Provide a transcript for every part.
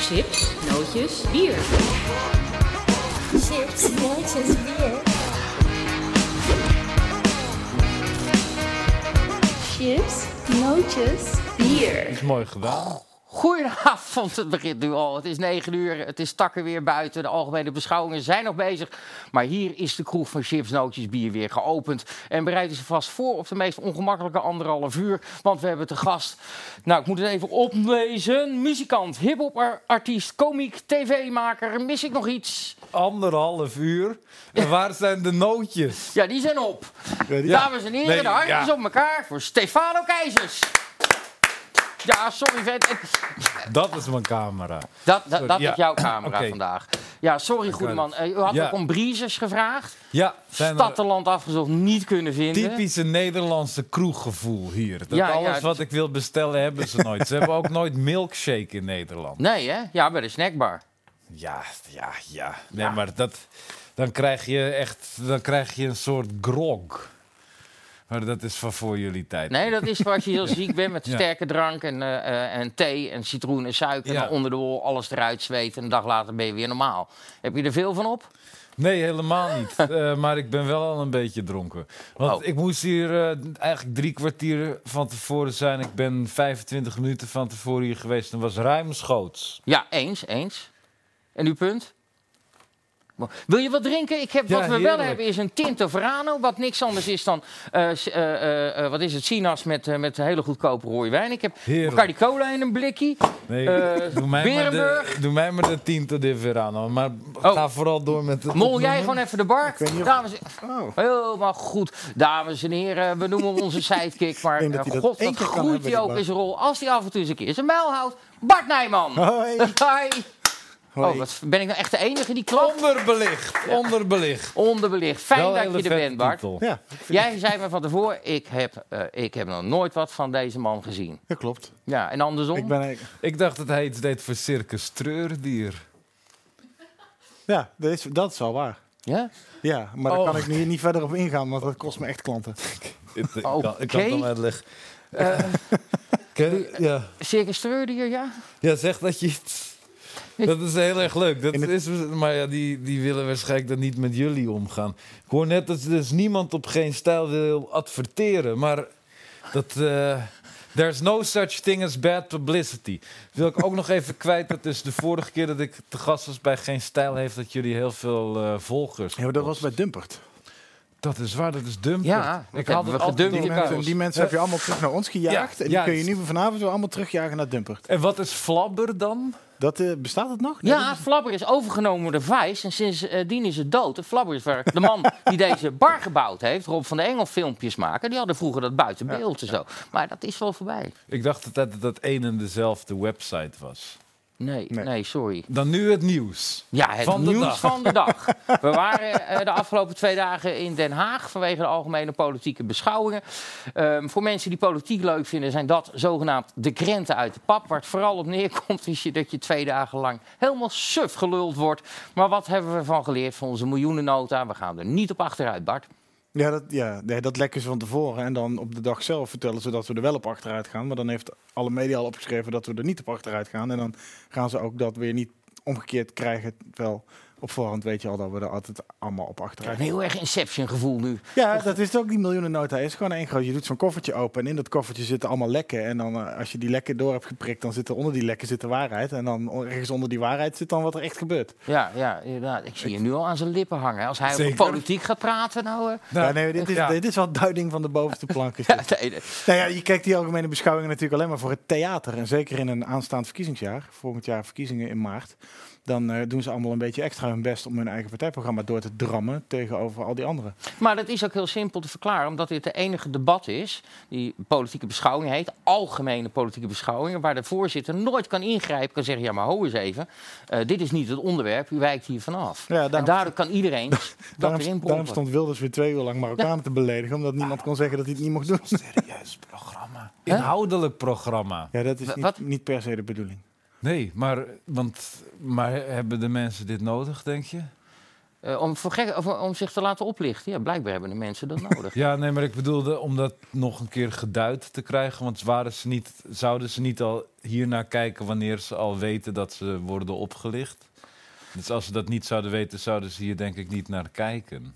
Chips, nootjes, bier. Chips, nootjes, bier. Chips, nootjes, bier. Is mooi gedaan. Goedenavond, het begint nu al. Het is 9 uur, het is takken weer buiten. De algemene beschouwingen zijn nog bezig. Maar hier is de kroeg van chips, nootjes, bier weer geopend. En bereiden ze vast voor op de meest ongemakkelijke anderhalf uur. Want we hebben te gast, nou ik moet het even oplezen. Muzikant, hip-hop artiest, komiek, tv-maker. Mis ik nog iets? Anderhalf uur. En waar zijn de nootjes? Ja, die zijn op. Ja. Dames en heren, Nee, de handjes ja. op elkaar voor Stefano Keizers. Ja, sorry vent. En- Dat is mijn camera. Dat, dat, Sorry, dat ja. is jouw camera Oké. vandaag. Ja, sorry Goedeman. Eh, u had Ja. ook om Breezes gevraagd. Ja, zijn er Stadteland afgezocht, niet kunnen vinden. typische Nederlandse kroeggevoel hier. Dat Ja, ja, alles het- wat ik wil bestellen hebben ze nooit. Ze hebben ook nooit milkshake in Nederland. Nee hè? Ja, bij de snackbar. Ja, ja, ja. Nee, maar dat, dan krijg je echt dan krijg je een soort grog. Maar dat is van voor jullie tijd. Nee, dat is waar je heel ziek bent met Ja. sterke drank en, eh, eh, en thee en citroen en suiker. Ja. En onder de wol alles eruit zweten en een dag later ben je weer normaal. Heb je er veel van op? Nee, helemaal niet. Eh, maar ik ben wel al een beetje dronken. Want Oh. ik moest hier eh, eigenlijk drie kwartier van tevoren zijn. Ik ben 25 minuten van tevoren hier geweest en was ruimschoots. Ja, eens, eens. En uw punt? Wil je wat drinken? Ik heb, Ja, wat we heerlijk. wel hebben is een Tinto Verano, wat niks anders is dan, eh, s- eh, eh, eh, wat is het, sinaas met, eh, met hele goedkope rode wijn. Ik heb Heerlijk. Bacardi Cola in een blikje. Nee, Eh, doe, mij maar de, Berenburg. doe mij maar de Tinto de Verano. Maar ga vooral door met het Oh. Mol jij opnoemen. gewoon even de bar? Dames en Oh. Helemaal goed. Dames en heren, we noemen hem onze sidekick. Maar denk dat eh, hij dat god, één wat keer kan groeit hij hebben, die ook man. in zijn rol. Als hij af en toe eens een keer zijn mijl houdt. Bart Nijman. Hoi. Hi. Oh, Hoi. wat ben ik nou echt de enige die klapt? Onderbelicht, onderbelicht. Onderbelicht. Fijn Wel een dat je hele er vette bent, Bart. titel. Ja, Jij zei me van tevoren, ik heb, eh, ik heb nog nooit wat van deze man gezien. dat klopt. Ja, en Ik Oh. andersom? ben eigenlijk... Ik dacht dat hij iets deed voor Circus Treurdier. Ja, dat is, dat is wel waar. Ja? Ja, maar daar Oh. kan ik nu niet verder op ingaan, want dat kost me echt klanten. Ik, ik Oké. Eh. kan, ik kan het wel uitleggen. Ken- ja. Circus Treurdier, ja? Ja, zeg dat je iets. Dat is heel erg leuk. Dat In het- is, maar ja, die, die willen waarschijnlijk dan niet met jullie omgaan. Ik hoor net dat dus niemand op geen stijl wil adverteren. Maar dat. eh, there's no such thing as bad publicity. Wil ik ook nog even kwijt dat dus de vorige keer dat ik te gast was bij Geen Stijl heeft dat jullie heel veel eh, volgers. Ja, maar dat was bij Dumpert. Dat is waar, dat is dumper. Ja, dat hebben we altijd gedumpt. Die in de mensen, kous. die mensen heb je allemaal terug naar ons gejaagd. en die ja, kun je dus- nu vanavond weer allemaal terugjagen naar Dumpert. En wat is flabber dan? Dat, eh, bestaat het nog? Nee, Ja, Flabber is overgenomen door de Vice en sindsdien is het dood. En Flabber is waar de man die deze bar gebouwd heeft, Rob van de Engel filmpjes maken, die hadden vroeger dat buiten beeld en zo. Maar dat is wel voorbij. Ik dacht altijd dat dat een en dezelfde website was. Nee, nee, Nee. sorry. Dan nu het nieuws. Ja, het Van de nieuws dag. van de dag. We waren eh, de afgelopen twee dagen in Den Haag vanwege de algemene politieke beschouwingen. Ehm, voor mensen die politiek leuk vinden, zijn dat zogenaamd de krenten uit de pap. Waar het vooral op neerkomt is je, dat je twee dagen lang helemaal suf geluld wordt. Maar wat hebben we ervan geleerd van onze miljoenennota? We gaan er niet op achteruit, Bart. Ja, dat, ja nee, dat lekken ze van tevoren. En dan op de dag zelf vertellen ze dat we er wel op achteruit gaan. Maar dan heeft alle media al opgeschreven dat we er niet op achteruit gaan. En dan gaan ze ook dat weer niet omgekeerd krijgen. Terwijl op voorhand weet je al dat we er altijd allemaal op Ik heb achteruit een heel erg Inception gevoel nu. Ja, dat is het ook die miljoenennota. Het is gewoon één groot. Je doet zo'n koffertje open en in dat koffertje zitten allemaal lekken. En dan eh, als je die lekken door hebt geprikt, dan zit er onder die lekken zit de waarheid. En dan on- ergens onder die waarheid zit dan wat er echt gebeurt. Ja, ja inderdaad. Ik zie je nu al aan zijn lippen hangen. Als hij over Zeker. politiek gaat praten, nou... eh, Ja, nee, dit is, ja. dit is wel duiding van de bovenste plank. is dit. nee, nee. Nou ja, je kijkt die algemene beschouwingen natuurlijk alleen maar voor het theater. En zeker in een aanstaand verkiezingsjaar, volgend jaar verkiezingen in maart. Dan eh, doen ze allemaal een beetje extra hun best om hun eigen partijprogramma door te drammen tegenover al die anderen. Maar dat is ook heel simpel te verklaren, omdat dit de enige debat is die politieke beschouwing heet, algemene politieke beschouwingen, waar de voorzitter nooit kan ingrijpen, kan zeggen, ja maar ho eens even, eh, dit is niet het onderwerp, u wijkt hier vanaf. Ja, daarom- en daardoor kan iedereen dat erin Daarom, daarom pompen. stond Wilders weer twee uur lang Marokkanen te beledigen, omdat niemand kon zeggen dat hij het niet mocht doen. Serieus programma. Inhoudelijk programma. Ja, dat is Wa- niet, wat? niet per se de bedoeling. Nee, maar, want, maar hebben de mensen dit nodig, denk je? Eh, om, voor gek, of, om zich te laten oplichten. Ja, blijkbaar hebben de mensen dat nodig. Ja, nee, maar ik bedoelde om dat nog een keer geduid te krijgen. Want waren ze niet, zouden ze niet al hiernaar kijken wanneer ze al weten dat ze worden opgelicht? Dus als ze dat niet zouden weten, zouden ze hier denk ik niet naar kijken.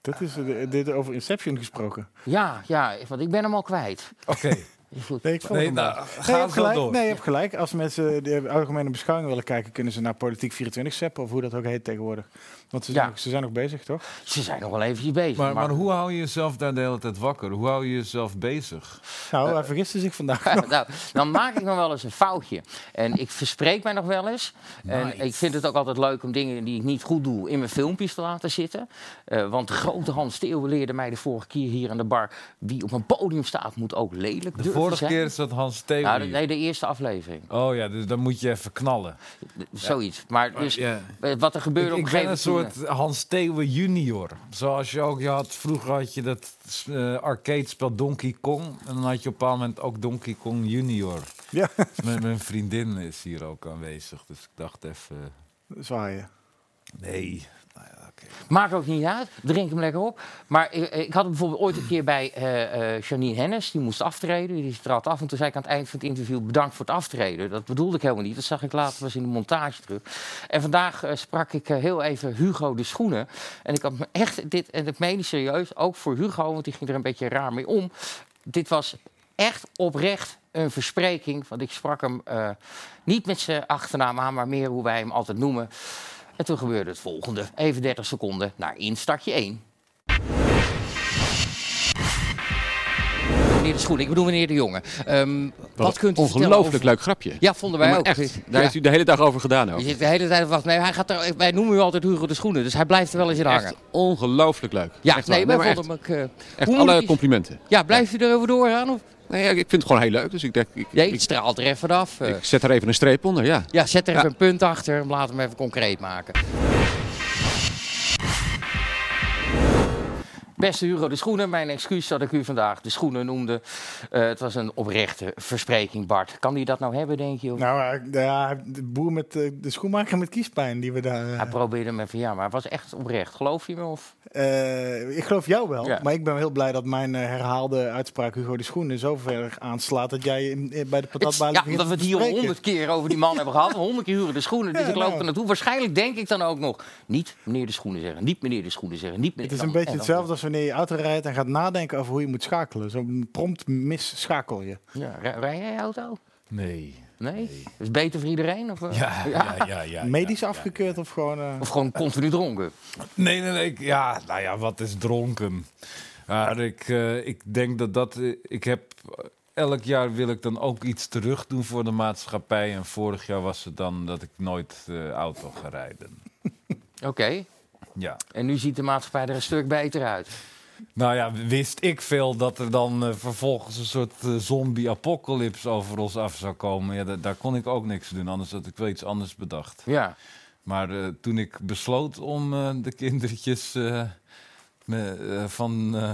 Dat is eh, de- dit over Inception gesproken. Ja, ja, want ik ben hem al kwijt. Oké, Goed. Nee, ik vond nee, hem wel. nou, Nee, je ga hebt zo gelijk. door. Nee, je hebt gelijk. Als mensen de algemene beschouwing willen kijken, kunnen ze naar Politiek 24 zappen of hoe dat ook heet tegenwoordig. Want ze, Ja. zijn, nog- ze zijn nog bezig, toch? Ze zijn nog wel eventjes bezig. Maar, maar hoe hou je jezelf daar de hele tijd wakker? Hoe hou je jezelf bezig? Nou, Eh, hij vergiste zich vandaag. nou, dan maak ik nog wel eens een foutje. En ik verspreek mij nog wel eens. En Nice. ik vind het ook altijd leuk om dingen die ik niet goed doe in mijn filmpjes te laten zitten. Eh, want de grote Hans Steeuwen leerde mij de vorige keer hier aan de bar. Wie op een podium staat, moet ook lelijk De durven vorige zijn. keer is dat Hans Nou, Theorie. de- nee, de eerste aflevering. Oh ja, dus dan moet je even knallen. D- Zoiets. Maar dus, Oh, ja. eh, wat er Ik, gebeurde op ik een ben een gegeven moment. soort Hans Theeuwen junior. Zoals je ook je had, vroeger had je dat eh arcade spel Donkey Kong. En dan had je op een bepaald moment ook Donkey Kong junior. Ja, Mijn, mijn vriendin is hier ook aanwezig, dus ik dacht even... zwaaien. Nee. Maakt ook niet uit, drink hem lekker op. Maar ik, ik had hem bijvoorbeeld ooit een keer bij eh, eh, Janine Hennis, die moest aftreden. Die trad af en toen zei ik aan het eind van het interview bedankt voor het aftreden. Dat bedoelde ik helemaal niet, dat zag ik later pas in de montage terug. En vandaag eh, sprak ik eh, heel even Hugo de Schoenen. En ik had me echt dit, en dat meen ik serieus, ook voor Hugo, want die ging er een beetje raar mee om. Dit was echt oprecht een verspreking, want ik sprak hem eh, niet met zijn achternaam aan, maar meer hoe wij hem altijd noemen. En toen gebeurde het volgende. Even 30 seconden naar instartje 1. Meneer de Schoen, ik bedoel meneer de Jonge. Ehm, wat, Wat kunt u vertellen Ongelooflijk over- leuk grapje. Ja, vonden wij Maar ook. echt, daar Ja. heeft u de hele dag over gedaan ook. Je zit de hele tijd op wacht. Nee, hij gaat er, wij noemen u altijd Hugo de Schoenen, dus hij blijft er wel eens in hangen. Echt ongelooflijk leuk. Ja, echt waar. nee, wij maar echt, vonden hem ook... eh, echt hoe moet alle ik- complimenten. Ja, blijft u er even doorgaan? Of? Nee, ja, ik vind het gewoon heel leuk, dus ik denk, ik, Nee, ik, het straalt er even af. eh. ik zet er even een streep onder, ja. Ja, zet er even Ja. een punt achter en laat hem even concreet maken. Beste Hugo de Schoenen, mijn excuus dat ik u vandaag de schoenen noemde. Eh, het was een oprechte verspreking, Bart. Kan die dat nou hebben, denk je? of- Nou, hij- ja, de boer met eh, de schoenmaker met kiespijn die we daar... eh, Hij probeerde hem even, ja, maar het was echt oprecht. Geloof je me? Of? eh, ik geloof jou wel, Ja. maar ik ben heel blij dat mijn eh, herhaalde uitspraak Hugo de Schoenen zo ver aanslaat dat jij in- eh, bij de patatbalie ja, omdat we het hier al honderd keer over die man hebben gehad. Honderd keer Hugo de Schoenen, dus Ja, ik loop nou. er naartoe. Waarschijnlijk denk ik dan ook nog, niet meneer de Schoenen zeggen, niet meneer de Schoenen zeggen, niet meneer Het is en een dan- beetje en dan- hetzelfde als wanneer je auto rijdt en gaat nadenken over hoe je moet schakelen. Zo prompt misschakel je. Ja, rij, rij jij auto? Nee. Nee? Dat is beter voor iedereen? Of, eh? Ja, ja, ja. ja, ja. Medisch afgekeurd of gewoon... eh, Of gewoon continu dronken. Nee, nee, nee. ik- Ja, nou ja, wat is dronken? Maar ik, eh, ik denk dat dat... eh, Ik heb... Elk jaar wil ik dan ook iets terug doen voor de maatschappij. En vorig jaar was het dan dat ik nooit eh, auto ga rijden. Oké. Ja. En nu ziet de maatschappij er een stuk beter uit. Nou ja, wist ik veel dat er dan eh, vervolgens een soort eh, zombie-apocalypse over ons af zou komen. Ja, da- daar kon ik ook niks doen, anders had ik wel iets anders bedacht. Ja. Maar eh, toen ik besloot om eh, de kindertjes eh, me- eh, van, eh,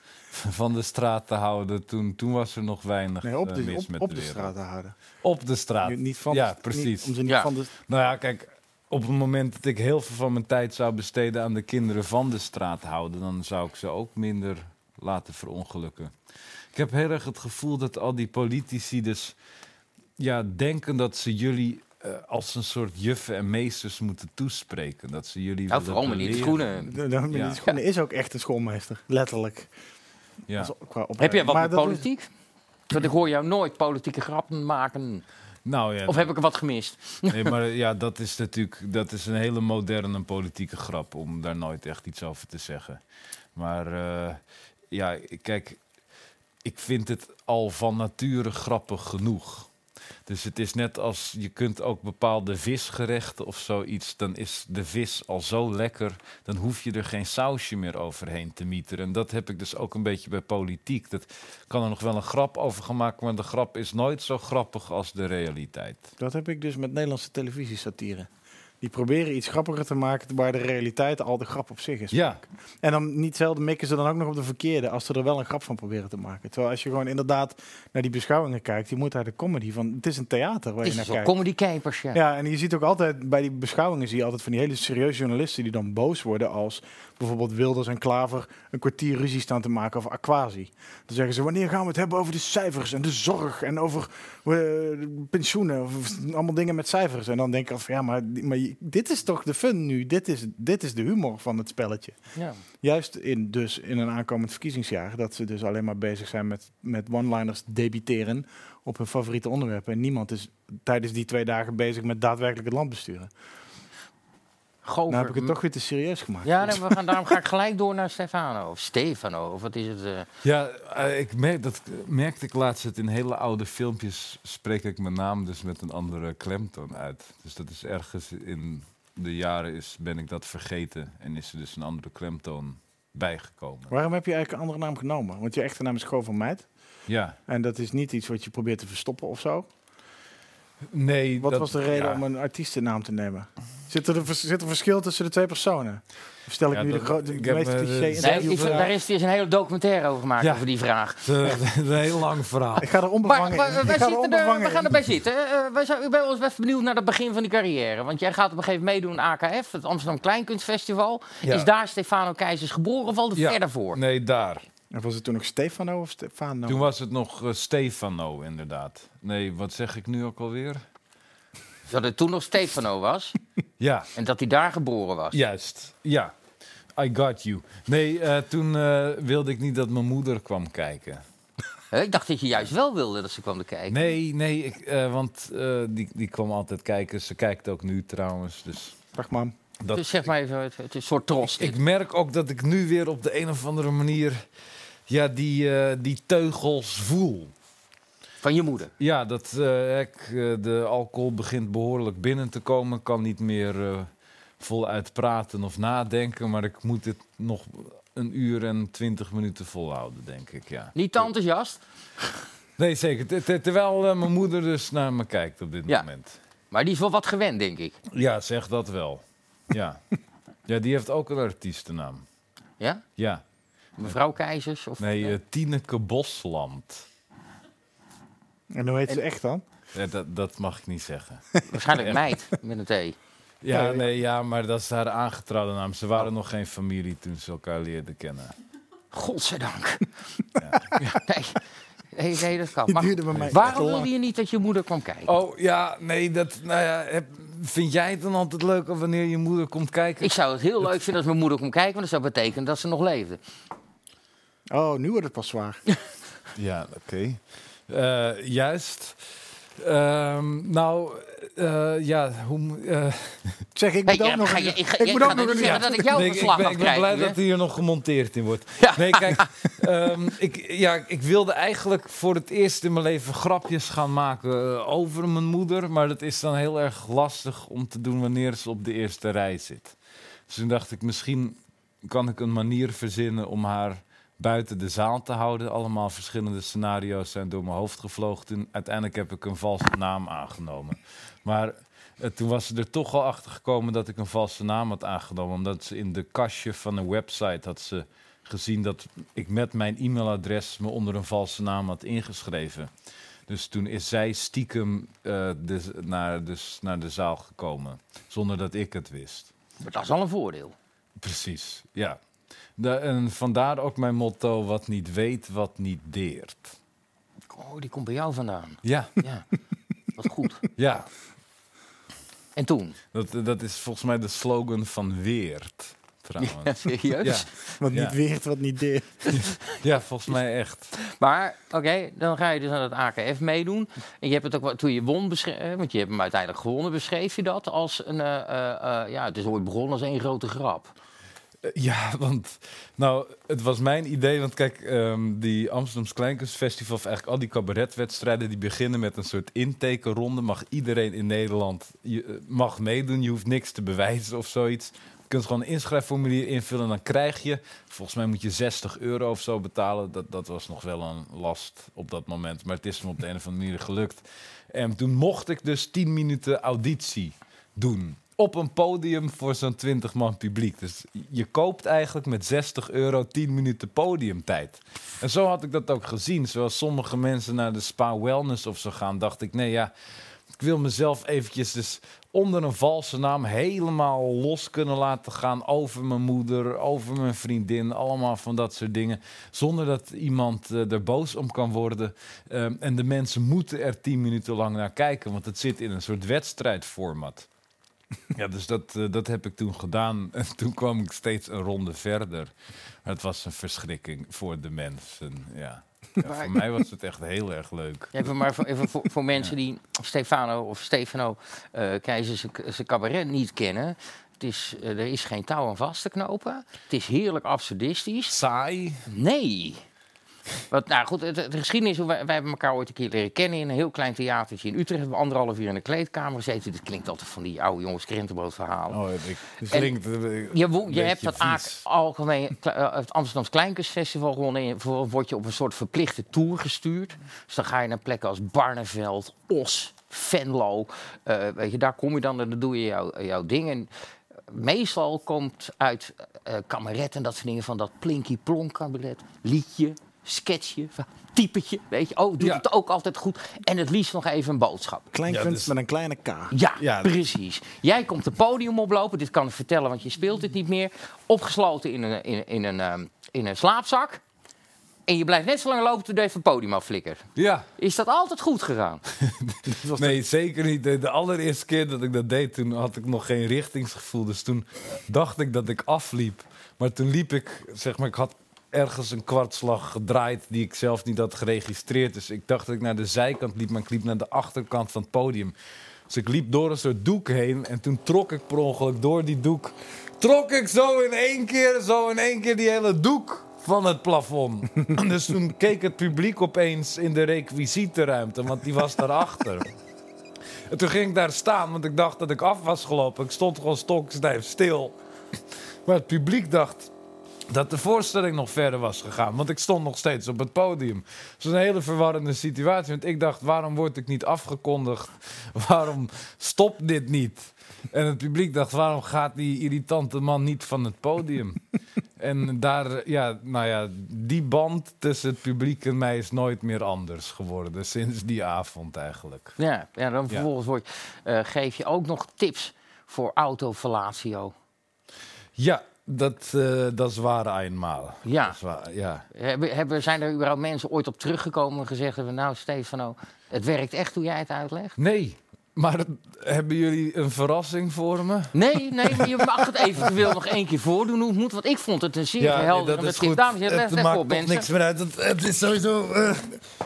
van de straat te houden, toen, toen was er nog weinig Nee, op eh, de, mis op, met op de, de wereld. straat te houden. Op de straat. Nu Niet van ja, de- precies. niet- om ze niet Ja. van de, Nou ja, kijk, op het moment dat ik heel veel van mijn tijd zou besteden aan de kinderen van de straat houden, dan zou ik ze ook minder laten verongelukken. Ik heb heel erg het gevoel dat al die politici dus ja, denken dat ze jullie eh, als een soort juffen en meesters moeten toespreken. Dat ze jullie Nou, willen vooral meneer de beleren. Schoenen. de, de- die schoenen is ook echt een schoolmeester. Letterlijk. Ja. Dat is ook qua opleiding. Heb jij wat Maar met dat politiek? Want ik hoor jou nooit politieke grappen maken. Nou ja, Of heb ik er wat gemist? nee, maar eh, ja, dat is natuurlijk dat is een hele moderne politieke grap om daar nooit echt iets over te zeggen. Maar eh, ja, kijk, ik vind het al van nature grappig genoeg. Dus het is net als je kunt ook bepaalde visgerechten of zoiets, dan is de vis al zo lekker, dan hoef je er geen sausje meer overheen te mieteren. En dat heb ik dus ook een beetje bij politiek. Dat kan er nog wel een grap over gemaakt, maar de grap is nooit zo grappig als de realiteit. Dat heb ik dus met Nederlandse televisiesatire. Die proberen iets grappiger te maken waar de realiteit al de grap op zich is. Ja, En dan niet zelden mikken ze dan ook nog op de verkeerde als ze er wel een grap van proberen te maken. Terwijl als je gewoon inderdaad naar die beschouwingen kijkt, je moet daar de comedy van. Het is een theater waar Het je is naar dus wel kijkt. comedy capers, ja. Ja, en je ziet ook altijd bij die beschouwingen zie je altijd van die hele serieuze journalisten die dan boos worden als bijvoorbeeld Wilders en Klaver een kwartier ruzie staan te maken over Aquasi. Dan zeggen ze wanneer gaan we het hebben over de cijfers en de zorg en over eh, pensioenen of of allemaal dingen met cijfers. En dan denk ik al van ja, maar, die- maar je- dit is toch de fun nu? Dit is, dit is de humor van het spelletje. Ja. Juist in, dus in een aankomend verkiezingsjaar, dat ze dus alleen maar bezig zijn met, met one-liners debiteren op hun favoriete onderwerpen. En niemand is tijdens die twee dagen bezig met daadwerkelijk het land besturen. Gover. Nou heb ik het toch weer te serieus gemaakt. Ja, nee, maar we gaan, daarom ga ik gelijk door naar Stefano. Of Stefano, of wat is het? eh? ja eh, ik merk, dat merkte ik laatst. Dat in hele oude filmpjes spreek ik mijn naam dus met een andere klemtoon uit. Dus dat is ergens in de jaren is, ben ik dat vergeten. En is er dus een andere klemtoon bijgekomen. Waarom heb je eigenlijk een andere naam genomen? Want je echte naam is gewoon van Meid. Ja, En dat is niet iets wat je probeert te verstoppen of zo. nee. Wat dat- was de reden ja. om een artiestennaam te nemen? Zit er een, vers- zit er verschil tussen de twee personen? Of stel ik Ja, nu de, dat- gro- de ik heb, meest eh, cliché... de- interview- Nee, ik vind- daar is, er is een hele documentaire over gemaakt, Ja. over die vraag. Dat is een heel lang verhaal. Ik ga er Maar, onbevangen maar, in. wij Ik ga er zitten er- onbevangen we gaan in. erbij zitten. Eh, eh, wij zijn, ik ben wel eens even benieuwd naar het begin van die carrière. Want jij gaat op een gegeven moment meedoen aan AKF, het Amsterdam Kleinkunstfestival. Ja. Is daar Stefano Keizers geboren of al Ja. verder voor? Nee, daar. En was het toen nog Stefano of Stefano? Toen was het nog eh, Stefano, inderdaad. Nee, wat zeg ik nu ook alweer? Dat het toen nog Stefano was Ja, en dat hij daar geboren was. juist. Ja. I got you. Nee, eh, toen eh, wilde ik niet dat mijn moeder kwam kijken. Hè, Ik dacht dat je juist wel wilde dat ze kwam te kijken. Nee, nee, ik, eh, want eh, die, die kwam altijd kijken. Ze kijkt ook nu trouwens. Dus Dag mam. dat- dus zeg maar even, het, het is een soort trots. dit. ik merk ook dat ik nu weer op de een of andere manier ja, die, eh, die teugels voel. van je moeder. Ja, dat, eh, ik, eh, de alcohol begint behoorlijk binnen te komen. Kan niet meer eh, voluit praten of nadenken. Maar ik moet dit nog een uur en twintig minuten volhouden, denk ik. Ja. Niet te enthousiast, Nee, zeker. Ter- ter- terwijl eh, mijn moeder dus naar me kijkt op dit Ja. moment. maar die is wel wat gewend, denk ik. Ja, zeg dat wel. Ja. ja, die heeft ook een artiestennaam. Ja? Ja. Mevrouw Keizers? Of, Nee, eh, Tineke Bosland. En hoe heet ze echt dan? Ja, dat, dat mag ik niet zeggen. waarschijnlijk meid met een T. Ja, Oh. nee, ja, maar dat is haar aangetrouwde naam. Ze waren nog geen familie toen ze elkaar leerden kennen. Godzijdank. Nee. Nee, nee, dat kan. Die Maar duurde bij mij echt waarom lang. wilde je niet dat je moeder kwam kijken? Oh ja, nee, dat. Nou ja, heb- vind jij het dan altijd leuk wanneer je moeder komt kijken? Ik zou het heel leuk vinden als mijn moeder kwam kijken, want dat zou betekenen dat ze nog leefde. Oh, nu wordt het pas zwaar. Ja, oké. Eh, juist. Ehm, nou, eh, ja, hoe. mo- eh, Zeg, ik Hey, moet ook ja, nog ga een- je- ik ga- ik ik moet ga ook nog niet een- zeggen ja. dat ik jouw nee, ik, ik verslag ben, mag ik ben blij krijgen. dat hier nog gemonteerd in wordt. Ja. Nee, kijk, ehm, ik, ja, ik wilde eigenlijk voor het eerst in mijn leven grapjes gaan maken eh, over mijn moeder. Maar dat is dan heel erg lastig om te doen wanneer ze op de eerste rij zit. Dus toen dacht ik, misschien kan ik een manier verzinnen om haar buiten de zaal te houden. Allemaal verschillende scenario's zijn door mijn hoofd gevlogen. Toen, uiteindelijk heb ik een valse naam aangenomen. Maar eh, toen was ze er toch al achter gekomen dat ik een valse naam had aangenomen. Omdat ze in de kastje van een website had ze gezien dat ik met mijn e-mailadres me onder een valse naam had ingeschreven. Dus toen is zij stiekem eh, de, naar, dus naar de zaal gekomen, zonder dat ik het wist. Maar dat is al een voordeel. Precies, ja. Da- en vandaar ook mijn motto: wat niet weet, wat niet deert. Oh, die komt bij jou vandaan. Ja, Ja, wat goed. ja. En toen? Dat, dat is volgens mij de slogan van Weert, trouwens. Serieus? Ja, Wat Ja. niet weert, wat niet deert. ja volgens mij echt. Maar oké, dan ga je dus aan het AKF meedoen. En je hebt het ook wel- toen je won, beschre- eh, want je hebt hem uiteindelijk gewonnen, beschreef je dat als een. eh, eh, eh, ja, het is ooit begonnen als één grote grap. Eh, Ja, want nou, het was mijn idee. Want kijk, ehm, die Amsterdamse Kleinkunstfestival, of eigenlijk al die cabaretwedstrijden, die beginnen met een soort intekenronde. Mag iedereen in Nederland je, eh, mag meedoen. Je hoeft niks te bewijzen of zoiets. Je kunt gewoon een inschrijfformulier invullen en dan krijg je. Volgens mij moet je 60 euro of zo betalen. Dat, dat was nog wel een last op dat moment. Maar het is me op de een of andere manier gelukt. En toen mocht ik dus 10 minuten auditie doen op een podium voor zo'n 20 man publiek. Dus je koopt eigenlijk met 60 euro 10 minuten podiumtijd. En zo had ik dat ook gezien. Zoals sommige mensen naar de spa wellness of zo gaan, dacht ik, nee ja, ik wil mezelf eventjes dus onder een valse naam helemaal los kunnen laten gaan over mijn moeder, over mijn vriendin, allemaal van dat soort dingen. Zonder dat iemand eh, er boos om kan worden. Ehm, en de mensen moeten er tien minuten lang naar kijken, want het zit in een soort wedstrijdformat. Ja, dus dat, eh, dat heb ik toen gedaan. En toen kwam ik steeds een ronde verder. Maar het was een verschrikking voor de mensen. Ja. Ja, Maar- voor mij was het echt heel erg leuk. Even maar voor, even voor, voor mensen die Stefano of Stefano eh Keizer zijn- zijn cabaret niet kennen. Het is, eh, er is geen touw aan vast te knopen. Het is heerlijk absurdistisch. Saai. Nee. Wat, nou goed, het- het- de geschiedenis, hoe wij, wij hebben elkaar ooit een keer leren kennen in een heel klein theatertje in Utrecht. We hebben anderhalf uur in de kleedkamer gezeten. Dit klinkt altijd van die oude jongens krentenbroodverhalen. Oh, ik, dus En- klinkt, eh, Je, wo- je beetje hebt dat vies. Aak- algemeen, kle- eh, het Amsterdams Kleinkunstfestival gewonnen. En je- voor- Word je op een soort verplichte tour gestuurd. Dus dan ga je naar plekken als Barneveld, Os, Venlo. Eh, weet je, daar kom je dan en dan doe je jouw- jouw ding. En meestal komt uit eh kameretten en dat soort dingen van dat plinky-plonk kabaret. Liedje, sketchje, va- typetje. Weet je, oh, doet Ja. het ook altijd goed. En het liefst nog even een boodschap. Klein Ja, kunst dus- met een kleine K. Ja, Ja. precies. Jij komt het podium oplopen. Dit kan ik vertellen, want je speelt dit niet meer. Opgesloten in een, in, in een, ehm, in een slaapzak. En je blijft net zo lang lopen tot je van het podium afflikkert. Ja, Is dat altijd goed gegaan? nee, zeker niet. De, de allereerste keer dat ik dat deed, toen had ik nog geen richtingsgevoel. Dus toen dacht ik dat ik afliep. Maar toen liep ik, zeg maar, ik had ergens een kwartslag gedraaid die ik zelf niet had geregistreerd. Dus ik dacht dat ik naar de zijkant liep, maar ik liep naar de achterkant van het podium. Dus ik liep door een soort doek heen en toen trok ik per ongeluk door die doek. Trok ik zo in één keer, zo in één keer die hele doek van het plafond. dus toen keek het publiek opeens in de requisietenruimte, want die was daarachter. En toen ging ik daar staan, want ik dacht dat ik af was gelopen. Ik stond gewoon stokstijf stil. Maar het publiek dacht dat de voorstelling nog verder was gegaan. Want ik stond nog steeds op het podium. Het was een hele verwarrende situatie. Want ik dacht, waarom word ik niet afgekondigd? Waarom stopt dit niet? En het publiek dacht, waarom gaat die irritante man niet van het podium? En daar, ja, nou ja, die band tussen het publiek en mij is nooit meer anders geworden. Sinds die avond eigenlijk. Ja, ja dan Ja. vervolgens word, eh, geef je ook nog tips voor autofellatio. Ja, dat, eh, dat is waar eenmaal. Ja. Dat is waar, ja. Hebben, hebben, zijn er überhaupt mensen ooit op teruggekomen en gezegd hebben... nou, Stefano, het werkt echt hoe jij het uitlegt? Nee, maar hebben jullie een verrassing voor me? Nee, nee, maar je mag het eventueel nog één keer voordoen hoe het moet. Want ik vond het een zeer nee, helder... en beschik- Dames en heren, het let maakt even op, toch mensen. niks meer uit. Het, het is sowieso... eh,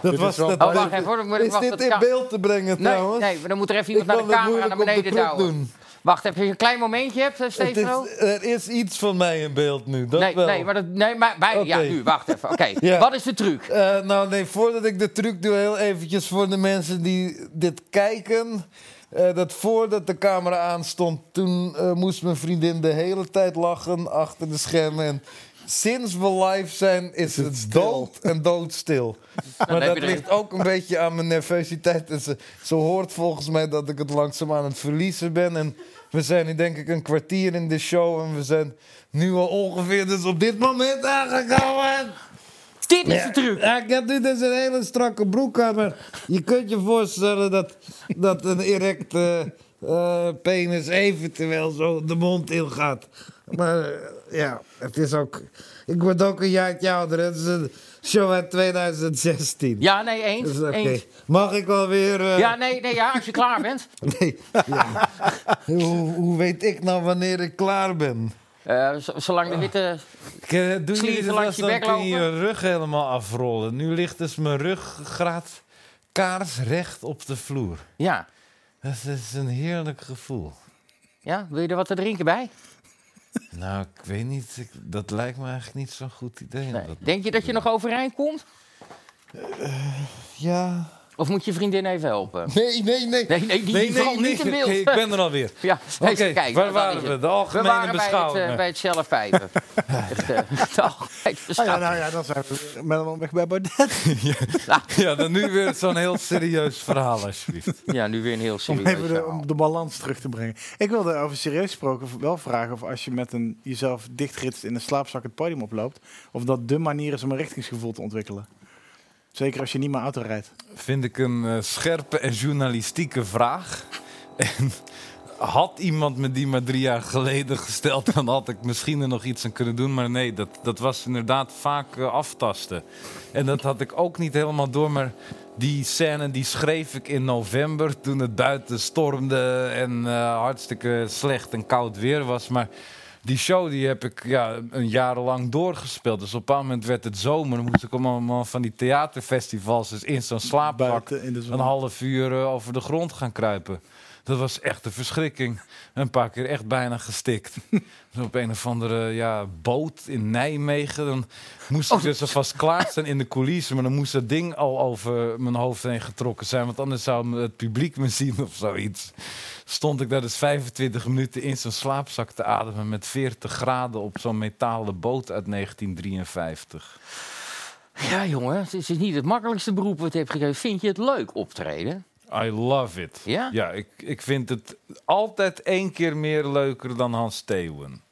dat was, wel- dat, Oh, wacht even, hoor, ik moet- ik is wacht, dit dat in kan- beeld te brengen Nee, trouwens? nee, maar dan moet er even Ik iemand naar de kan het camera naar moeilijk op de beneden knop douwen. doen. Wacht even, als je een klein momentje hebt, eh, Het Stefano. is, er is iets van mij in beeld nu, dat Nee, wel. nee, maar, dat, nee, maar bij, ja, Oké. nu, wacht even. Oké, Ja. wat is de truc? Eh, nou nee, voordat ik de truc doe, heel eventjes voor de mensen die dit kijken. Eh, dat voordat de camera aanstond, toen eh, moest mijn vriendin de hele tijd lachen achter de schermen. En sinds we live zijn is het, dood en doodstil. heb maar dat je er- ligt ook een beetje aan mijn nervositeit. En ze, ze hoort volgens mij dat ik het langzaam aan het verliezen ben. En we zijn nu denk ik een kwartier in de show en we zijn nu al ongeveer dus op dit moment aangekomen. Dit is de truc. Ja, ik heb nu dus een hele strakke broek aan, maar je kunt je voorstellen dat, dat een erecte eh, penis eventueel zo de mond in gaat. Maar eh, ja, het is ook... Ik word ook een jaartje ouder, het is een show uit 2016. Ja, nee, eens. Dus oké. eens. Mag ik alweer... eh Ja, nee, nee, ja, als je klaar bent. nee. Ja. hoe, hoe weet ik nou wanneer ik klaar ben? Eh, z- zolang de witte... eh, Doe jullie Slieven dit langs als je dan bek kun je je rug helemaal afrollen. Nu ligt dus mijn ruggraat kaarsrecht op de vloer. Ja. Dat is een heerlijk gevoel. ja, wil je er wat te drinken bij? Nou, ik weet niet. ik- dat lijkt me eigenlijk niet zo'n goed idee. om Nee. dat- Denk je dat je nog overeind komt? Ja, Of moet je vriendin even helpen? Nee, nee, nee. Nee, nee, die, die valt niet in beeld. Ik ben er alweer. Ja, Oké, eens, kijk, waar dat waren is we? het. De we algemene waren Bij het, eh, beschouwingen. bij het zelf pijpen. Echt, eh, de algemene Ah, ja, beschouwingen. nou ja, dan zijn we met een weg bij Baudet. Ja, dan nu weer zo'n heel serieus verhaal, alsjeblieft. Ja, nu weer een heel Om serieus even de, verhaal. om de balans terug te brengen. Ik wilde over serieus gesproken wel vragen of als je met een jezelf dichtritst in een slaapzak het podium oploopt, of dat de manier is om een richtingsgevoel te ontwikkelen. Zeker als je niet meer auto Oh. rijdt. Vind ik een eh, scherpe en journalistieke vraag. En had iemand me die maar drie jaar geleden gesteld, dan had ik misschien er nog iets aan kunnen doen. Maar nee, dat, dat was inderdaad vaak eh, aftasten. En dat had ik ook niet helemaal door, maar... Die scène die schreef ik in november toen het buiten stormde en eh, hartstikke slecht en koud weer was. Maar die show die heb ik ja, een jarenlang doorgespeeld. Dus op een bepaald moment werd het zomer. Dan moest ik allemaal van die theaterfestivals dus in zo'n slaappak Buiten in de zon. een half uur eh, over de grond gaan kruipen. Dat was echt een verschrikking. Een paar keer echt bijna gestikt. Dus op een of andere ja, boot in Nijmegen. Dan moest ik dus alvast klaar zijn in de coulissen. Maar dan moest dat ding al over mijn hoofd heen getrokken zijn. Want anders zou het publiek me zien of zoiets. Stond ik daar dus 25 minuten in zo'n slaapzak te ademen. Met 40 graden op zo'n metalen boot uit 1953. Ja, jongen, het is niet het makkelijkste beroep wat je hebt gekregen. Vind je het leuk optreden? I love it. Ja? Ja, ik, ik vind het altijd één keer meer leuker dan Hans Steeuwen.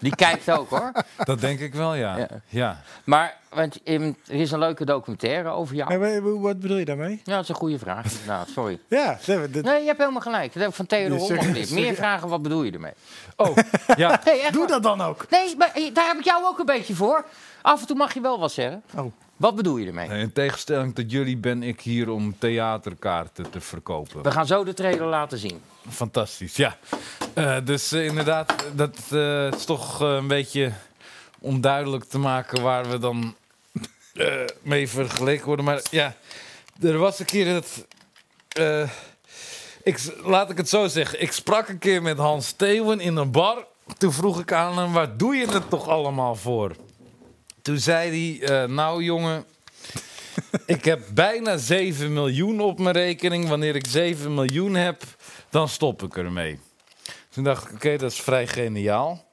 Die kijkt ook hoor. Dat denk ik wel, ja. Ja. ja. Maar want, ehm, er is een leuke documentaire over jou. Nee, maar wat bedoel je daarmee? Ja, dat is een goede vraag. inderdaad, sorry. Ja, nee, maar dit- Nee, je hebt helemaal gelijk. Dat heb ik van Theodor Dus, Holman eh, geleerd. Meer sorry. vragen, wat bedoel je ermee? Oh, ja. Nee, echt doe waar. dat dan ook. Nee, maar eh, daar heb ik jou ook een beetje voor. Af en toe mag je wel wat zeggen. Oh. Wat bedoel je ermee? In tegenstelling tot jullie ben ik hier om theaterkaarten te verkopen. We gaan zo de trailer laten zien. Fantastisch, ja. Eh, dus eh, inderdaad, dat eh, is toch eh, een beetje onduidelijk te maken waar we dan eh, mee vergeleken worden. Maar ja, er was een keer dat. eh, ik, s- laat ik het zo zeggen. Ik sprak een keer met Hans Steeuwen in een bar. Toen vroeg ik aan hem: waar doe je het toch allemaal voor? Toen zei hij: eh, Nou, jongen. Ik heb bijna 7 miljoen op mijn rekening. Wanneer ik 7 miljoen heb, dan stop ik ermee. Toen dacht ik, oké, dat is vrij geniaal.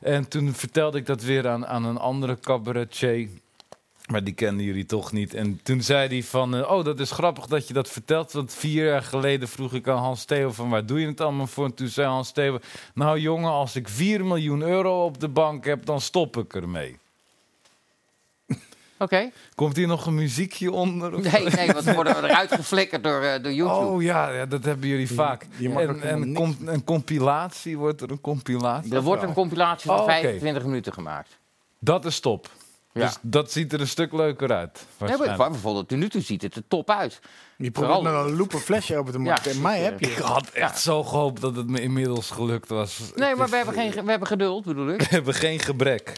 En toen vertelde ik dat weer aan, aan een andere cabaretier. Maar die kenden jullie toch niet. En toen zei hij van, eh, oh, dat is grappig dat je dat vertelt. Want vier jaar geleden vroeg ik aan Hans Theo van, waar doe je het allemaal voor? En toen zei Hans Theo, nou jongen, als ik 4 miljoen euro op de bank heb, dan stop ik ermee. Oké? Komt hier nog een muziekje onder? of- Nee, nee, want dan worden we eruit geflikkerd door, eh, door YouTube. Oh ja, ja, dat hebben jullie vaak. je mag ook en helemaal en niks com- een compilatie, wordt er een compilatie? er wordt een compilatie van Oh, oké. 25 minuten gemaakt. Dat is top. Ja. Dus dat ziet er een stuk leuker uit. Nee, maar waarschijnlijk. bijvoorbeeld, nu toe ziet het er top uit. Je Vooral- probeert met een loop een flesje open te Ja, maken. en mij precies, heb ja. je. ik had echt zo gehoopt dat het me inmiddels gelukt was. Nee, Het maar is- we hebben, geen, we hebben geduld, bedoel ik. we hebben geen gebrek.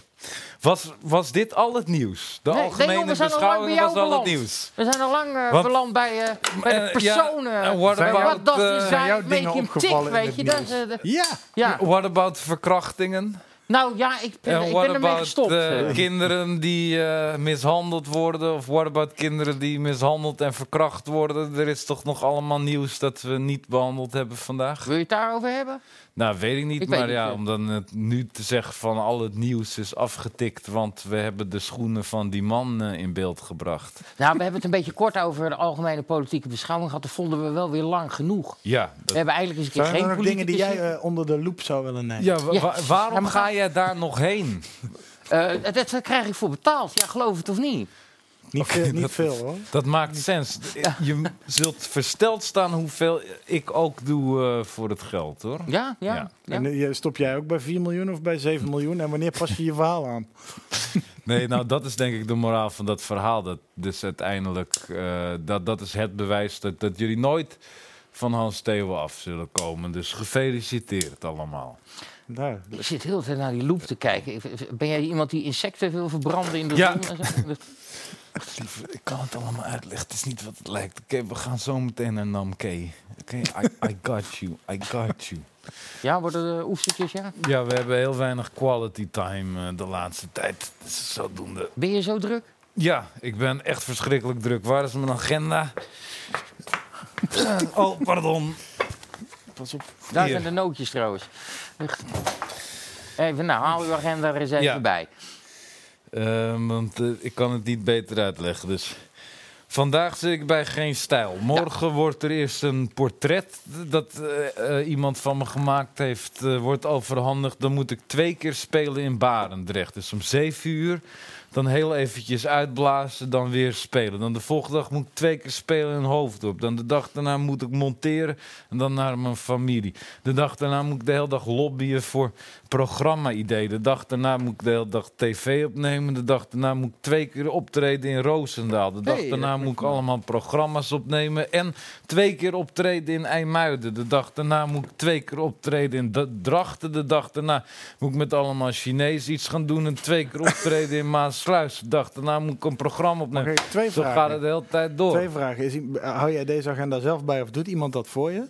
Was, was dit al het nieuws? De Nee, nee, algemene joh, we zijn al lang bij beschouwing jou was al het beland. nieuws. We zijn al lang eh, Wat- beland bij, eh, bij de Eh, ja, personen. en what Bij about, wat dat eh, is, zijn ja, jouw make dingen him tick, opgevallen in weet het je. Dat, nieuws? eh, dat- Ja. ja. What about verkrachtingen? Nou ja, ik ben, En ik what ben ermee about gestopt. eh, eh. kinderen die eh, mishandeld worden? Of what about kinderen die mishandeld en verkracht worden? Er is toch nog allemaal nieuws dat we niet behandeld hebben vandaag? Wil je het daarover hebben? Nou, weet ik niet. Ik weet maar niet, ja, eh. om dan het nu te zeggen van al het nieuws is afgetikt. Want we hebben de schoenen van die man eh, in beeld gebracht. Nou, we hebben het een beetje kort over de algemene politieke beschouwing gehad. Dat vonden we wel weer lang genoeg. Ja, dat- We hebben eigenlijk eens een Zijn keer er geen nog dingen die politicus- jij eh, onder de loep zou willen nemen? ja, wa- Eh, Ja. wa- Ja, waarom maar ga ga- jij daar nog heen? Eh, dat, dat krijg ik voor betaald. Ja, geloof het of niet. Niet, Oké, veel, niet dat- veel hoor. Dat maakt sens. Je zult versteld staan hoeveel ik ook doe eh, voor het geld, hoor. Ja, ja. ja. Ja. En eh, je- stop jij ook bij 4 miljoen of bij 7 miljoen? En wanneer pas je je verhaal aan? Nee, nou dat is denk ik de moraal van dat verhaal. Dat dus uiteindelijk, eh, dat, dat is het bewijs dat, dat jullie nooit van Hans Steeuwen af zullen komen. Dus gefeliciteerd allemaal. Nou, Ik zit heel de tijd naar die loop te kijken. Ik- Ben jij iemand die insecten wil verbranden in de Ja. zon? en zo? Ik kan het allemaal uitleggen. Het is niet wat het lijkt. Oké, we gaan zo meteen naar Namke. Oké, I, I got you. I got you. Ja, worden de oestertjes, ja. Ja, we hebben heel weinig quality time eh, de laatste tijd. Dus zodoende. Ben je zo druk? Ja, ik ben echt verschrikkelijk druk. Waar is mijn agenda? oh, pardon. Pas op. Daar Hier. zijn de nootjes trouwens. Echt. Even, nou, haal uw agenda er eens even Ja. bij. Ehm, want eh, ik kan het niet beter uitleggen. Dus. Vandaag zit ik bij Geen Stijl. Morgen wordt er eerst een portret dat eh, eh, iemand van me gemaakt heeft, eh, wordt overhandigd. Dan moet ik twee keer spelen in Barendrecht. Dus om zeven uur, dan heel eventjes uitblazen, dan weer spelen. Dan de volgende dag moet ik twee keer spelen in Hoofddorp. Dan de dag daarna moet ik monteren en dan naar mijn familie. De dag daarna moet ik de hele dag lobbyen voor programma-ideeën. De dag daarna moet ik de hele dag tv opnemen. De dag daarna moet ik twee keer optreden in Roosendaal. De dag Hey, daarna dat moet ik allemaal programma's opnemen. En twee keer optreden in IJmuiden. De dag daarna moet ik twee keer optreden in D- Drachten. De dag daarna moet ik met allemaal Chinees iets gaan doen. En twee keer optreden in Maasluis. De dag daarna moet ik een programma Mag opnemen. ik twee Zo vragen? gaat het de hele tijd door. Twee vragen. Is, i- eh, hou jij deze agenda zelf bij of doet iemand dat voor je?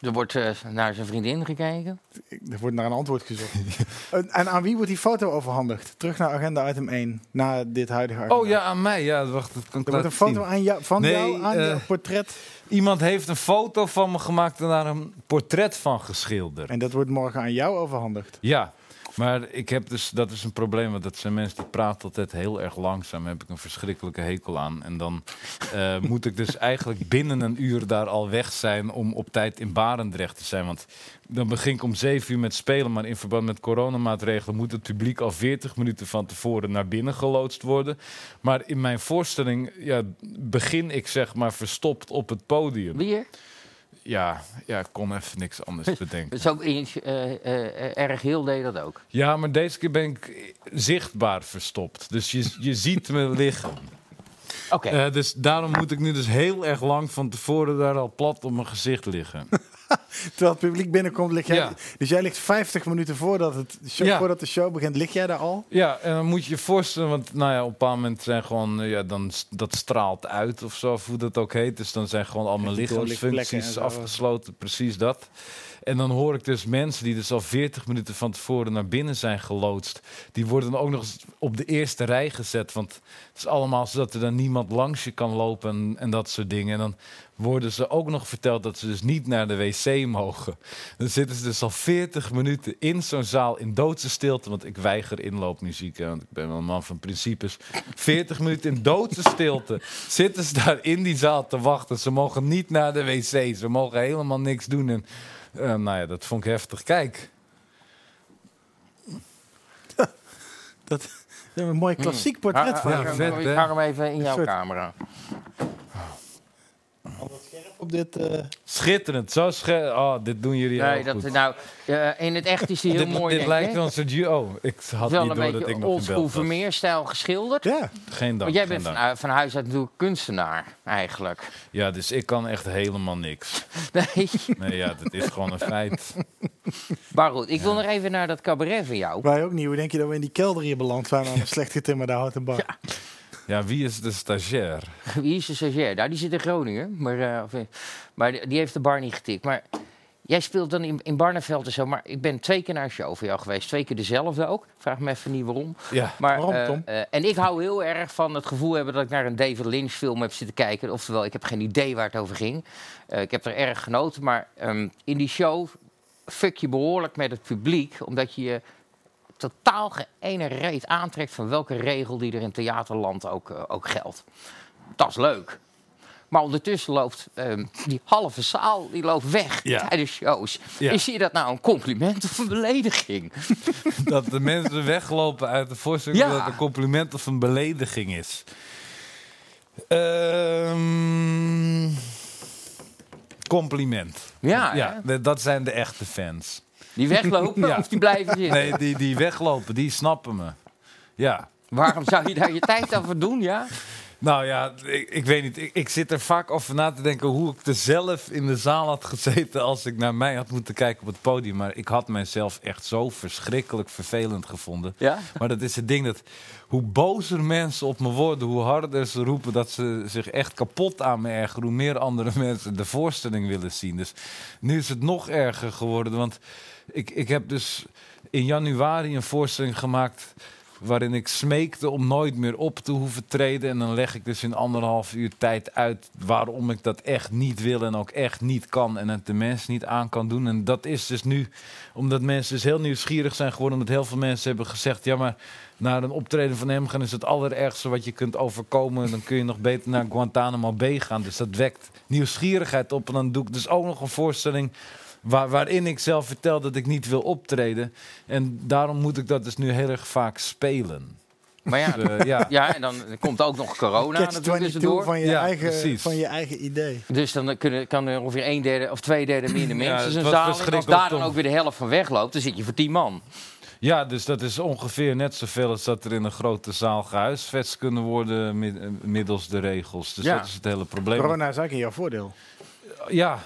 Er wordt eh, naar zijn vriendin gekeken. Ik- Er wordt naar een antwoord gezocht. en, en aan wie wordt die foto overhandigd? Terug naar agenda item 1, na dit huidige agenda. Oh ja, aan mij. Ja, wacht, dat kan ik Er wordt laten een foto zien. aan jou, van Nee, jou aan eh, jouw portret. Iemand heeft een foto van me gemaakt en daar een portret van geschilderd. En dat wordt morgen aan jou overhandigd. Ja, maar ik heb dus, dat is een probleem, want dat zijn mensen die praten altijd heel erg langzaam. Daar heb ik een verschrikkelijke hekel aan. En dan eh, moet ik dus eigenlijk binnen een uur daar al weg zijn om op tijd in Barendrecht te zijn. Want dan begin ik om zeven uur met spelen, maar in verband met coronamaatregelen moet het publiek al 40 minuten van tevoren naar binnen geloodst worden. Maar in mijn voorstelling ja, begin ik zeg maar verstopt op het podium. Bier? Ja, ja, ik kon even niks anders bedenken. Dat is ook in, eh, eh, eh, erg heel deed dat ook. Ja, maar deze keer ben ik zichtbaar verstopt. Dus je, je ziet me liggen. Oké, Eh, dus daarom moet ik nu dus heel erg lang van tevoren daar al plat op mijn gezicht liggen. Terwijl het publiek binnenkomt, lig jij, Ja. dus jij ligt 50 minuten voordat, het show, Ja. voordat de show begint, lig jij daar al? Ja, en dan moet je je voorstellen, want nou ja, op een bepaald moment zijn gewoon, eh, ja, dan, s- dat straalt uit of zo, of hoe dat ook heet. Dus dan zijn gewoon allemaal die doorlichtplekken en lichaamsfuncties zo. afgesloten, precies dat. En dan hoor ik dus mensen die dus al 40 minuten van tevoren naar binnen zijn geloodst. Die worden dan ook nog eens op de eerste rij gezet. Want het is allemaal zodat er dan niemand langs je kan lopen en, en dat soort dingen. En dan worden ze ook nog verteld dat ze dus niet naar de wc mogen. Dan zitten ze dus al 40 minuten in zo'n zaal in doodse stilte. Want ik weiger inloopmuziek, hè, want ik ben wel een man van principes. 40 minuten in doodse stilte zitten ze daar in die zaal te wachten. Ze mogen niet naar de wc, ze mogen helemaal niks doen. En eh, nou ja, dat vond ik heftig. Kijk. Dat is een mooi klassiek portret Ha- van ha- jou. hang vet, hem- hè? ah, ik hang hem even in jouw soort- camera. op dit. eh, Schitterend, zo scherp. Oh, dit doen jullie Nee, heel dat, goed. nou, eh, in het echt is hij heel dit mooi. dit denk ik, lijkt hè? wel een soort... ju- Oh, ik had wel niet door een dat ik beetje nog in oldschool België was. Vermeer-stijl geschilderd. ja, Geen dank. Want jij geen bent van, dank. hui- van huis uit natuurlijk kunstenaar, eigenlijk. Ja, dus ik kan echt helemaal niks. Nee. Nee, ja, dat is gewoon een feit. Maar goed, ik wil nog even naar dat cabaret van jou. wij ook niet. Hoe denk je dat we in die kelder hier beland zijn aan een slecht getimmerde houten bak? Ja, wie is de stagiair? Wie is de stagiair? Nou, die zit in Groningen. Maar, eh, of, eh, maar die, die heeft de bar niet getikt. Maar jij speelt dan in, in Barneveld en zo. Maar ik ben twee keer naar een show van jou geweest. Twee keer dezelfde ook. Vraag me even niet waarom. Ja, Maar, Waarom, eh, Tom? eh, en ik hou heel erg van het gevoel hebben dat ik naar een David Lynch film heb zitten kijken. Oftewel, ik heb geen idee waar het over ging. Eh, ik heb er erg genoten. Maar ehm, in die show fuck je behoorlijk met het publiek. Omdat je je totaal geen ene reet aantrekt van welke regel die er in theaterland ook, eh, ook geldt. Dat is leuk. Maar ondertussen loopt ehm, die halve zaal die loopt weg Ja. tijdens shows. Ja. Is je dat nou een compliment of een belediging? dat de mensen weglopen uit de voorstelling Ja. omdat het een compliment of een belediging is. Ehm, compliment. Ja, ja ja. d- dat zijn de echte fans. die weglopen Ja. of die blijven zitten? Nee, die, die weglopen, die snappen me. Ja. Waarom zou je daar je tijd aan verdoen, ja? Nou ja, ik, ik weet niet. Ik, ik zit er vaak over na te denken hoe ik er zelf in de zaal had gezeten als ik naar mij had moeten kijken op het podium. Maar ik had mijzelf echt zo verschrikkelijk vervelend gevonden. Ja? Maar dat is het ding dat hoe bozer mensen op me worden, hoe harder ze roepen dat ze zich echt kapot aan me ergeren, hoe meer andere mensen de voorstelling willen zien. Dus nu is het nog erger geworden, want ik, ik heb dus in januari een voorstelling gemaakt Waarin ik smeekte om nooit meer op te hoeven treden. En dan leg ik dus in anderhalf uur tijd uit waarom ik dat echt niet wil en ook echt niet kan. En het de mensen niet aan kan doen. En dat is dus nu, omdat mensen dus heel nieuwsgierig zijn geworden. Omdat heel veel mensen hebben gezegd: ja, maar naar een optreden van hem gaan is het allerergste wat je kunt overkomen. Dan kun je nog beter naar Guantanamo Bay gaan. Dus dat wekt nieuwsgierigheid op. En dan doe ik dus ook nog een voorstelling waar, waarin ik zelf vertel dat ik niet wil optreden. En daarom moet ik dat dus nu heel erg vaak spelen. Maar ja, Dus, eh, ja. ja, en dan komt ook nog corona Catch natuurlijk 22 tussendoor. van je, Ja, eigen, precies. van je eigen idee. Dus dan kunnen, kan er ongeveer een derde of twee derde minder het mensen zijn was zaal. En als verschrikkelijk daar dan dom. ook weer de helft van wegloopt, dan zit je voor tien man. ja, dus dat is ongeveer net zoveel als dat er in een grote zaal gehuisvest kunnen worden mid- eh, middels de regels. Dus Ja. dat is het hele probleem. Corona is eigenlijk in jouw voordeel. Ja,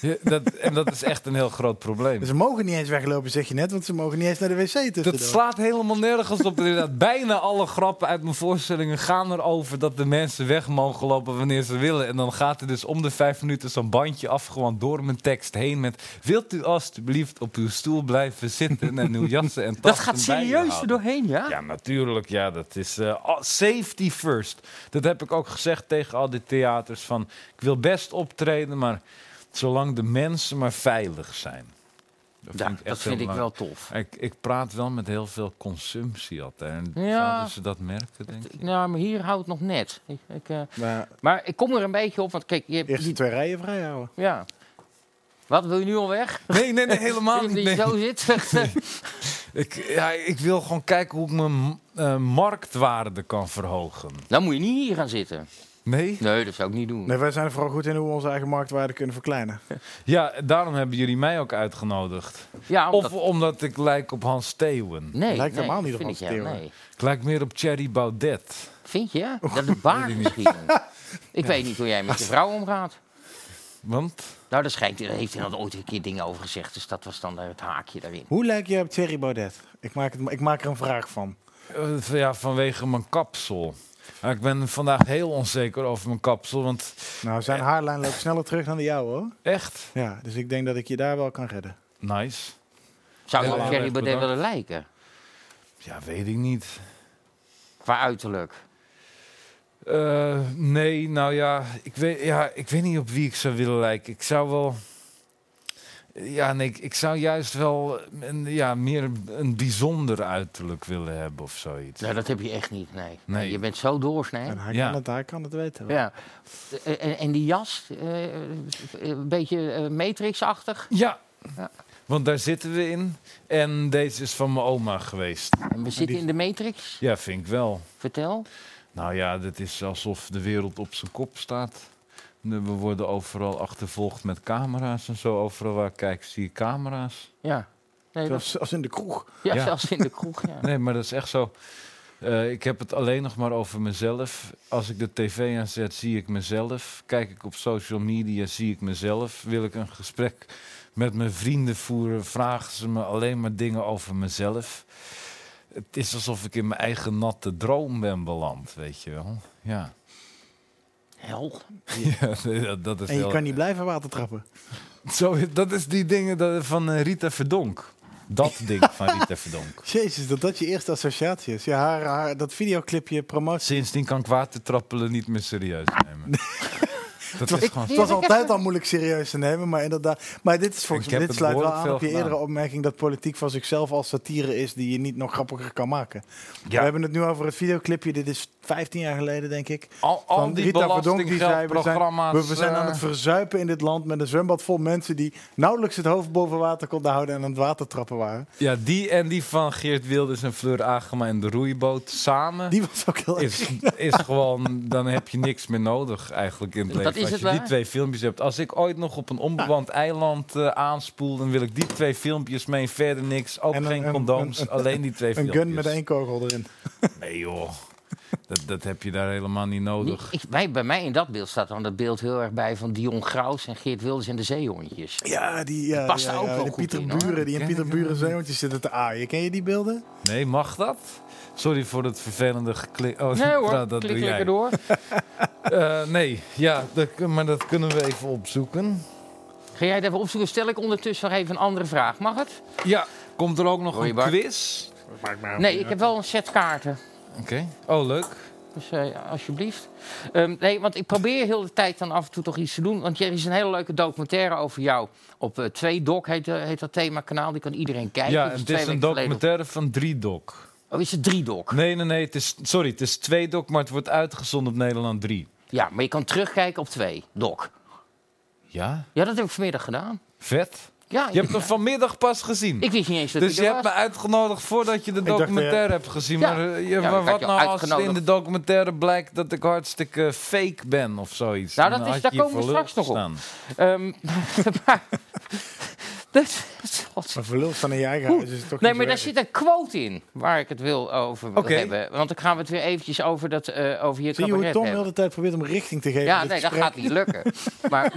Ja, dat, en dat is echt een heel groot probleem. Dus ze mogen niet eens weglopen, zeg je net, want ze mogen niet eens naar de wc tussendoor. Dat slaat helemaal nergens op. Inderdaad, bijna alle grappen uit mijn voorstellingen gaan erover dat de mensen weg mogen lopen wanneer ze willen. En dan gaat er dus om de vijf minuten zo'n bandje af, gewoon door mijn tekst heen met... Wilt u alstublieft op uw stoel blijven zitten en uw jassen en tassen Dat gaat bij je serieus er houden? doorheen, ja? Ja, natuurlijk. Ja, dat is eh, oh, safety first. Dat heb ik ook gezegd tegen al die theaters. Van, ik wil best optreden, maar zolang de mensen maar veilig zijn. Dat Ja, echt dat heel vind ik belangrijk. wel tof. Ik, ik praat wel met heel veel consumptie altijd. En Ja. Zouden ze dat merken, denk ik? Ja, Nou, maar hier houdt het nog net. Ik, ik, eh, Maar maar ik kom er een beetje op, want kijk, je hebt... eerst de die- twee rijen vrijhouden. ja. Wat, wil je nu al weg? Nee, nee, nee, helemaal niet. Dat Ah, nee. je zo zit? Ik, ja, ik wil gewoon kijken hoe ik mijn eh, marktwaarde kan verhogen. dan moet je niet hier gaan zitten. Nee? Nee, dat zou ik niet doen. Nee, wij zijn er vooral goed in hoe we onze eigen marktwaarde kunnen verkleinen. Ja, daarom hebben jullie mij ook uitgenodigd. Ja, Of omdat- omdat ik lijk op Hans Steeuwen. nee, Lijkt nee, helemaal niet op vind onze ik, ja, theorie. nee. Ik lijk meer op Thierry Baudet. Vind je? Dat de baard misschien. ik weet niet hoe jij met je vrouw omgaat. Want Nou, daar, schijnt, daar heeft hij dan ooit een keer dingen over gezegd. Dus dat was dan eh, het haakje daarin. Hoe lijk je op Thierry Baudet? Ik maak, het, ik maak er een vraag van. eh, van- ja, vanwege mijn kapsel. Maar ik ben vandaag heel onzeker over mijn kapsel. Want Nou, zijn haarlijn loopt sneller terug dan de jouwe, hoor. echt, Ja, dus ik denk dat ik je daar wel kan redden. nice. Zou je Ja, op ja, Thierry echt Baudet bedankt. willen lijken? Ja, weet ik niet. Qua uiterlijk. Eh, nee, nou ja ik, weet, ja, ik weet niet op wie ik zou willen lijken. Ik zou wel. Ja, nee, ik, ik zou juist wel een, ja, meer een bijzonder uiterlijk willen hebben of zoiets. Nou, dat heb je echt niet, nee. Nee. Je bent zo doorsnee. En hij, Ja. kan het, hij kan het weten. hoor. Ja. Eh, En, en die jas, eh, een beetje eh, Matrix-achtig. Ja. Ja. Want daar zitten we in. En deze is van mijn oma geweest. En we zitten in de Matrix, Ja, vind ik wel. vertel. Nou ja, dat is alsof de wereld op zijn kop staat. We worden overal achtervolgd met camera's en zo. Overal waar ik kijk zie je camera's. Ja, nee, dat, Zelfs, zelfs in de kroeg. ja, ja. zelfs in de kroeg. Ja. Nee, maar dat is echt zo. Eh, ik heb het alleen nog maar over mezelf. Als ik de tv aanzet, zie ik mezelf. Kijk ik op social media, zie ik mezelf. Wil ik een gesprek met mijn vrienden voeren, vragen ze me alleen maar dingen over mezelf. Het is alsof ik in mijn eigen natte droom ben beland, weet je wel. Ja, Hel. ja nee, dat, dat is En je wel- kan niet blijven watertrappen. Zo, dat is die dingen dat- van eh, Rita Verdonk. Dat ding van Rita Verdonk. Jezus, dat dat je eerste associatie is. Ja, haar, haar- dat videoclipje promotie. Sindsdien kan ik watertrappelen niet meer serieus nemen. Dat is gewoon Het was altijd al moeilijk serieus te nemen, maar inderdaad. Maar dit is volgens Ik mij, heb dit het sluit wel behoorlijk aan op je veel eerdere gedaan. opmerking dat politiek van zichzelf als satire is die je niet nog grappiger kan maken. We ja, hebben het nu over het videoclipje, dit is 15 jaar geleden denk ik. al, al van die Rita Verdonk die zei, we zijn, belastinggeldprogramma's. we, we zijn aan het eh, verzuipen in dit land met een zwembad vol mensen die nauwelijks het hoofd boven water konden houden en aan het watertrappen waren. ja, die en die van Geert Wilders en Fleur Agema en de roeiboot samen... Die was ook heel erg. is, is gewoon, dan heb je niks meer nodig eigenlijk in het Dat leven. is als het je die waar. twee filmpjes hebt. Als ik ooit nog op een onbewoond eiland eh, aanspoel, dan wil ik die twee filmpjes mee. Verder niks, ook En een- geen een- condooms, een- alleen die twee Een filmpjes. gun met één kogel erin. Nee joh, dat, dat heb je daar helemaal niet nodig. Ik, bij, bij mij in dat beeld staat dan dat beeld heel erg bij van Dion Graus en Geert Wilders en de zeehondjes. Ja, die, ja, past ja, daar ook ja, wel de goed Pieter in, hoor. Buren, die in Ken Pieter ik Buren zeehondjes zitten te aaien. Ken je die beelden? Nee, mag dat? Sorry voor het vervelende geklik. Oh, Nee hoor, nou, dat dat klik doe jij. lekker door. Eh, nee, ja, dat, maar dat kunnen we even opzoeken. Ga jij het even opzoeken? Stel ik ondertussen nog even een andere vraag. Mag het? Ja, komt er ook nog Roy een Bart. quiz? Dat maakt mij Nee, ik heb wel een set kaarten. Oké. Oh, leuk. Dus eh, alsjeblieft. Ehm, nee, want ik probeer heel de tijd dan af en toe toch iets te doen. Want er is een hele leuke documentaire over jou. Op eh 2Doc heet, eh, heet dat themakanaal. Die kan iedereen kijken. Ja, Dat en het twee is een weken geleden. documentaire van drie doc. Oh, is het 3Doc? Nee, nee, nee. Het is, sorry, het is twee doc, maar het wordt uitgezonden op Nederland 3. Ja, maar je kan terugkijken op 2Doc. Ja? Ja, dat heb ik vanmiddag gedaan. Vet. Ah, Ja, Je hebt hem vanmiddag pas gezien. ik wist niet eens dat dus hij je er hebt me was. uitgenodigd voordat je de dacht, documentaire hebt gezien. Ja. Maar, eh, Ja, ja, maar ik had wat je nou als het in uitgenodigd. de documentaire blijkt dat ik hartstikke fake ben of zoiets? Nou, Dan dat is- had daar je je komen we voor lul straks nog op. gestaan. Ehm, maar- Dus- dat- God. Maar verlul staan in je eigen huis is het toch Nee, niet maar zo daar zit erg. een quote in waar ik het wil over wil Oké. hebben. Want dan gaan we het weer eventjes over, dat, eh, over je Zie je hoe cabaret Tom de hebben. hele tijd probeert om richting te geven? Ja, in dit nee, dat gesprek? gaat niet lukken. Maar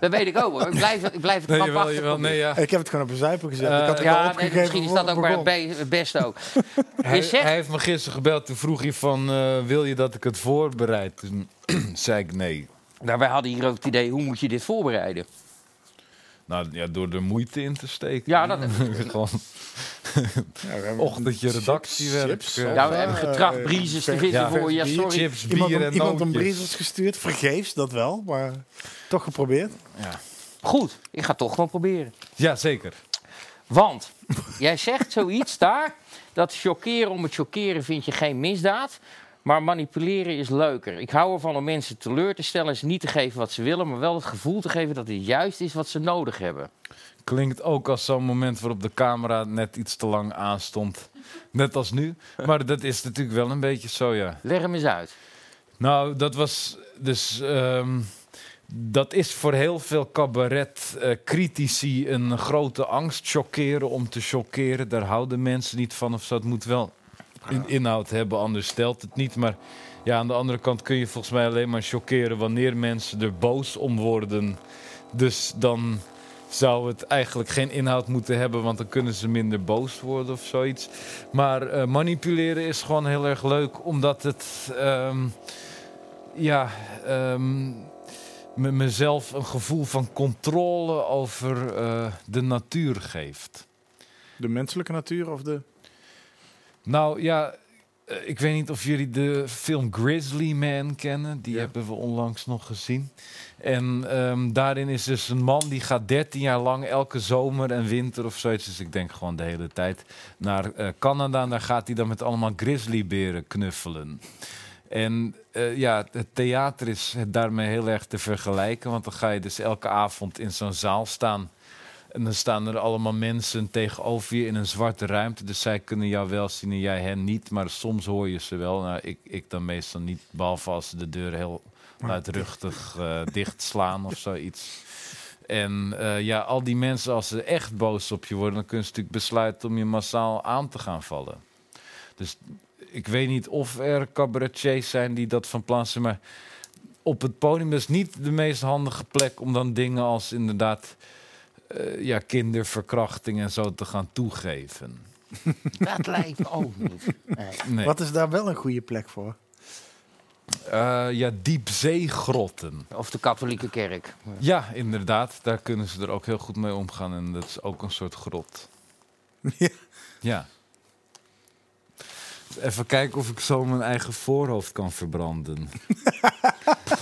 dat weet ik ook hoor. Ik blijf, ik blijf het Nee, krampachtig jawel, jawel, proberen. nee, ja. Ik heb het gewoon op een zuipen gezet. Eh, ik had het al Ja, nee, opgegeven misschien is voor dat ook het maar begon. het be- het beste ook. Hij, Je zegt- hij heeft me gisteren gebeld. Toen vroeg hij van, eh, wil je dat ik het voorbereid? Toen zei ik nee. Nou, wij hadden hier ook het idee, hoe moet je dit voorbereiden? Nou ja, door er moeite in te steken. Ja, dat- Gewoon Ja, we hebben- ochtendje redactiewerk. chips, eh. sap. Ja, Nou, we eh, hebben getracht eh, briezes te vers- vinden ja, voor je. Ja, bier, sorry. Chips, bier Iemand, om- en iemand een nootjes. briezels gestuurd, vergeefs, dat wel, maar toch geprobeerd. Goed, ik ga het toch gewoon proberen. Ja, zeker. Want jij zegt zoiets daar, dat chockeren om het chockeren vind je geen misdaad. Maar manipuleren is leuker. Ik hou ervan om mensen teleur te stellen en ze niet te geven wat ze willen, maar wel het gevoel te geven dat het juist is wat ze nodig hebben. Klinkt ook als zo'n moment waarop de camera net iets te lang aanstond. Net als nu. Maar dat is natuurlijk wel een beetje zo, ja. Leg hem eens uit. Nou, dat was dus. ehm, dat is voor heel veel cabaret-critici een grote angst. Chockeren om te chockeren. Daar houden mensen niet van of zo. Het moet wel in inhoud hebben, anders stelt het niet. Maar ja, aan de andere kant kun je volgens mij alleen maar chockeren wanneer mensen er boos om worden. Dus dan zou het eigenlijk geen inhoud moeten hebben, want dan kunnen ze minder boos worden of zoiets. Maar eh, manipuleren is gewoon heel erg leuk, omdat het. ehm, ja, ehm, me- mezelf een gevoel van controle over eh, de natuur geeft. De menselijke natuur of de... Nou ja, eh, ik weet niet of jullie de film Grizzly Man kennen. Die Ja. hebben we onlangs nog gezien. En ehm, daarin is dus een man die gaat 13 jaar lang elke zomer en winter of zoiets. Dus ik denk gewoon de hele tijd naar eh, Canada. En daar gaat hij dan met allemaal grizzlyberen knuffelen. En eh, ja, het theater is daarmee heel erg te vergelijken. Want dan ga je dus elke avond in zo'n zaal staan. En dan staan er allemaal mensen tegenover je in een zwarte ruimte. Dus zij kunnen jou wel zien en jij hen niet. Maar soms hoor je ze wel. Nou, ik, ik dan meestal niet. Behalve als ze de deur heel luidruchtig eh dichtslaan of zoiets. En eh, ja, al die mensen, als ze echt boos op je worden... dan kunnen ze natuurlijk besluiten om je massaal aan te gaan vallen. Dus ik weet niet of er cabaretiers zijn die dat van plan zijn... maar op het podium is niet de meest handige plek... om dan dingen als inderdaad eh, ja, kinderverkrachting en zo te gaan toegeven. Dat lijkt me ook niet. Nee. Wat is daar wel een goede plek voor? Eh, ja, diepzeegrotten. Of de katholieke kerk. Ja, inderdaad. Daar kunnen ze er ook heel goed mee omgaan. En dat is ook een soort grot. Ja. Ja. Even kijken of ik zo mijn eigen voorhoofd kan verbranden.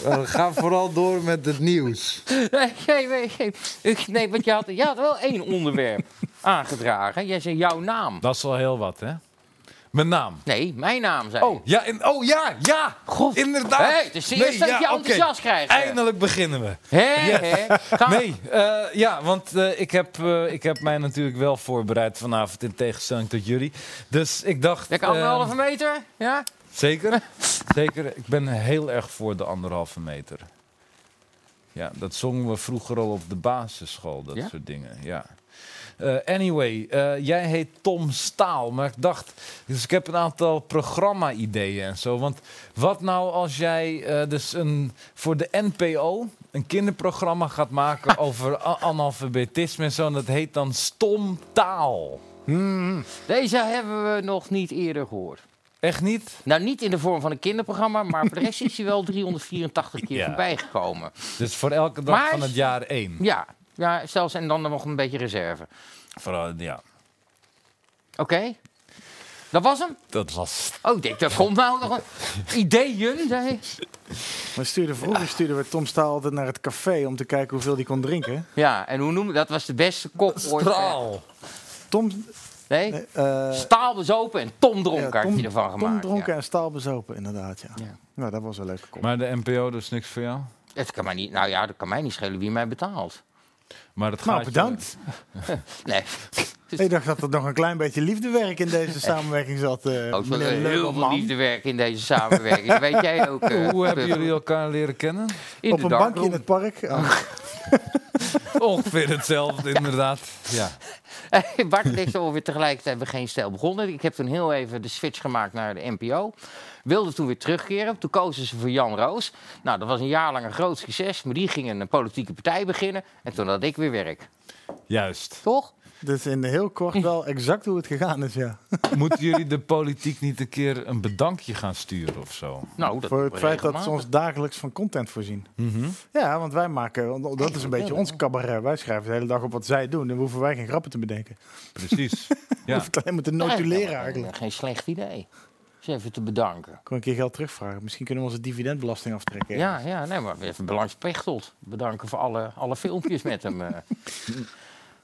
Eh, ga vooral door met het nieuws. Nee, nee, nee, nee. Ik- nee want je had, je had wel één onderwerp aangedragen. Jij zei jouw naam. Dat is al heel wat, hè? Mijn naam. Nee, mijn naam zei je. Oh, ja, in, oh ja, ja! God. Inderdaad! Hey, het is de eerste dat je oké. enthousiast krijgt, hè. Eindelijk beginnen we. Hé, Yes. hé. Ga- Nee, eh, ja, want eh, ik, heb, eh, ik heb mij natuurlijk wel voorbereid vanavond in tegenstelling tot jullie. Dus ik dacht. Lekker eh, anderhalve meter? Ja? zeker, zeker. Ik ben heel erg voor de anderhalve meter. Ja, dat zongen we vroeger al op de basisschool, dat Ja? soort dingen. Ja. Eh, anyway, eh, jij heet Tom Staal, maar ik dacht, dus ik heb een aantal programma-ideeën en zo. Want wat nou als jij eh, dus een, voor de NPO een kinderprogramma gaat maken over a- analfabetisme en zo, en dat heet dan Stom Taal. Deze hebben we nog niet eerder gehoord. Echt niet? Nou, niet in de vorm van een kinderprogramma, maar voor de rest is hij wel 384 keer Ja. voorbij gekomen. Dus voor elke dag Maar- van het jaar één. Ja. ja, zelfs en dan nog een beetje reserve. Vooral, ja. Oké? Dat was hem? Dat was Oh, ik denk, dat komt nou nog een ideeën. zei- We stuurden, vroeger stuurden we Tom Staal altijd naar het café om te kijken hoeveel hij kon drinken. Ja, en hoe noem je dat? was de beste kop ooit. straal. Tom, Nee? eh, eh, Staal was open en Tom dronk ja, had Tom- je ervan Tom gemaakt. dronken ja. en Staal bezopen, inderdaad. Ja. Ja. Nou, dat was een leuke kop. Maar de NPO, dus niks voor jou. Het kan mij niet, nou ja, dat kan mij niet schelen wie mij betaalt. Maar dat Nou, gaat bedankt. Nee. Ik dacht dat er nog een klein beetje liefdewerk in deze samenwerking zat. eh Ook wel meneer Oh, heel veel Leugelman. liefdewerk in deze samenwerking. Dat weet jij ook. je. eh, Hoe hebben Puk. jullie elkaar leren kennen? In Op de een darkroom. bankje in het park. Oh, Ongeveer hetzelfde, inderdaad. Ja. Bart en ik zijn ongeveer tegelijkertijd bij Geen Stijl begonnen. Ik heb toen heel even de switch gemaakt naar de NPO. Wilde toen weer terugkeren. Toen kozen ze voor Jan Roos. Nou, dat was een jaar lang een groot succes. Maar die ging een eh, politieke partij beginnen. En toen had ik weer werk. Juist. Toch? dus in heel kort wel exact hoe het gegaan is, ja. Moeten jullie de politiek niet een keer een bedankje gaan sturen of zo? Nou, dat Voor het doen we feit dat ze regelmatig. Mhm. ons dagelijks van content voorzien. Ja, want wij maken, want dat is een beetje ons cabaret. Wij schrijven de hele dag op wat zij doen. Dan hoeven wij geen grappen te bedenken. Precies. We Ja. hoeven het alleen maar te Ja, notuleren ja, eigenlijk. Geen slecht idee. Eens even te bedanken. Ik kon een keer geld terugvragen. Misschien kunnen we onze dividendbelasting aftrekken. Ja, ja, nee, maar even Belangs Pechtold. Bedanken voor alle, alle filmpjes met hem. eh.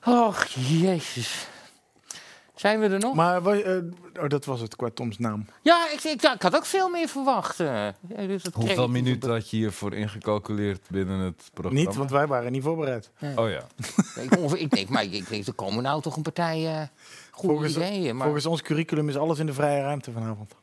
Oh, Och, jezus. Zijn we er nog? Maar wa- eh, oh, dat was het qua Toms naam. Ja, ik, ik, ik had ook veel meer verwacht. eh. Ja, dus dat Hoeveel kreeg- minuten had je hiervoor ingecalculeerd binnen het programma? Niet, want wij waren niet voorbereid. Oh ja. Ik, ongeveer- ik denk, maar ik, ik denk, er komen nou toch een partij eh, goede Volgens- ideeën. Maar, Volgens ons curriculum is alles in de vrije ruimte vanavond.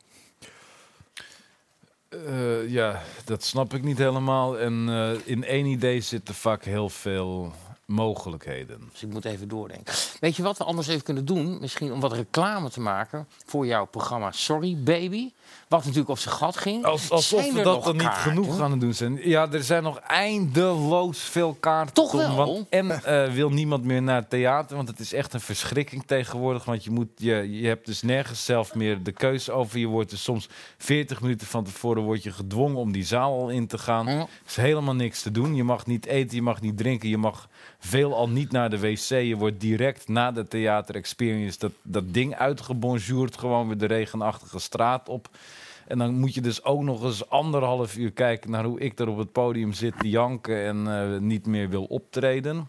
Eh, ja, dat snap ik niet helemaal. En eh, in één idee zitten vaak heel veel mogelijkheden. Dus ik moet even doordenken. Weet je wat we anders even kunnen doen? Misschien om wat reclame te maken voor jouw programma Sorry Baby. Wat natuurlijk op zijn gat ging. Als, alsof Zijn we er dat nog dan niet kaarten? genoeg aan het doen zijn. Ja, er zijn nog eindeloos veel kaarten. Toch Tom, wel? want- en eh, wil niemand meer naar het theater, want het is echt een verschrikking tegenwoordig. Want je, moet, je, je hebt dus nergens zelf meer de keus over. Je wordt dus soms 40 minuten van tevoren word je gedwongen om die zaal al in te gaan. Ja. is helemaal niks te doen. Je mag niet eten, je mag niet drinken, je mag veelal niet naar de wc. Je wordt direct na de theater experience dat, dat ding uitgebonjourd, gewoon weer de regenachtige straat op. En dan moet je dus ook nog eens anderhalf uur kijken naar hoe ik er op het podium zit te janken en eh, niet meer wil optreden.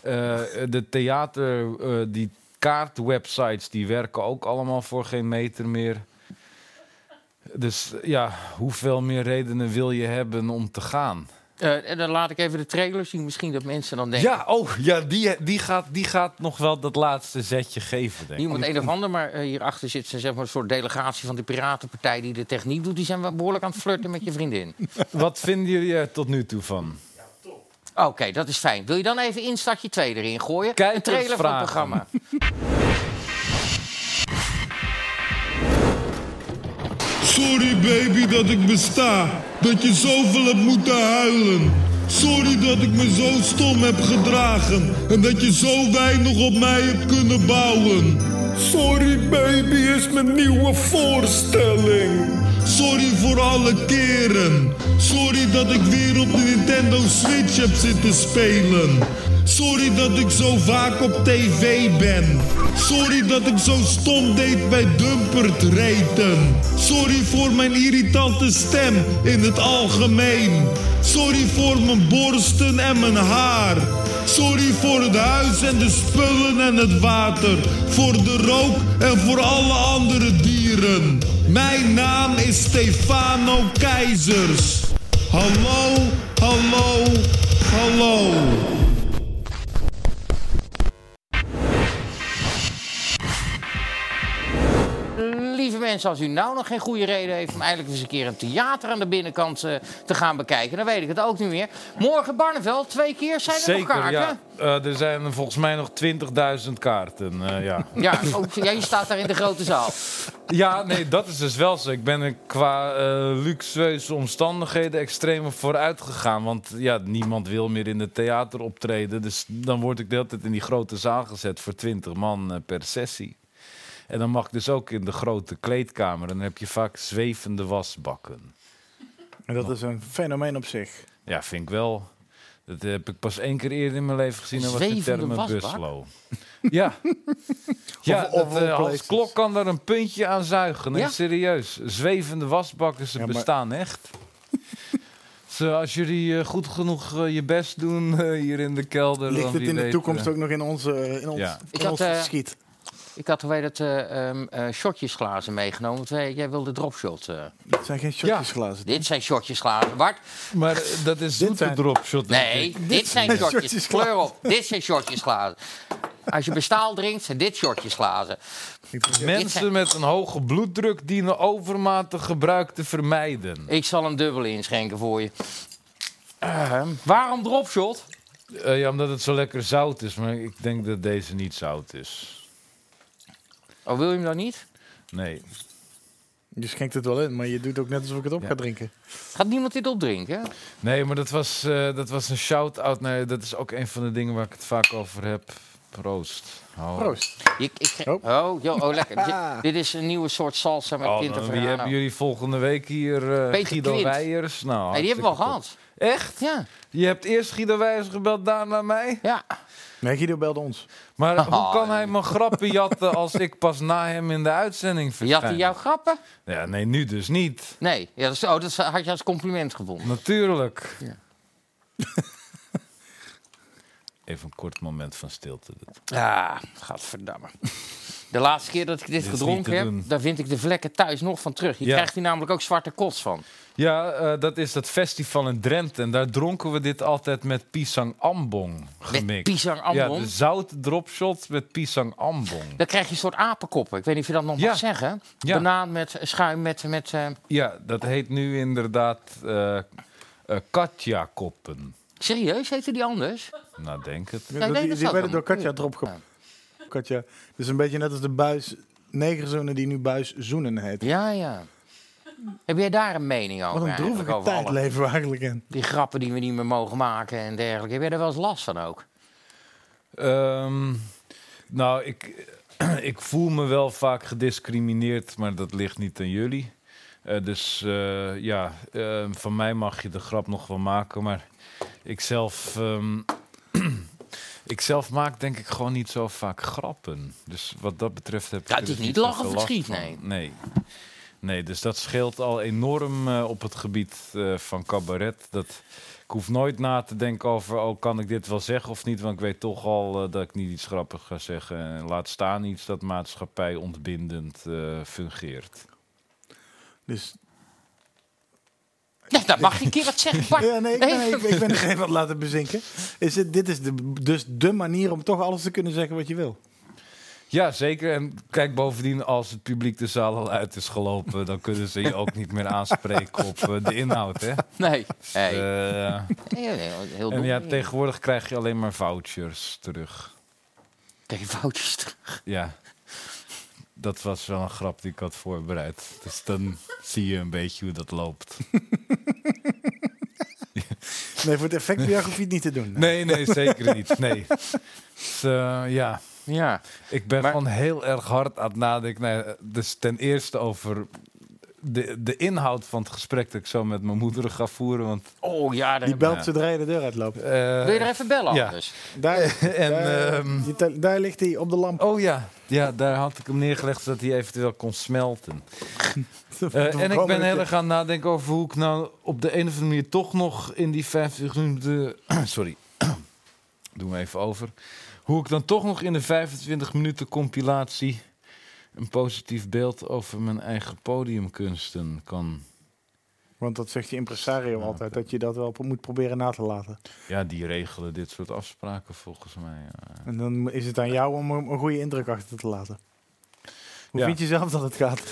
Eh, de theater, eh, die kaartwebsites, die werken ook allemaal voor geen meter meer. Dus ja, hoeveel meer redenen wil je hebben om te gaan? Eh, en dan laat ik even de trailer zien. Misschien dat mensen dan denken... Ja, oh, ja die, die, gaat, die gaat nog wel dat laatste zetje geven, denk ik. Niemand een of ander, maar eh, hierachter zit ze, zeg maar, een soort delegatie van de Piratenpartij die de techniek doet. Die zijn wel behoorlijk aan het flirten met je vriendin. Wat vinden jullie er tot nu toe van? Oké, dat is fijn. Wil je dan even Instartje 2 erin gooien? Kijkers een trailer van het vragen. programma. Sorry baby dat ik besta, dat je zoveel hebt moeten huilen. Sorry dat ik me zo stom heb gedragen en dat je zo weinig op mij hebt kunnen bouwen. Sorry baby is mijn nieuwe voorstelling. Sorry voor alle keren. Sorry dat ik weer op de Nintendo Switch heb zitten spelen. Sorry dat ik zo vaak op tv ben. Sorry dat ik zo stom deed bij Dumpert reten. Sorry voor mijn irritante stem in het algemeen. Sorry voor mijn borsten en mijn haar. Sorry voor het huis en de spullen en het water. Voor de rook en voor alle andere dieren. Mijn naam is Stefano Keizers. Hallo, hallo, hallo. Lieve mensen, als u nou nog geen goede reden heeft om eindelijk eens een keer een theater aan de binnenkant eh, te gaan bekijken, dan weet ik het ook niet meer. Morgen Barneveld, twee keer zijn er nog Zeker, kaarten. ja. Eh, er zijn volgens mij nog 20.000 kaarten. eh, ja. Ja, ook, ja, je staat daar in de grote zaal. ja, nee, dat is dus wel zo. Ik ben er qua eh, luxueuze omstandigheden extreem op vooruit gegaan. Want ja, niemand wil meer in het theater optreden. Dus dan word ik de hele tijd in die grote zaal gezet voor 20 man eh, per sessie. En dan mag ik dus ook in de grote kleedkamer. En dan heb je vaak zwevende wasbakken. En dat is een fenomeen op zich. Ja, vind ik wel. Dat heb ik pas één keer eerder in mijn leven gezien. Dat was de Zwevende termen wasbak? Buslo. Ja, Ja, Of- of dat, eh, all Hans places. Klok kan daar een puntje aan zuigen. Nee, Ja? serieus. Zwevende wasbakken, ze Ja, maar- bestaan echt. Zo, als jullie eh, goed genoeg eh, je best doen eh, hier in de kelder... Ligt dan het wie in de weet, toekomst eh, ook nog in onze in ons, Ja. in Ik had, ons eh, schiet? Ik had hoe heet het, eh, ehm, eh, shotjesglazen meegenomen. Want wij- jij wilde dropshot. eh. Het zijn geen shotjesglazen. Dit zijn shotjesglazen. Bart, Maar eh, dat is zoete zijn- dropshot. denk nee, ik. dit, zijn shotjes. shotjesglazen. Kleur op, dit zijn shotjesglazen. Als je bestaal drinkt, zijn dit shotjesglazen. Mensen met een hoge bloeddruk dienen overmatig gebruik te vermijden. Ik zal hem dubbel inschenken voor je. Ehm, waarom dropshot? Eh, ja, omdat het zo lekker zout is. Maar ik denk dat deze niet zout is. Oh, wil je hem dan niet? Nee. Je schenkt het wel in, maar je doet ook net alsof ik het op Ja. ga drinken. Gaat niemand dit opdrinken? Nee, maar dat was, eh, dat was een shout-out. Nee, dat is ook een van de dingen waar ik het vaak over heb. Proost. Oh. Proost. Ik, ik, Oh. oh, joh, oh, lekker. Dit- dit is een nieuwe soort salsa met Oh, Pinter wie hebben jullie volgende week hier? eh Peter Guido Quint. Weijers. Nou, die hebben we al hartstikke gehad. top. Echt? Ja, Je hebt eerst Guido Weijers gebeld, daarna mij? ja. Nee, Guido belde ons. Maar hoe Oh, kan hij mijn grappen jatten als ik pas na hem in de uitzending Jat verschijn? hij jouw grappen? Ja, nee, nu dus niet. Nee, ja, dat, is- oh, dat had je als compliment gevonden. Natuurlijk. Ja. Even een kort moment van stilte. Ah, gadverdamme. De laatste keer dat ik dit, is niet te gedronken heb, doen. daar vind ik de vlekken thuis nog van terug. Je Ja. krijgt hier namelijk ook zwarte kots van. Ja, eh, dat is dat festival in Drenthe. En daar dronken we dit altijd met pisang ambong Met gemixt. pisang Ja, ambon. de zout dropshot met pisang ambong. Dan krijg je een soort apenkoppen. Ik weet niet of je dat nog Ja. mag zeggen. Ja. Banaan met schuim met... met eh, Ja, dat heet nu inderdaad eh katja koppen. Serieus, heette die anders? Nou, denk het. nee, dat die die zou werden door dan- Katja erop ge... Katja. Het is een beetje net als de buis negerzoenen die nu buis zoenen heet. Ja, ja. Heb jij daar een mening over? Wat een eigenlijk, droevige over alle- tijd leven we eigenlijk in. Die grappen die we niet meer mogen maken en dergelijke. Heb jij daar wel eens last van ook? Ehm, nou, ik, ik voel me wel vaak gediscrimineerd, maar dat ligt niet aan jullie. Eh, dus eh, ja, eh, van mij mag je de grap nog wel maken, maar ik zelf, ehm, ik zelf maak denk ik gewoon niet zo vaak grappen. Dus wat dat betreft heb ik Ja, er het is dus niet zoveel lachen of last verschiet, van. nee. nee. Nee, dus dat scheelt al enorm eh, op het gebied eh, van cabaret. Dat, ik hoef nooit na te denken over, oh, kan ik dit wel zeggen of niet? Want ik weet toch al eh, dat ik niet iets grappigs ga zeggen. En laat staan iets dat maatschappij ontbindend eh, fungeert. Dus... Ja, dat mag je een keer wat zeggen, Bart. Ja, nee, ik ben, ik, ik ben er even wat laten bezinken. Is het, dit is de, dus de manier om toch alles te kunnen zeggen wat je wil. Ja, zeker. En kijk, bovendien, als het publiek de zaal al uit is gelopen... dan kunnen ze je ook niet meer aanspreken op eh, de inhoud, hè? Nee. Hey. Eh, Ja, heel- heel en dom. ja, tegenwoordig krijg je alleen maar vouchers terug. Tegen foutjes terug. Ja. Dat was wel een grap die ik had voorbereid. Dus dan zie je een beetje hoe dat loopt. Nee, voor het effect hoef je het niet te doen. Nee, nee, zeker niet. Nee. Dus, eh, ja, Ja. ik ben Maar- gewoon heel erg hard aan het nadenken. Nee, dus ten eerste over de, de inhoud van het gesprek dat ik zo met mijn moeder ga voeren. Want, Oh ja, daar Die heb ik- belt zodra je de deur uitloopt. eh, Wil je er even bellen Ja. anders? Daar, en, daar, ehm, je tel- daar ligt hij op de lamp. oh ja. ja, daar had ik hem neergelegd zodat hij eventueel kon smelten. Eh, en ik ben heel erg aan het nadenken over hoe ik nou op de een of andere manier toch nog in die 50 minuten. Sorry, doen we even over. Hoe ik dan toch nog in de 25 minuten compilatie een positief beeld over mijn eigen podiumkunsten kan. Want dat zegt je impresario altijd, dat je dat wel pro- moet proberen na te laten. Ja, die regelen dit soort afspraken volgens mij. ja. En dan is het aan jou om er een goede indruk achter te laten. Hoe Ja. vind je zelf dat het gaat?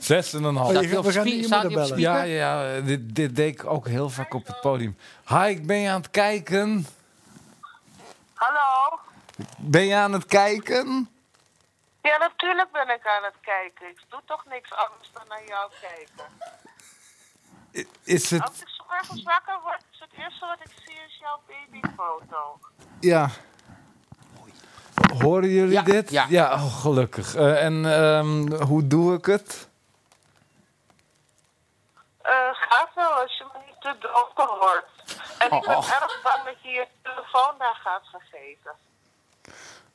Zes en een half. Oh, je- Staat die op we gaan spie- niet staat iemand die op bellen. Ja, ja, ja, dit, dit deed ik ook heel vaak op het podium. Hi, ik ben je aan het kijken. Hallo? Ben je aan het kijken? Ja, natuurlijk ben ik aan het kijken. Ik doe toch niks anders dan naar jou kijken. I- Is Oh. het. Als ik zo ergens wakker word, is het eerste wat ik zie is jouw babyfoto. Ja. Horen jullie Ja, dit? ja. oh, gelukkig. Eh, en ehm, hoe doe ik het? Eh gaat wel als je me niet te dronken wordt. En ik ben erg bang dat je je telefoon daar gaat vergeten.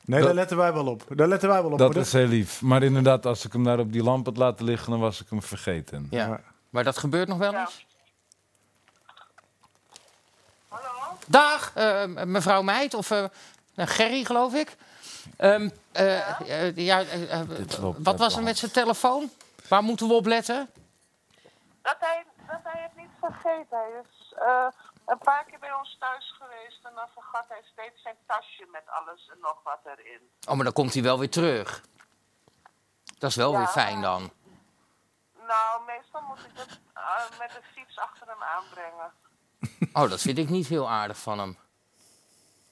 Nee, Dat- daar letten wij wel op. Daar letten wij wel op. Dat moeder. is heel lief. Maar inderdaad, als ik hem daar op die lamp had laten liggen, dan was ik hem vergeten. Ja. Maar dat gebeurt nog wel Ja. eens. Hallo? Dag, eh, mevrouw Meid of eh, nou, Gerry, geloof ik. Ehm, eh, eh, ja, eh, eh, Dit loopt wat uit de was er hand. met zijn telefoon? Waar moeten we op letten? Dat hij, dat hij het niet vergeet. Hij is eh, een paar keer bij ons thuis geweest en dan vergat hij steeds zijn tasje met alles en nog wat erin. Oh, maar dan komt hij wel weer terug. Dat is wel Ja. eh. weer fijn dan. Nou, meestal moet ik het eh, met de fiets achter hem aanbrengen. Oh, dat vind ik niet heel aardig van hem.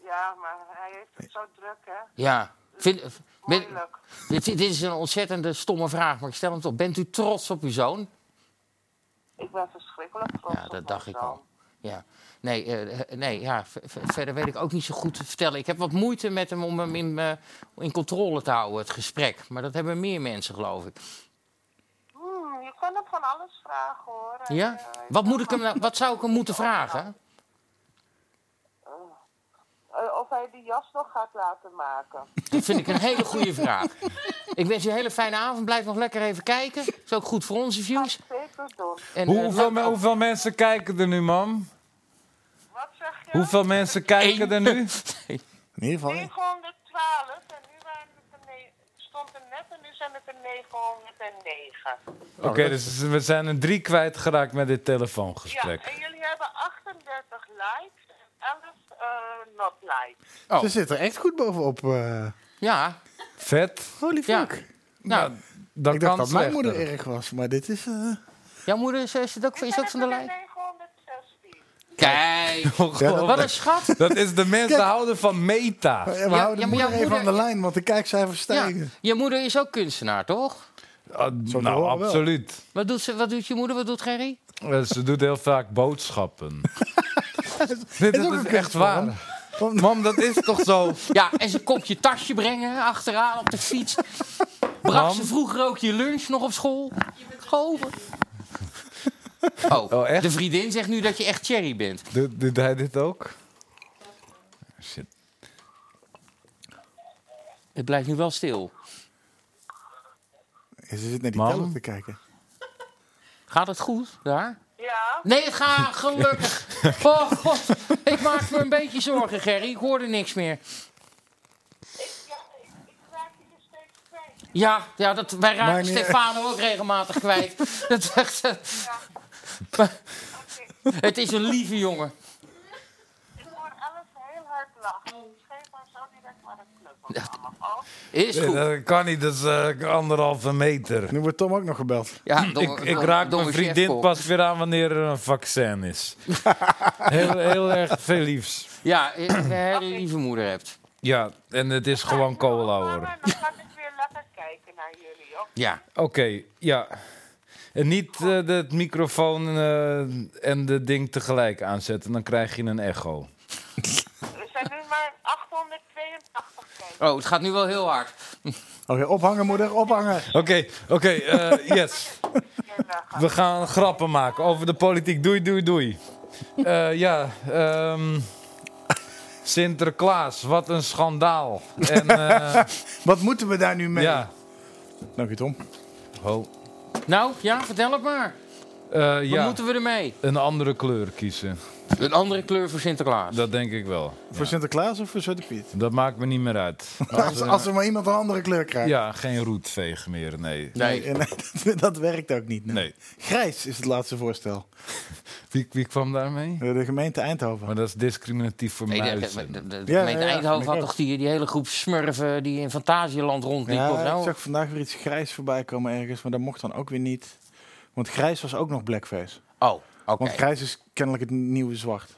Ja, maar hij heeft het zo druk, hè? Ja. Vind, ben- Moeilijk. dit, dit is een ontzettende stomme vraag, maar ik stel hem toch. Bent u trots op uw zoon? Ik ben verschrikkelijk trots Ja, dat op mijn dacht ik zoon. al. Ja. Nee, eh, nee ja, ver- ver- verder weet ik ook niet zo goed te vertellen. Ik heb wat moeite met hem om hem in, eh, in controle te houden, het gesprek. Maar dat hebben meer mensen, geloof ik. Hmm, je kan hem van alles vragen, hoor. Hij, Ja? eh, hij Wat, is moet ik hem, nou- wat zou ik hem moeten vragen? Eh, of hij die jas nog gaat laten maken. Dat vind ik een hele goede vraag. Ik wens u een hele fijne avond. Blijf nog lekker even kijken. Is ook goed voor onze views. Zeker doen. En, Hoe- eh, hoeveel, laat- me- hoeveel mensen kijken er nu, mam? Wat zeg je? Hoeveel mensen kijken er nu? In ieder geval. 912 en nu waren het er ne- stond er net en nu zijn het er 909. Oké, Oh, dus we zijn een drie kwijtgeraakt met dit Ja, telefoongesprek. en jullie hebben 38 likes en 11 eh, not likes. Oh. Ze zit er echt goed bovenop. eh. Ja, Vet. Holy ja. fuck. Nou, Dat Ik kan dus. dacht dat mijn moeder slechter. erg was, maar dit is... eh, jouw moeder is, is, het ook, Nu is zijn ook van het de er lijn. 916. Kijk, wat een schat. Dat is de mensen houden van meta. We Ja, houden ja, maar de jouw moeder even aan moeder- de lijn, want de kijkcijfers Ja, stijgen. je moeder is ook kunstenaar, toch? Ah, nou, horen wel. absoluut. Wat doet, ze, wat doet je moeder? Wat doet Gerry? Eh, Ze doet heel vaak boodschappen. Dit ook is een echt kunstvorm. waar. Want- Mam, dat is toch zo? Ja, en ze komt je tasje brengen achteraan op de fiets. Bracht ze Mam? vroeger ook je lunch nog op school? Gover. Oh, Oh, echt? de vriendin zegt nu dat je echt Cherry bent. Doet, doet hij dit ook? Shit. Het blijft nu wel stil. Ze zit naar die Mam? teller te kijken. Gaat het goed daar? Ja, Nee, het gaat gelukkig. Oh god, ik maak me een beetje zorgen, Gerry. Ik hoorde niks meer. ja ik, ik raak jullie steeds kwijt. Ja, ja dat, wij raken Maakt niet Stefano ook regelmatig kwijt. Dat is echt, eh, het is een lieve jongen. Ik hoor alles heel hard lachen. Geef maar zo direct maar een knuffel. mama. Oh, Is Nee, goed. Nou, dat kan niet, dat is eh, anderhalve meter. Nu wordt Tom ook nog gebeld. Ja, Ik, ik raak mijn vriendin pas weer aan wanneer er een vaccin is. heel, heel erg veel liefs. Ja, eh, een hele lieve moeder hebt. Ja, en het is gewoon cola hoor. mama, Dan ga ik weer lekker kijken naar jullie. Oké, Ja. Oké, ja. En niet eh, de het microfoon eh, en de ding tegelijk aanzetten, dan krijg je een echo. Er zijn nu maar 882 kijkers. Oh, het gaat nu wel heel hard. Oké, ophangen moeder, ophangen. Oké, oké, eh, yes. We gaan grappen maken over de politiek. Doei, doei, doei. Eh, ja, ehm, Sinterklaas, wat een schandaal. En eh, Wat moeten we daar nu mee? ja, Dank je, Tom. ho. Nou, ja, vertel het maar. Eh, Wat ja, moeten we ermee? een andere kleur kiezen. Een andere kleur voor Sinterklaas. Dat denk ik wel. Voor Sinterklaas of voor Zwarte Piet? Dat maakt me niet meer uit. Als, als er maar iemand een andere kleur krijgt. Ja, geen roetveeg meer, nee. Nee. En dat, dat werkt ook niet. nee. Nee. Grijs is het laatste voorstel. Eh, Wie, wie kwam daarmee? De gemeente Eindhoven. Maar dat is discriminatief voor Nee, mij. de, de, de, de Ja, gemeente ja, ja, Eindhoven ik had ook. toch die, die hele groep smurfen die in Fantasieland rondliepen? of Ja, nou? ik zag vandaag weer iets grijs voorbij komen ergens, maar dat mocht dan ook weer niet. Want grijs was ook nog blackface. Oh, oké. Want grijs is kennelijk het nieuwe zwart.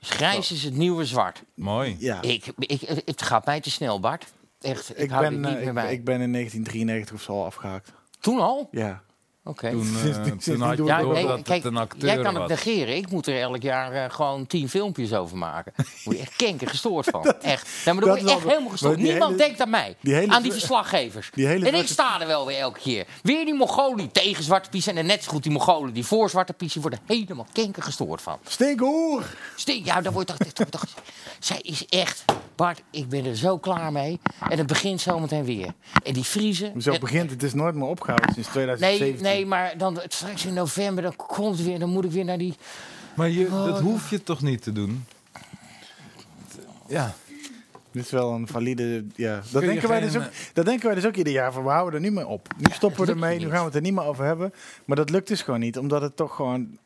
Grijs is het nieuwe zwart. Mooi. Ja. Ik, ik, het gaat mij te snel, Bart. Echt, ik, Ik hou er ben, niet eh, meer ik, bij. ik ben in 1993 of zo al afgehaakt. Toen al? Ja. Oké. Toen, eh, Sinds- sinds toen die had je door- Ja, ik door nee, dat kijk, het een acteur jij kan het was. negeren. Ik moet er elk jaar eh, gewoon tien filmpjes over maken. Daar word je echt kenker gestoord van. echt. Nee, maar daar dat word je is echt wel- helemaal gestoord. maar die Niemand hele- denkt aan mij. die hele aan die ver- verslaggevers. die hele en ik verse- sta er wel weer elke keer. Weer die Mongolen tegen Zwarte Piet. En net zo goed die Mongolen die voor Zwarte Piet. Die worden helemaal kenker gestoord van. Stinkhoer! Steen, ja, dan wordt toch, toch, toch. Zij is echt. Bart, ik ben er zo klaar mee. En het begint zometeen weer. En die Friese. Zo en- begint het, is nooit meer opgehouden sinds Nee, 2017. nee, maar dan het- straks in november, dan komt het weer, dan moet ik weer naar die. Maar je, Oh. dat hoef je toch niet te doen? Ja. Dit is wel een valide. Ja. Dat, je denken wij geen, dus ook, dat denken wij dus ook ieder jaar. Van, we houden er niet meer op. Nu stoppen we eh, dat lukt ermee, nu niet. gaan we het er niet meer over hebben. Maar dat lukt dus gewoon niet, omdat het toch gewoon.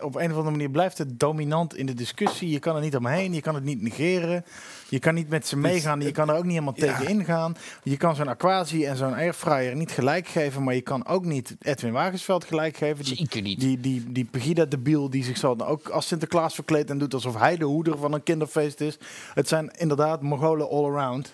Op een of andere manier blijft het dominant in de discussie. Je kan er niet omheen, je kan het niet negeren. Je kan niet met ze meegaan, je kan er ook niet helemaal tegen ingaan. Je kan zo'n aquatie en zo'n airfryer niet gelijk geven, maar je kan ook niet Edwin Wagensveld gelijk geven. Die, Zeker niet. die, die, die Pegida debiel die zichzelf dan ook als Sinterklaas verkleedt en doet alsof hij de hoeder van een kinderfeest is. Het zijn inderdaad Mongolen all around.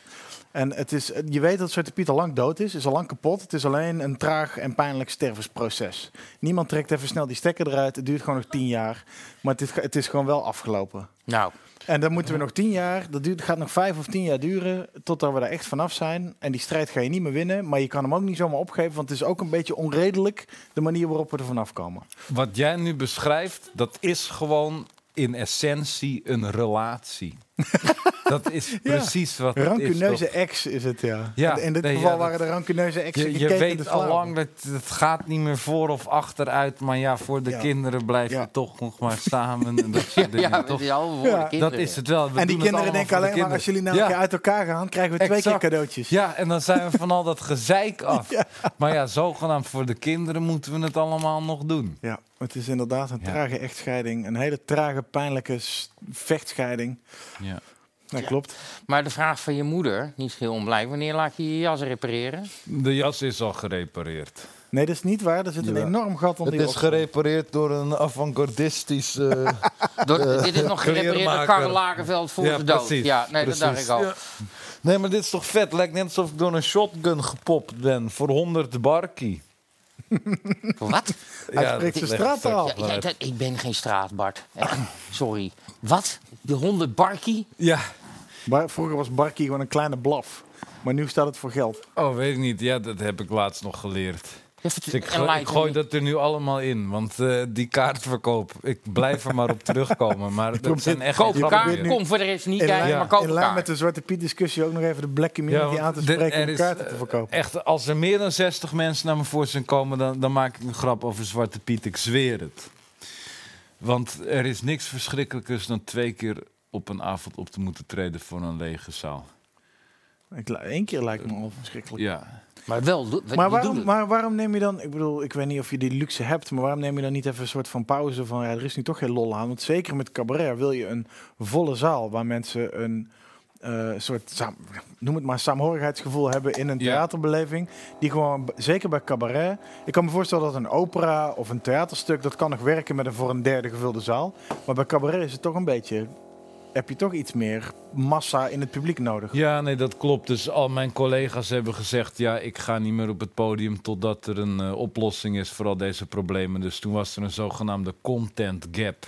En het is, eh, je weet dat Zwarte Piet al lang dood is, is al lang kapot. Het is alleen een traag en pijnlijk stervensproces. Niemand trekt even snel die stekker eruit. Het duurt gewoon nog tien jaar. Maar het is, het is gewoon wel afgelopen. Nou, En dan moeten we nog tien jaar, dat duurt, gaat nog vijf of tien jaar duren, totdat we daar echt vanaf zijn. En die strijd ga je niet meer winnen, maar je kan hem ook niet zomaar opgeven, want het is ook een beetje onredelijk de manier waarop we er vanaf komen. Wat jij nu beschrijft, dat is gewoon in essentie een relatie. dat is precies wat het is. Rancuneuze toch? ex is het, ja. Ja, En in dit nee, ja, geval dat- waren de rancuneuze exen Je, je geketend in weet de Flauw. al lang dat het gaat niet meer voor of achteruit, maar ja, voor de Ja. kinderen blijf Ja. je toch nog maar samen. En dat, soort dingen, ja, toch? met die oude woorden, Ja, dat dat kinderen. is het wel. We En die doen het kinderen allemaal denken voor de alleen maar, als jullie kinderen. nou Ja. een keer uit elkaar gaan, krijgen we twee Exact. keer cadeautjes. Ja, en dan zijn we van al dat gezeik af. Maar ja, zogenaamd voor de kinderen moeten we het allemaal nog doen. Ja, het is inderdaad een Ja. trage echtscheiding. Een hele trage, pijnlijke s- vechtscheiding. Ja. Dat klopt. Maar de vraag van je moeder, niet heel onblij, wanneer laat je je jas repareren? De jas is al gerepareerd. Nee, dat is niet waar. Er zit een Jawel. enorm gat onder Het die is oksel. gerepareerd door een avant-gardistisch... eh, Door, dit is nog gerepareerd door kleermaker. Karel Lagerveld voor Ja, de dood. precies, ja, nee, dat dacht precies. ik al. Ja. nee, maar dit is toch vet? Lijkt net alsof ik door een shotgun gepopt ben voor 100 barkie. Wat? Hij dat spreekt zijn legt straattaal. Ja, ja, dat- ik ben geen straatbart. Echt, Sorry. Wat? De honderd barkie? Ja, Bar- Vroeger was Barkie gewoon een kleine blaf. Maar nu staat het voor geld. oh, weet ik niet. Ja, dat heb ik laatst nog geleerd. Even Dus ik, en gooi- ik Leiden. gooi dat er nu allemaal in, want eh, die kaartverkoop, ik blijf er maar op terugkomen. Maar dat zijn echt Koop elkaar, grappen. nu- kom voor de rest niet In kijken, lijn, maar koop in lijn elkaar. met de Zwarte Piet discussie ook nog even de black Ja, community want aan te dit- spreken er om is, kaarten te eh, verkopen. Echt, als er meer dan 60 mensen naar me voor zijn komen, dan, dan maak ik een grap over Zwarte Piet. Ik zweer het. Want er is niks verschrikkelijkers dan twee keer op een avond op te moeten treden voor een lege zaal. eh, Ik la- Eén keer lijkt me al verschrikkelijk. Ja. Maar wel, do- Maar die doen waarom, het. maar waarom neem je dan, ik bedoel, ik weet niet of je die luxe hebt, maar waarom neem je dan niet even een soort van pauze van, ja, er is nu toch geen lol aan? Want zeker met cabaret wil je een volle zaal waar mensen een eh, soort, saam- noem het maar, saamhorigheidsgevoel hebben in een Ja. theaterbeleving. Die gewoon, b- zeker bij cabaret, ik kan me voorstellen dat een opera of een theaterstuk, dat kan nog werken met een voor een derde gevulde zaal. Maar bij cabaret is het toch een beetje, heb je toch iets meer massa in het publiek nodig. ja, nee, dat klopt. Dus al mijn collega's hebben gezegd... ja, ik ga niet meer op het podium totdat er een eh, oplossing is voor al deze problemen. Dus toen was er een zogenaamde content gap.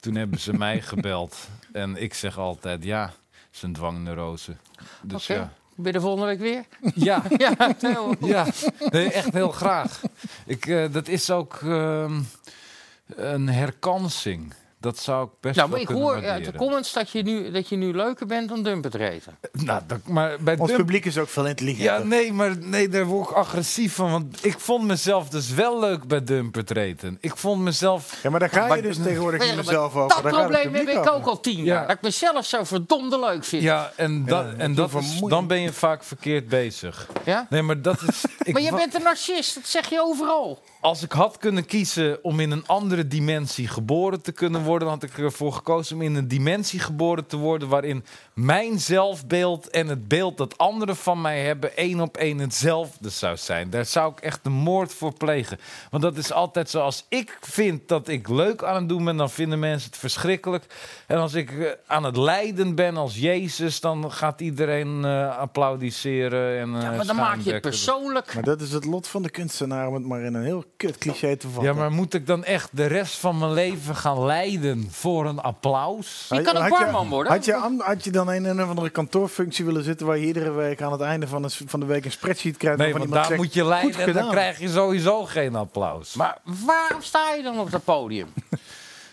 Toen hebben ze mij gebeld. En ik zeg altijd, ja, het is een dwangneurose. Dus Oké. ja. Ben je er volgende week weer? Nou, Ja, Ja, heel- Ja, nee, echt heel graag. Ik, eh, dat is ook ehm, een herkansing. Dat zou ik best Nou, maar wel ik kunnen hoor uit de waarderen. comments dat je nu, dat je nu leuker bent dan Dumpert reten. Nou, dat, maar bij Ons Dump- publiek is ook veel intelligenter. Ja, nee, maar nee, daar word ik agressief van. Want ik vond mezelf dus wel leuk bij Dumpertreten. Ik vond mezelf... Ja, maar daar ga je Maar- dus tegenwoordig niet Ja, meer maar zelf over. dat daar gaat het probleem heb publiek ik over. ook al tien Ja. jaar. Dat ik mezelf zo verdomde leuk vind. Ja? Ja, en, dat, en dat is, dan ben je vaak verkeerd bezig. Nee, maar dat is... ik Maar je wa- bent een narcist, dat zeg je overal. Als ik had kunnen kiezen om in een andere dimensie geboren te kunnen worden, dan had ik ervoor gekozen om in een dimensie geboren te worden waarin mijn zelfbeeld en het beeld dat anderen van mij hebben één op één hetzelfde zou zijn. Daar zou ik echt de moord voor plegen. Want dat is altijd zo. Als ik vind dat ik leuk aan het doen ben, dan vinden mensen het verschrikkelijk. En als ik eh, aan het lijden ben als Jezus, dan gaat iedereen eh, applaudisseren. En, eh, Ja, maar dan maak je het schuimbekken. persoonlijk. Maar dat is het lot van de kunstenaar om het maar in een heel kut cliché te vatten. Ja, maar moet ik dan echt de rest van mijn leven gaan lijden voor een applaus? Je kan een Had je- barman worden. Had je, an- had je dan in een of andere kantoorfunctie willen zitten waar je iedere week aan het einde van de, s- van de week een spreadsheet krijgt? Nee, waarvan want daar iemand moet je zegt, lijden "Goed en dan gedaan." krijg je sowieso geen applaus. Maar waarom sta je dan op dat podium?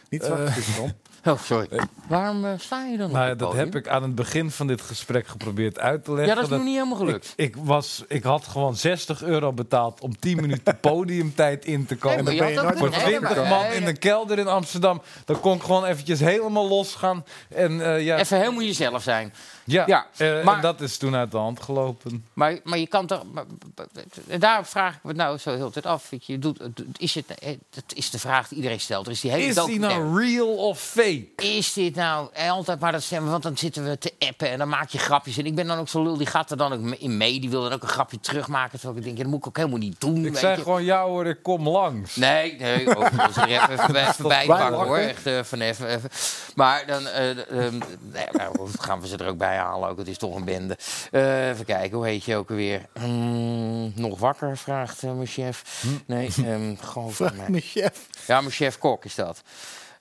Niet Eh. zwart, dus dan. Oh, sorry. Waarom eh, sta je dan op nou, ja, dat dat podium? heb ik aan het begin van dit gesprek geprobeerd uit te leggen. Ja, dat is nog niet helemaal gelukt. Ik, was, ik had gewoon 60 euro betaald om 10 minuten podiumtijd in te komen. maar je ben je had ook nooit Voor kunnen- nee, 20 maar- man nee, in een kelder in Amsterdam. Dan kon ik gewoon eventjes helemaal losgaan. En eh, ja, Even helemaal jezelf zijn. ja, ja, eh, maar- en dat is toen uit de hand gelopen. Maar, maar je kan toch. maar- maar- en daarom vraag ik me nou zo heel de tijd af. weet je, Je doet, is het, eh, dat is de vraag die iedereen stelt. Er is die hele Is die documentaire. nou real of fake? Is dit nou eh, altijd maar dat stemmen? Want dan zitten we te appen en dan maak je grapjes. En ik ben dan ook zo'n lul, die gaat er dan ook me- in mee. Die wil dan ook een grapje terugmaken. Terwijl ik denk, dat moet ik ook helemaal niet doen. Ik weet zei je. gewoon, ja hoor, ik kom langs. Nee, nee, oh, overigens er even, even, bij- even bij pakken hoor. Echt eh, van even, even. Maar dan eh, d- ehm, nee, nou, gaan we ze er ook bij halen. Ook, het is toch een bende. Eh, even kijken, hoe heet je ook alweer? Hmm, nog wakker, vraagt eh, mijn chef. Hm. Nee, ehm gewoon van mij. Mijn chef. Ja, mijn chef Kok is dat.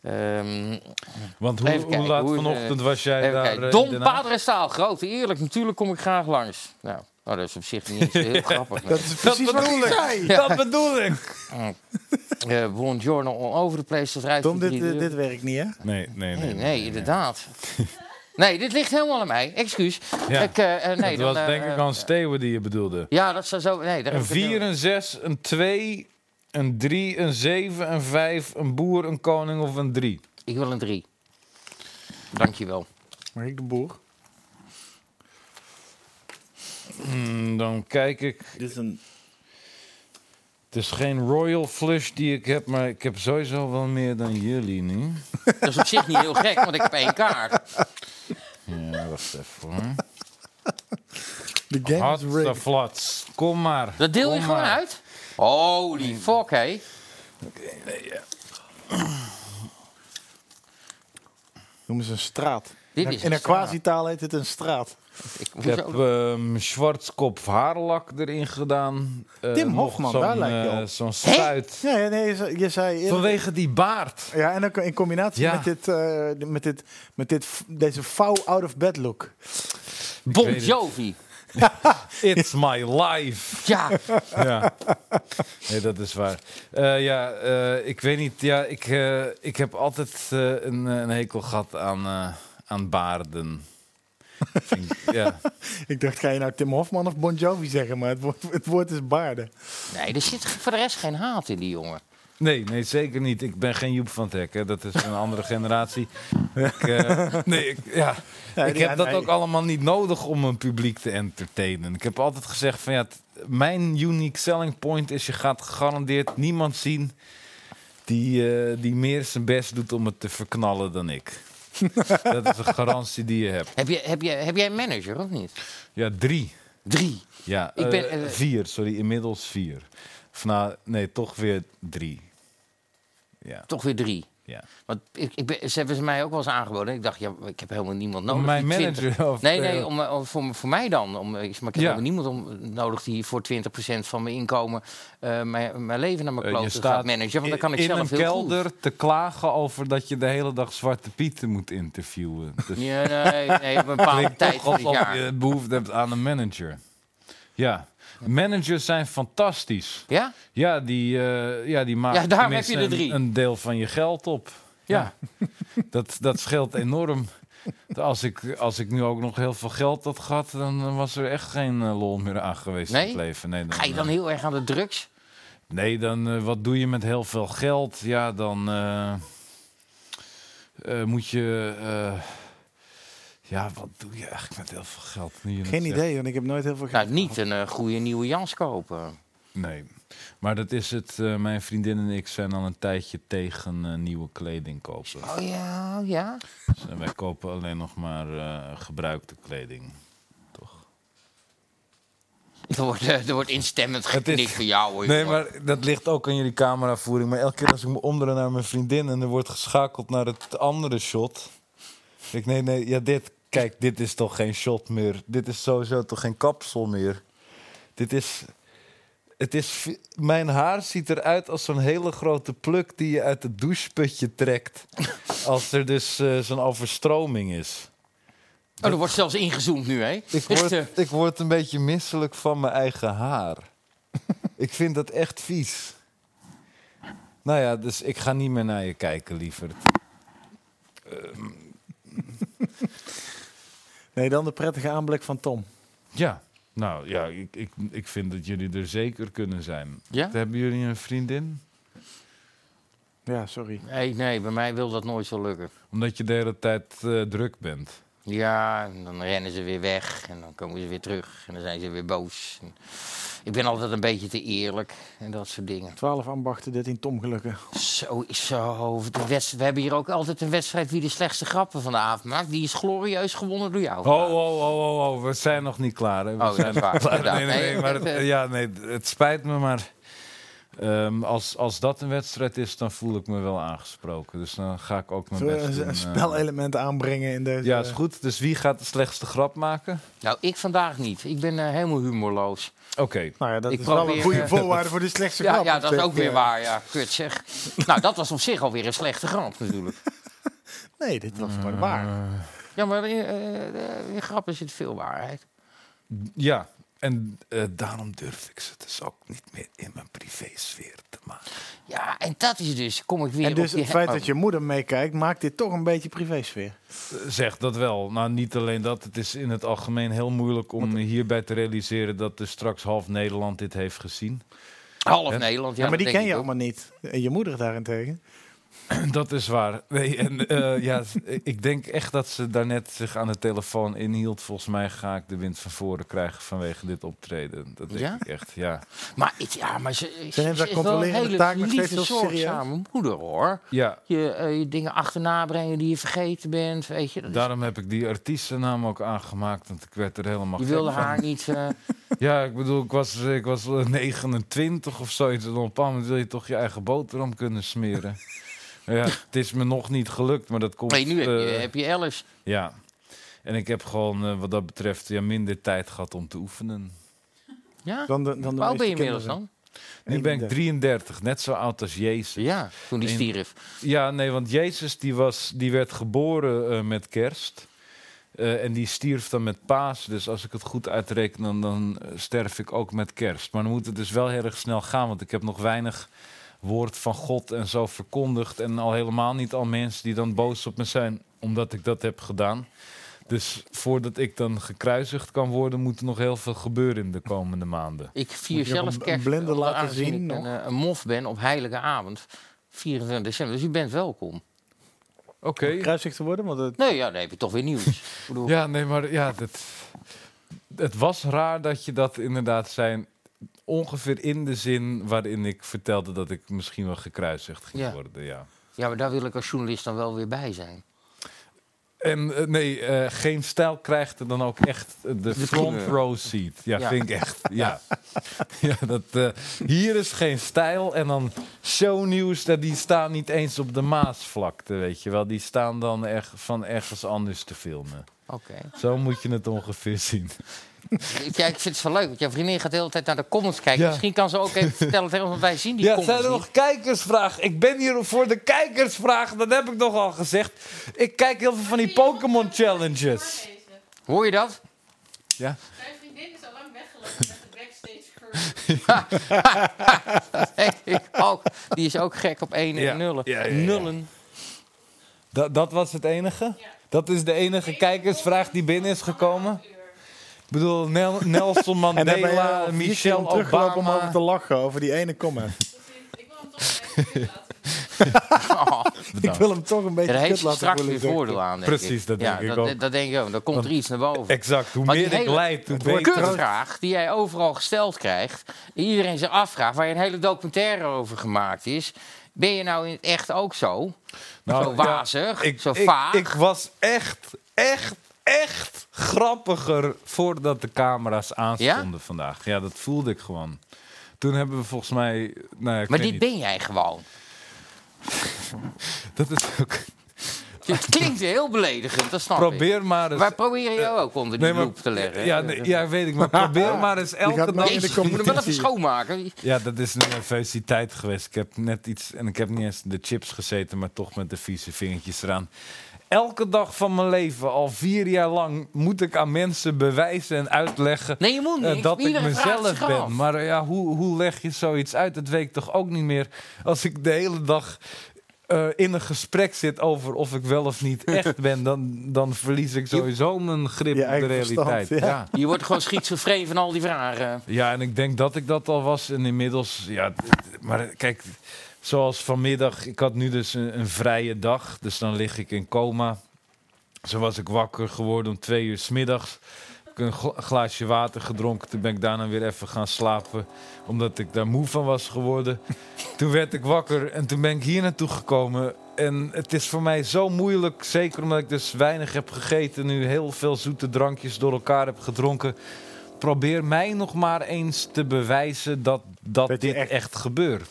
Ehm, Want hoe, Even hoe kijken, laat hoe, eh, vanochtend was jij Even daar? kijken. eh, in Don Den Haag? Padre Staal, groot, eerlijk, natuurlijk kom ik graag langs. Nou, nou, dat is op zich niet eens heel grappig. Dat is precies wat ik zei. Dat bedoel ik. Eh Buongiorno all over the place, dat rijdt voor Tom, dit, drie dit, deuren. dit werkt niet, hè? Nee, nee, Nee, nee, inderdaad. Nee, dit ligt helemaal aan mij. Excuus. Ja. Ik, eh, eh, nee, dat was dan, eh, denk ik eh, aan Steeuwen die je bedoelde. Ja, dat zou zo... Nee, daar Een heb ik het 4, heel- een 6, een 2, een 3, een 7, een 5, een boer, een koning of een 3. Ik wil een drie. Dankjewel. Maar ik de boer. dan kijk ik. Dit is een... Het is geen royal flush die ik heb, maar ik heb sowieso wel meer dan jullie nu. Dat is op zich niet heel gek, want ik heb één kaart. Ja, wacht even hoor. De game Hot is rigged. the flats. Kom maar. Dat deel je Kom gewoon maar. uit? Holy fuck, hé. Noem eens een straat. Dit In- is in een een quasi-taal heet dit een straat. Ik, Ik heb hoezo? ehm zwartskop haarlak erin gedaan. Eh, Tim nog Hofman, zo'n, daar lijkt je eh, op. Zo'n spuit. Ja, ja, nee, je zei- je zei... eerder- Vanwege die baard. Ja, en ook in combinatie Ja. met, dit, eh, met, dit, met dit, f- deze foul out-of-bed look. Bon weet het. Jovi. It's my life. Ja, Ja. Nee, dat is waar. Eh, ja, eh, ik weet niet. Ja, ik, eh, ik heb altijd eh, een, eh, een hekel gehad aan, eh, aan baarden. Vind ik- ja. Ik dacht, ga je nou Tim Hofman of Bon Jovi zeggen? Maar het woord, het woord is baarden. nee, er zit voor de rest geen haat in die jongen. Nee, nee, zeker niet. Ik ben geen Joep van het Hek. Hè. Dat is een andere generatie. Ik, eh, nee, ik, ja. Nee, ik die- heb dat nee. ook allemaal niet nodig om een publiek te entertainen. Ik heb altijd gezegd van ja, t- mijn unique selling point is je gaat gegarandeerd niemand zien die, eh, die meer zijn best doet om het te verknallen dan ik. dat is een garantie die je hebt. Heb, je, heb, je, heb jij een manager, of niet? Ja, drie. Drie. Ja, Ik eh, ben, eh, vier, sorry, inmiddels vier. Of nou, nee, toch weer drie. Ja, Toch weer drie. ja. Want ik, ik ben, ze hebben ze mij ook wel eens aangeboden. Ik dacht, ja, ik heb helemaal niemand nodig. mijn die manager of- nee, nee, eh, om, eh, om- voor, voor mij dan. Om, eh, ik- maar ik heb Ja. helemaal niemand om, nodig die voor 20% van mijn inkomen eh, mijn, mijn leven naar mijn Eh, je kloten gaat staat managen. Want dan kan ik in zelf een heel kelder te klagen over dat je de hele dag Zwarte Pieten moet interviewen. Dus goed. Ja, nee, nee, op een bepaalde tijd van het alsof jaar. je behoefte hebt aan een manager. Ja, managers zijn fantastisch. Ja? Ja, die, eh, ja, die maken Ja, daarom heb je tenminste er drie. Een, een deel van je geld op. Ja, dat, dat scheelt enorm. Als ik, als ik nu ook nog heel veel geld had gehad, dan eh, was er echt geen eh, lol meer aan geweest Nee? in het leven. Nee, Ga je eh, dan heel erg aan de drugs? Nee, dan eh, wat doe je met heel veel geld? Ja, dan eh, eh, moet je. eh, ja, wat doe je eigenlijk met heel veel geld? Nu je het Geen zegt. idee, want ik heb nooit heel veel Nou, geld. niet een eh, goede nieuwe Jans kopen. Nee. Maar dat is het. eh, mijn vriendin en ik zijn al een tijdje tegen eh, nieuwe kleding kopen. Oh ja, ja. Dus, eh, wij kopen alleen nog maar eh, gebruikte kleding. Toch? Er wordt, eh, er wordt instemmend Het is- geknikt voor jou. hoor, Nee, jongen. maar dat ligt ook aan jullie cameravoering. Maar elke keer als ik me omdraai naar mijn vriendin en er wordt geschakeld naar het andere shot. Ik nee, nee, ja, dit. Kijk, dit is toch geen shot meer. Dit is sowieso toch geen kapsel meer. Dit is. Het is vi- mijn haar ziet eruit als zo'n hele grote pluk die je uit het doucheputje trekt. Als er dus eh, zo'n overstroming is. Oh, er wordt zelfs ingezoomd nu, hè? Ik Dus, eh, word, ik word een beetje misselijk van mijn eigen haar. ik vind dat echt vies. Nou ja, dus ik ga niet meer naar je kijken, lieverd. Nee, dan de prettige aanblik van Tom. Ja, nou ja, ik, ik, ik vind dat jullie er zeker kunnen zijn. Ja? Hebben jullie een vriendin? Ja, sorry. nee, nee, bij mij wil dat nooit zo lukken. Omdat je de hele tijd eh, druk bent. Ja, en dan rennen ze weer weg en dan komen ze weer terug en dan zijn ze weer boos. En ik ben altijd een beetje te eerlijk en dat soort dingen. 12 ambachten, 13 Tom gelukken. Zo is zo. De wedst- we hebben hier ook altijd een wedstrijd wie de slechtste grappen van de avond maakt. Die is glorieus gewonnen door jou. Oh, oh, oh, oh, oh, we zijn nog niet klaar. Hè? We Oh, dat zijn is nog waar, niet inderdaad. Nee, nee, Nee, nee, maar dat, het, eh, ja, nee, het spijt me, maar ehm, als, als dat een wedstrijd is, dan voel ik me wel aangesproken. Dus dan ga ik ook mijn Zullen we best een, eh? doen. een eh. spelelement aanbrengen in deze... Ja, is goed. Dus wie gaat de slechtste grap maken? Nou, ik vandaag niet. Ik ben eh, helemaal humorloos. Oké. Nou ja, dat Ik is wel probeer, een goede eh, voorwaarde voor de slechtste Ja, grap. ja, dat is zeg, ook weer eh, waar. Ja, kut zeg. nou, dat was op zich alweer een slechte grap natuurlijk. Nee, dit Mm. was gewoon waar. Ja, maar eh, eh, in grappen zit veel waarheid. Ja, en eh, daarom durf ik ze dus ook niet meer in mijn privésfeer te maken. Ja, en dat is dus, kom ik weer En dus op die... het feit oh. dat je moeder meekijkt, maakt dit toch een beetje privésfeer. Eh, Zeg dat wel. Nou, niet alleen dat. Het is in het algemeen heel moeilijk om hierbij te realiseren dat er straks half Nederland dit heeft gezien. Oh, Half Nederland, ja, Ja, maar die dat denk ken je ik ook. allemaal niet. En je moeder daarentegen. Dat is waar. Nee, en, eh, ja, s- ik denk echt dat ze daarnet zich aan de telefoon inhield. Volgens mij ga ik de wind van voren krijgen vanwege dit optreden. Dat denk Ja? ik echt, ja. Maar, ik- ja, maar ze, Ze neemt haar is controlerende wel een hele taak nog lieve, steeds heel serieus. zorgzame moeder, hoor. Ja, Je, eh, je dingen achterna brengen die je vergeten bent, weet je. dat is- daarom heb ik die artiestennaam ook aangemaakt, want ik werd er helemaal je gek wilde van. haar niet... eh, Ja, ik bedoel, ik was, ik was 29 of zoiets. En op een bepaald moment wil je toch je eigen boterham kunnen smeren. ja, het is me nog niet gelukt, maar dat komt... nee, nu heb je, eh, heb je Alice. Ja. En ik heb gewoon, eh, wat dat betreft, ja, minder tijd gehad om te oefenen. Ja? Dan de, dan de Hoe oud ben je meeste inmiddels kinderen. dan? Nu ben ik 33, net zo oud als Jezus. Ja, toen die In- stierf. Ja, nee, want Jezus die was, die werd geboren eh, met kerst. Eh, en die stierf dan met paas. Dus als ik het goed uitreken, dan, dan eh, sterf ik ook met kerst. Maar dan moet het dus wel heel erg snel gaan. Want ik heb nog weinig woord van God en zo verkondigd. En al helemaal niet al mensen die dan boos op me zijn omdat ik dat heb gedaan. Dus voordat ik dan gekruisigd kan worden, moet er nog heel veel gebeuren in de komende maanden. Ik vier Moet je ook zelf een- kerst. een blinde eh, laten aangezien ik zien een, eh, een mof ben op heilige avond. 24 december, dus u bent welkom. Oké. Kruisig te worden, want het, Nee, ja, dan heb je toch weer nieuws. Ik bedoel, Ja, nee, maar ja, dat, het was raar dat je dat inderdaad zijn. Ongeveer in de zin waarin ik vertelde dat ik misschien wel gekruisigd ging Ja. worden. Ja. ja, maar daar wil ik als journalist dan wel weer bij zijn. En eh, nee, eh, geen stijl krijgt er dan ook echt eh, de, front primeur. row seat. Ja, Ja. vind ik echt. Ja. ja, dat, eh, hier is geen stijl. En dan shownieuws, dat die staan niet eens op de Maasvlakte, weet je wel. Die staan dan erg, van ergens anders te filmen. Oké. Zo moet je het ongeveer zien. Ja, ik vind het wel leuk, want jouw vriendin gaat de hele tijd naar de comments kijken. Ja. Misschien kan ze ook even vertellen tegen ons, want wij zien die ja, comments zijn er niet. nog kijkersvragen? Ik ben hier voor de kijkersvraag, dat heb ik nogal gezegd. Ik kijk heel veel van die Pokémon challenges. Hoor je dat? Ja. Mijn vriendin is al lang weggelopen met de backstage crew. Ik ook. Die is ook gek op 1 Ja. en nullen. Ja, ja, ja. Nullen. Dat, dat was het enige? Dat is de enige kijkersvraag die binnen is gekomen? Ik bedoel, Nel- Nelson en dan ben je Mandela, al vier keer om Michelle teruggelopen om over Obama. te lachen over die ene comment. Ik wil hem toch even laten. Oh, Ik wil hem toch een beetje daar heeft kut ze laten straks voelen, weer denk ik. voordeel aan, denk Precies, ik. dat Ja, denk ik dat, ook. Dat denk ik ook. Dan komt er iets naar boven. Exact. Hoe Want die meer ik hele- leid, hoe Een beter. het- kutvraag die jij overal gesteld krijgt. en Iedereen zich afvraagt, waar je een hele documentaire over gemaakt is. Ben je nou in het echt ook zo? zo Nou, ja, wazig, ik, zo ik- vaag. Ik, was echt, echt, echt grappiger voordat de camera's aanstonden vandaag. Ja, dat voelde ik gewoon. Toen hebben we volgens mij. Nou, ja, ik maar weet dit niet. ben jij gewoon. Dat is ook. Het klinkt heel beledigend, dat snap ik. Probeer maar eens. Wij proberen jou ook onder die loep te leggen. Ja, nee, ja, weet ik. Maar probeer maar eens elke gaat nou dag. in de Jezus, we moeten hem wel even schoonmaken. Ja, dat is een nervositeit geweest. Ik heb net iets. En ik heb niet eens de chips gezeten, maar toch met de vieze vingertjes eraan. Elke dag van mijn leven, al vier jaar lang, moet ik aan mensen bewijzen en uitleggen. Nee, je moet eh, niet. dat ik Iedereen vraagt mezelf zich af. ben. Maar eh, ja, hoe, hoe leg je zoiets uit? Dat weet ik toch ook niet meer. Als ik de hele dag eh, in een gesprek zit over of ik wel of niet echt ben, dan, dan verlies ik sowieso mijn grip Je op de eigen verstand, realiteit. ja. ja. Je wordt gewoon schizofreen van al die vragen. Ja, en ik denk dat ik dat al was. En inmiddels, ja, d- d- maar eh, kijk, zoals vanmiddag, ik had nu dus een, een vrije dag. Dus dan lig ik in coma. Zo was ik wakker geworden om twee uur smiddags. Ik heb een gla- glaasje water gedronken. Toen ben ik daarna weer even gaan slapen. Omdat ik daar moe van was geworden. toen werd ik wakker en toen ben ik hier naartoe gekomen. En het is voor mij zo moeilijk. Zeker omdat ik dus weinig heb gegeten. Nu heel veel zoete drankjes door elkaar heb gedronken. Probeer mij nog maar eens te bewijzen dat, dat, Dat je dit echt... echt- gebeurt.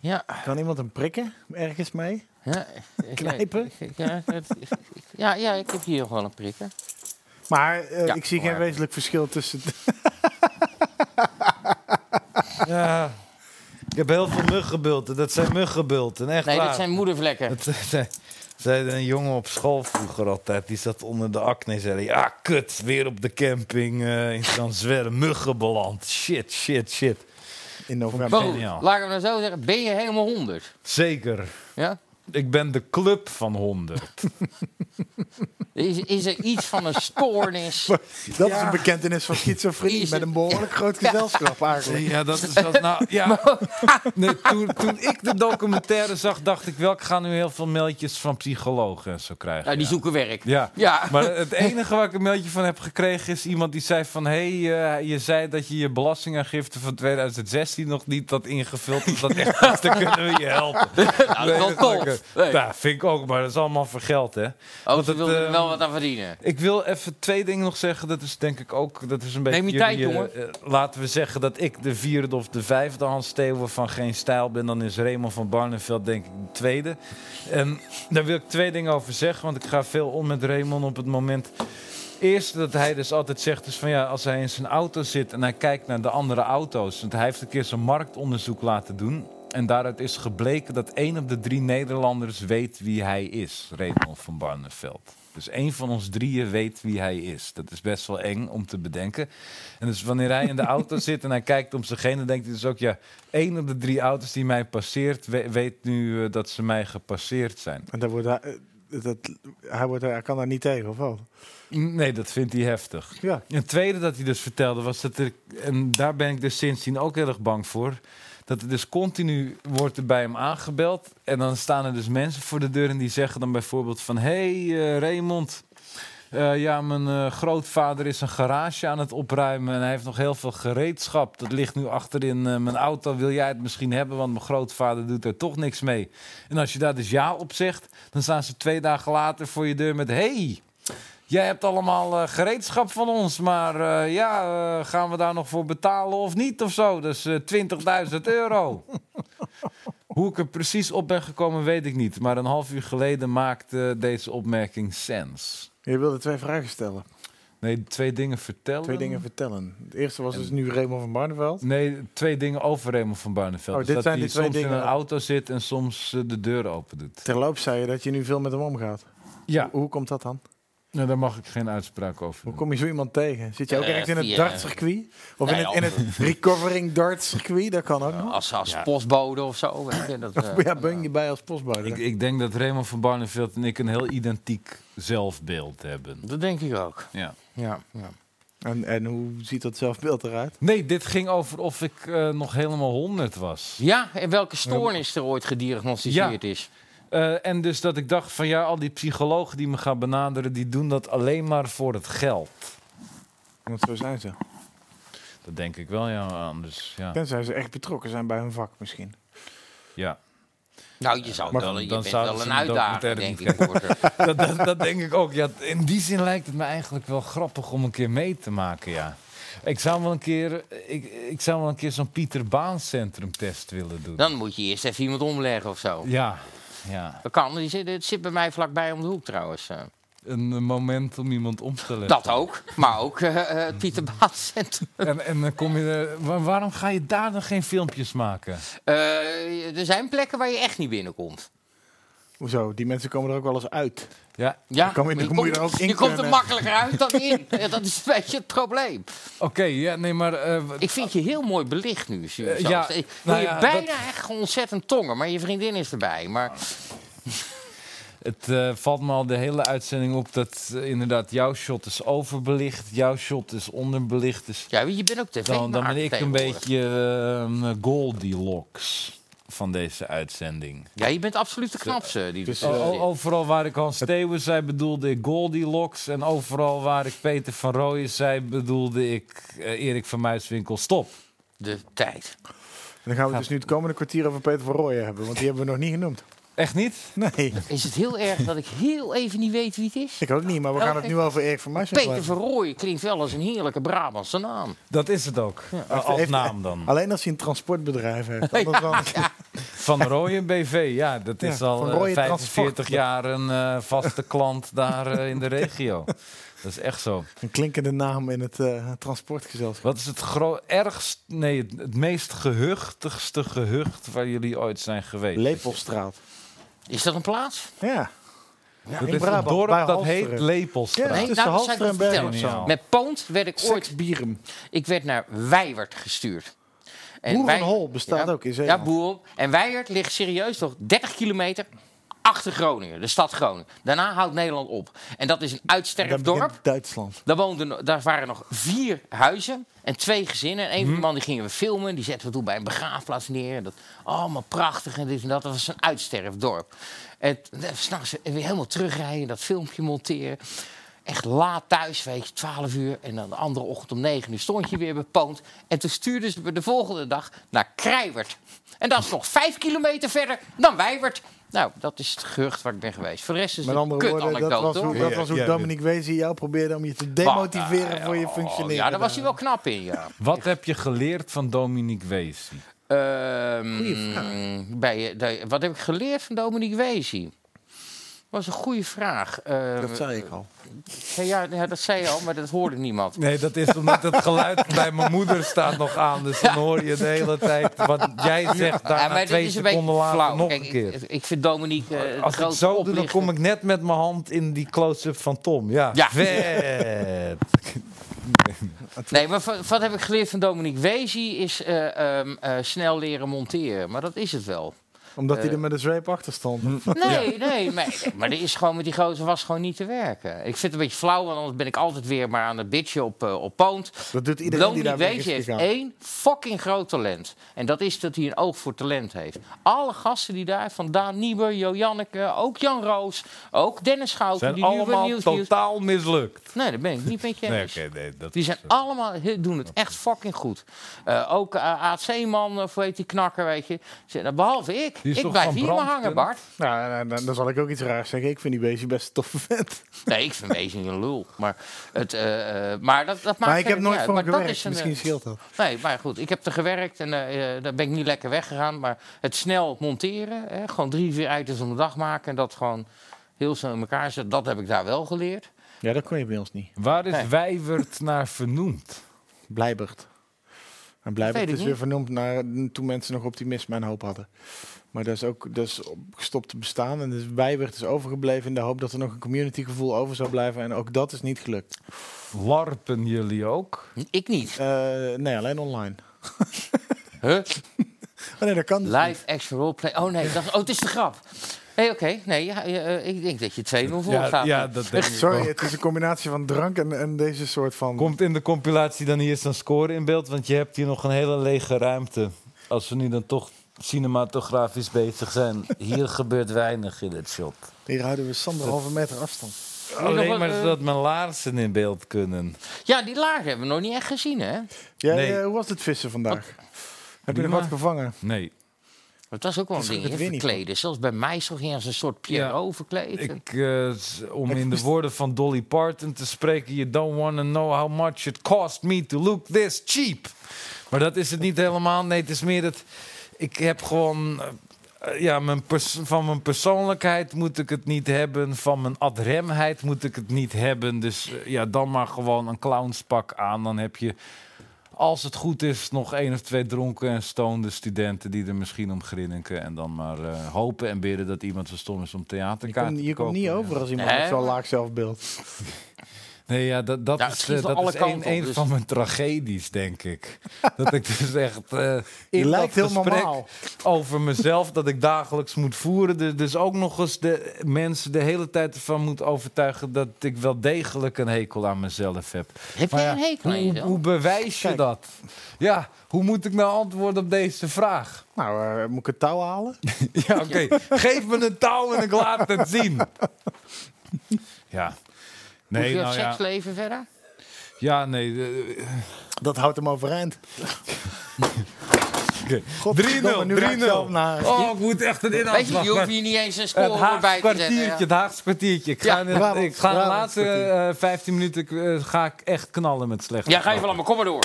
Ja, Kan iemand hem prikken ergens mee? ja. Knijpen? Ja, het- ja, ja, ik heb hier nog wel een prikken. Maar eh, Ja, ik zie geen maar- wezenlijk verschil tussen... Ja. Ik heb heel veel muggenbulten. Dat zijn muggenbulten. Echt Nee, waar. dat zijn moedervlekken. Dat zei, zei een jongen op school vroeger altijd. Die zat onder de acne en zei... Ja, kut, weer op de camping eh in San Zwerre. Muggen beland. Shit, shit, shit. In Maar november. goed, Geniaal. laat ik hem dan zo zeggen. Ben je helemaal 100? Zeker. Ja? Ik ben de club van honden. Is, is er iets van een stoornis? Dat is een bekentenis van schizofrenie Is- met een behoorlijk groot gezelschap eigenlijk. Ja, dat is wel... Nou, ja. Nee, toen, toen ik de documentaire zag, dacht ik wel... Ik ga nu heel veel mailtjes van psychologen en zo krijgen. Nou, die zoeken werk. Ja. Ja. maar het enige waar ik een mailtje van heb gekregen is iemand die zei van... hé, hey, eh, je zei dat je je belastingaangifte van 2016 nog niet had ingevuld. Als dat echt is, dan kunnen we je helpen. Nou, dat is wel Nee, dat tof. ik, eh, Nee. nou, vind ik ook, maar dat is allemaal voor geld, hè. Oh, Want ze het, wilden er eh, wel wat aan verdienen. Ik wil even twee dingen nog zeggen. Dat is denk ik ook... Dat is een beetje Neem je jullie, tijd, eh, jongen. eh, laten we zeggen dat ik de vierde of de vijfde Hans Steeuwen van Geen Stijl ben. Dan is Raymond van Barneveld denk ik de tweede. En daar wil ik twee dingen over zeggen. Want ik ga veel om met Raymond op het moment. Eerst dat hij dus altijd zegt is van ja, als hij in zijn auto zit en hij kijkt naar de andere auto's. Want hij heeft een keer zijn marktonderzoek laten doen. En daaruit is gebleken dat één op de drie Nederlanders weet wie hij is. Raymond van Barneveld. Dus één van ons drieën weet wie hij is. Dat is best wel eng om te bedenken. En dus wanneer hij in de auto zit en hij kijkt om zich heen, dan denkt hij dus ook, ja, één op de drie auto's die mij passeert, we- weet nu eh, dat ze mij gepasseerd zijn. En daar wordt hij, eh, dat, hij, wordt, hij kan daar niet tegen, of wel? Nee, dat vindt hij heftig. Ja. En het tweede dat hij dus vertelde was dat er, en daar ben ik dus sindsdien ook heel erg bang voor, dat er dus continu wordt er bij hem aangebeld en dan staan er dus mensen voor de deur en die zeggen dan bijvoorbeeld van, hé hey, eh, Raymond, eh, ja mijn eh, grootvader is een garage aan het opruimen en hij heeft nog heel veel gereedschap, dat ligt nu achterin eh, mijn auto, wil jij het misschien hebben, want mijn grootvader doet er toch niks mee. En als je daar dus ja op zegt, dan staan ze twee dagen later voor je deur met, Hey, Jij hebt allemaal eh, gereedschap van ons, maar eh, ja, eh, gaan we daar nog voor betalen of niet of zo? Dus eh, 20.000 euro. Hoe ik er precies op ben gekomen, weet ik niet. Maar een half uur geleden maakte deze opmerking sens. Je wilde twee vragen stellen. Nee, twee dingen vertellen. Twee dingen vertellen. Het eerste was dus nu Raymond van Barneveld. Nee, twee dingen over Raymond van Barneveld. Oh, Dus dit dat zijn hij die twee soms in dingen. een auto zit en soms eh, de deur open doet. Terloops zei je dat je nu veel met hem omgaat. Ja, Hoe komt dat dan? nou, daar mag ik geen uitspraak over Hoe doen. kom je zo iemand tegen? Zit je ook Eh, ergens in het via- dartcircuit? Of in Nou het, in het recovering dartcircuit? Dat kan ook nog. Als, als postbode of zo. weet je, dat, eh, Ja, ben je bij als postbode? Ik, ik denk dat Raymond van Barneveld en ik een heel identiek zelfbeeld hebben. dat denk ik ook. Ja. Ja, ja. En, en hoe ziet dat zelfbeeld eruit? Nee, dit ging over of ik eh, nog helemaal 100 was. Ja, en welke stoornis er ooit gediagnosticeerd is. Eh, en dus dat ik dacht van ja, al die psychologen die me gaan benaderen, die doen dat alleen maar voor het geld. Want zo zijn ze. Dat denk ik wel, ja, anders. Ja, Tenzij ze echt betrokken zijn bij hun vak misschien. ja. Nou, je, zou Maar wel, dan- je dan bent zouden wel ze een een uitdaging, documentaire denk ik. moeten Voor ze. dat, dat, dat denk ik ook. Ja, in die zin lijkt het me eigenlijk wel grappig om een keer mee te maken, ja. Ik zou wel een keer, ik, ik zou wel een keer zo'n Pieter Baan Centrum test willen doen. Dan moet je eerst even iemand omleggen of zo. Ja, ja. Dat kan, die zit, het zit bij mij vlakbij om de hoek trouwens. eh. Een eh, moment om iemand om te leggen. Dat ook, maar ook eh, eh, het Pieter Baan Centrum. En, en dan kom je er, wa- waarom ga je daar dan geen filmpjes maken? Eh, er zijn plekken waar je echt niet binnenkomt. Hoezo? Die mensen komen er ook wel eens uit. Ja, Ja, kom je- maar dan moet je er ook in je komt er kunnen. makkelijker uit dan in. Ja, dat is een beetje het probleem. oké, ja, nee, maar... eh, wat- Ik vind je heel mooi belicht nu. zie je Eh, zelfs. ja, ik wil nou je ja, bijna echt ontzettend tongen, maar je vriendin is erbij. Maar Het eh, valt me al de hele uitzending op dat eh, inderdaad jouw shot is overbelicht, jouw shot is onderbelicht. Dus ja, je bent ook tv dan, dan ben ik een beetje eh, Goldilocks van deze uitzending. Ja, je bent absoluut de knapste. Die Dus, er O- o- zit. overal waar ik Hans Steeuwen zei, bedoelde ik Goldilocks. En overal waar ik Peter van Rooyen zei, bedoelde ik eh, Erik van Muiswinkel. Stop. de tijd. En dan gaan we het dus nu het komende kwartier over Peter van Rooyen hebben. Want die hebben we nog niet genoemd. Echt niet? Nee, Is het heel erg dat ik heel even niet weet wie het is? ik ook niet. Maar we gaan het nu over Erik van Muisjes Peter Verrooy klinkt wel als een heerlijke Brabantse naam. Dat is het ook. Eh, als naam dan. Alleen als hij een transportbedrijf heeft. Anders dan, Van Rooyen BV, ja, dat is Ja, al Van eh, Rooyen 45 Transport. jaar een eh, vaste klant daar eh, in de regio. Dat is echt zo. Een klinkende naam in het eh, transportgezelschap. Wat is het gro- ergst, nee, het, het meest gehuchtigste gehucht waar jullie ooit zijn geweest? Lepelstraat. Is dat een plaats? Ja. dat in is een Brabant, dorp bij dat Halsteren. heet Lepelstraat. Ja, Nee, tussen nou, dat zou ik Halster en wel Bergen of vertellen. zo. Met Poont werd ik ooit... Seks Bierum. Ik werd naar Weijert gestuurd. En Boerenhol bestaat ook in Zeeland. Ja, Boerenhol. En Weijert ligt serieus nog 30 kilometer achter Groningen, de stad Groningen. Daarna houdt Nederland op. En dat is een Dan uitsterfdorp. begint Duitsland. Daar, woonden, no- daar waren nog vier huizen en twee gezinnen. En een Mhm. van die man die gingen we filmen, die zetten we toen bij een begraafplaats neer. En Dat, allemaal prachtig en dit en dat. Dat was een uitsterfdorp. En t- en s'nachts weer helemaal terugrijden, dat filmpje monteren. Echt laat thuis, weet je, 12 uur. En dan de andere ochtend om 9 uur stond je weer bepoond. En toen stuurden ze me de volgende dag naar Krijwert. En dat is nog vijf kilometer verder dan Wijwert. Nou, dat is het gerucht waar ik ben geweest. Voor de rest is het Met een andere kut woorden, dat was anekdote. hoe, hoor. dat was hoe Dominique Wezen jou probeerde om je te demotiveren voor je functioneren. Ah, Oh, Ja, daar was hij wel knap in, ja. Wat heb je geleerd van Dominique Weesie? Ehm, bij, bij- wat heb ik geleerd van Dominique Wezi? was een goede vraag. Ehm, Dat zei ik al. ja, ja, ja, dat zei je al, maar dat hoorde niemand. Nee, dat is omdat het geluid bij mijn moeder staat nog aan. Dus dan hoor je de hele tijd wat jij zegt Ja, daarna maar dat twee is een beetje seconden later flauw. nog Kijk, een keer. Ik, ik vind Dominique eh, een Als ik grote zo doe, dan oplichter. kom ik net met mijn hand in die close-up van Tom. Ja, Ja. vet. Nee, maar wat, wat heb ik geleerd van Dominique Wezi is eh, ehm, eh, snel leren monteren. Maar dat is het wel. Eh. Omdat hij er met een zweep achter stond. Nou, Nee, nee, maar, maar er is gewoon met die gozer was gewoon niet te werken. Ik vind het een beetje flauw, want anders ben ik altijd weer maar aan het bitchen op, eh, op Poont. Dat doet iedereen die Dominique daar weg is Weesje heeft gegaan. één fucking groot talent. En dat is dat hij een oog voor talent heeft. Alle gasten die daar, van Daan Nieber, Jo Janneke, ook Jan Roos, ook Dennis Schouten. Zijn die nu weer allemaal nieuws- nieuws- totaal mislukt. Nee, dat ben ik niet met je Nee, eens. oké, nee, dat Die is- zijn allemaal, he- doen het echt fucking goed. Eh, ook AC-man, of weet die knakker, weet je. Ze- Behalve ik. Die is Ik toch blijf van hier maar hangen, Bart. Brandpunt? Nou, dan, dan- dan zal ik ook iets raars zeggen. Ik vind die Wezen best een toffe vent. Nee, ik vind Wezen een lul. Maar, het, eh, eh, maar dat, dat maakt Maar ik heb verder nooit niet voor hem uit. Maar dat is gewerkt. een, Misschien eh, scheelt dat. Nee, maar goed, ik heb er gewerkt en eh, eh, daar ben ik niet lekker weggegaan. Maar het snel monteren, hè, gewoon drie, vier items om de dag maken... en dat gewoon heel snel in elkaar zetten, dat heb ik daar wel geleerd. Ja, dat kon je bij ons niet. Waar is Nee. Wijwert naar vernoemd? Blijbert. En Dat Blijbert weet ik is weer niet. vernoemd naar toen mensen nog optimisme en hoop hadden. Maar dat is ook dat is op- gestopt te bestaan. En dus Wijbert is overgebleven in de hoop dat er nog een communitygevoel over zou blijven. En ook dat is niet gelukt. Larpen jullie ook? Ik niet. Eh, nee, alleen online. Huh? Oh, nee, dat kan dus niet. Live action roleplay. Oh nee, dat, oh, het is de grap. Nee, oké. Nee, ja, ja, eh, ik denk dat je 2-0 voor Ja, gaat. ja, dat denk ik Sorry, wel. het is een combinatie van drank en, en deze soort van... Komt in de compilatie dan eerst een score in beeld? Want je hebt hier nog een hele lege ruimte. Als we nu dan toch cinematografisch bezig zijn. Hier gebeurt weinig in het shot. Hier houden we Sander een halve meter afstand. nog wat, Alleen maar eh, zodat mijn laarzen in beeld kunnen. ja, die laag hebben we nog niet echt gezien, hè? Jij, Nee. eh, hoe was het vissen vandaag? Heb je nog wat gevangen? Nee. Dat was ook wel een Dat is ding, het hè, weer niet. verkleden. Zelfs bij mij ging hij als een soort Pierrot verkleed. Ik, eh, s- om in de woorden van Dolly Parton te spreken. You don't want to know how much it cost me to look this cheap. Maar dat is het niet helemaal. Nee, het is meer dat ik heb gewoon. eh, eh, ja, mijn pers- van mijn persoonlijkheid moet ik het niet hebben. Van mijn adremheid moet ik het niet hebben. Dus eh, ja, dan maar gewoon een clownspak aan. Dan heb je. Als het goed is, nog één of twee dronken en stonde studenten die er misschien om grinniken. En dan maar eh, hopen en bidden dat iemand zo stom is om Je theaterkaarten komt, te je komt kopen. niet Ja. over als iemand Nee, met zo'n maar- laag zelfbeeld. Nee, ja, dat, dat Ja, het is, schiet eh, van dat alle is een, kanten op, een dus- van mijn tragedies, denk ik. dat ik dus echt eh in Je dat lijkt heel gesprek normaal. over mezelf dat ik dagelijks moet voeren. Dus, dus ook nog eens de mensen de hele tijd ervan moet overtuigen dat ik wel degelijk een hekel aan mezelf heb. Heb Maar jij ja, een hekel aan Hoe, jezelf? hoe bewijs je Kijk. dat? Ja, hoe moet ik nou antwoorden op deze vraag? Nou, eh, moet ik het touw halen? Ja, oké. Geef me een touw en ik laat het zien. Ja. Hoe is Nee, jouw nou ja. seksleven verder? Ja, nee. eh, Dat houdt hem overeind. Oké. 3-0, 3-0. nu ga ik zelf naar- Oh, ik moet echt een inhoud Weet je, je hoeft hier niet eens een Het score Haagse bij te zetten. kwartiertje, ja. het Haagse kwartiertje. Ik ga, Ja, in het- Brabants- ik ga de Brabants laatste eh, 15 minuten eh, ga ik echt knallen met slechte Ja, ga even grappen. allemaal, kom maar door.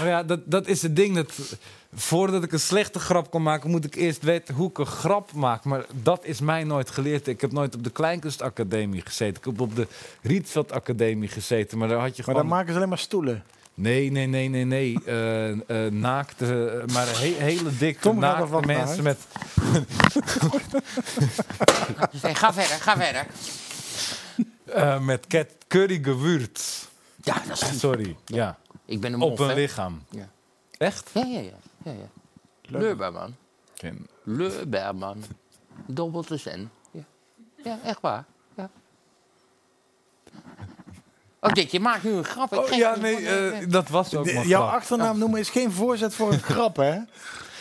Maar ja, dat, dat is het ding. Dat, voordat ik een slechte grap kan maken, moet ik eerst weten hoe ik een grap maak. Maar dat is mij nooit geleerd. Ik heb nooit op de Kleinkunstacademie gezeten. Ik heb op de Rietveld Academie gezeten. Maar daar had je Maar gewoon... dan maken ze alleen maar stoelen. Nee, nee, nee, nee, nee. Eh, eh, naakte, eh, maar he- hele dikke Tom gaat naakte ervan mensen uit. met... Nee, ga verder, ga verder. Eh, met cat curry gewurz. Ja, dat is goed. Sorry, ja. Ik ben een Op mof, een hè. lichaam. Ja. Echt? Ja, ja, ja. ja, ja. Leuberman. Leuberman. Dobbel de zen. Ja. ja, echt waar. Ja. Oh, Dick, je maakt nu een grap. Ik Oh geef ja, je nee, gewoon eh, even- dat was ook De- mijn jouw grap. achternaam noemen is geen voorzet voor een grap, hè?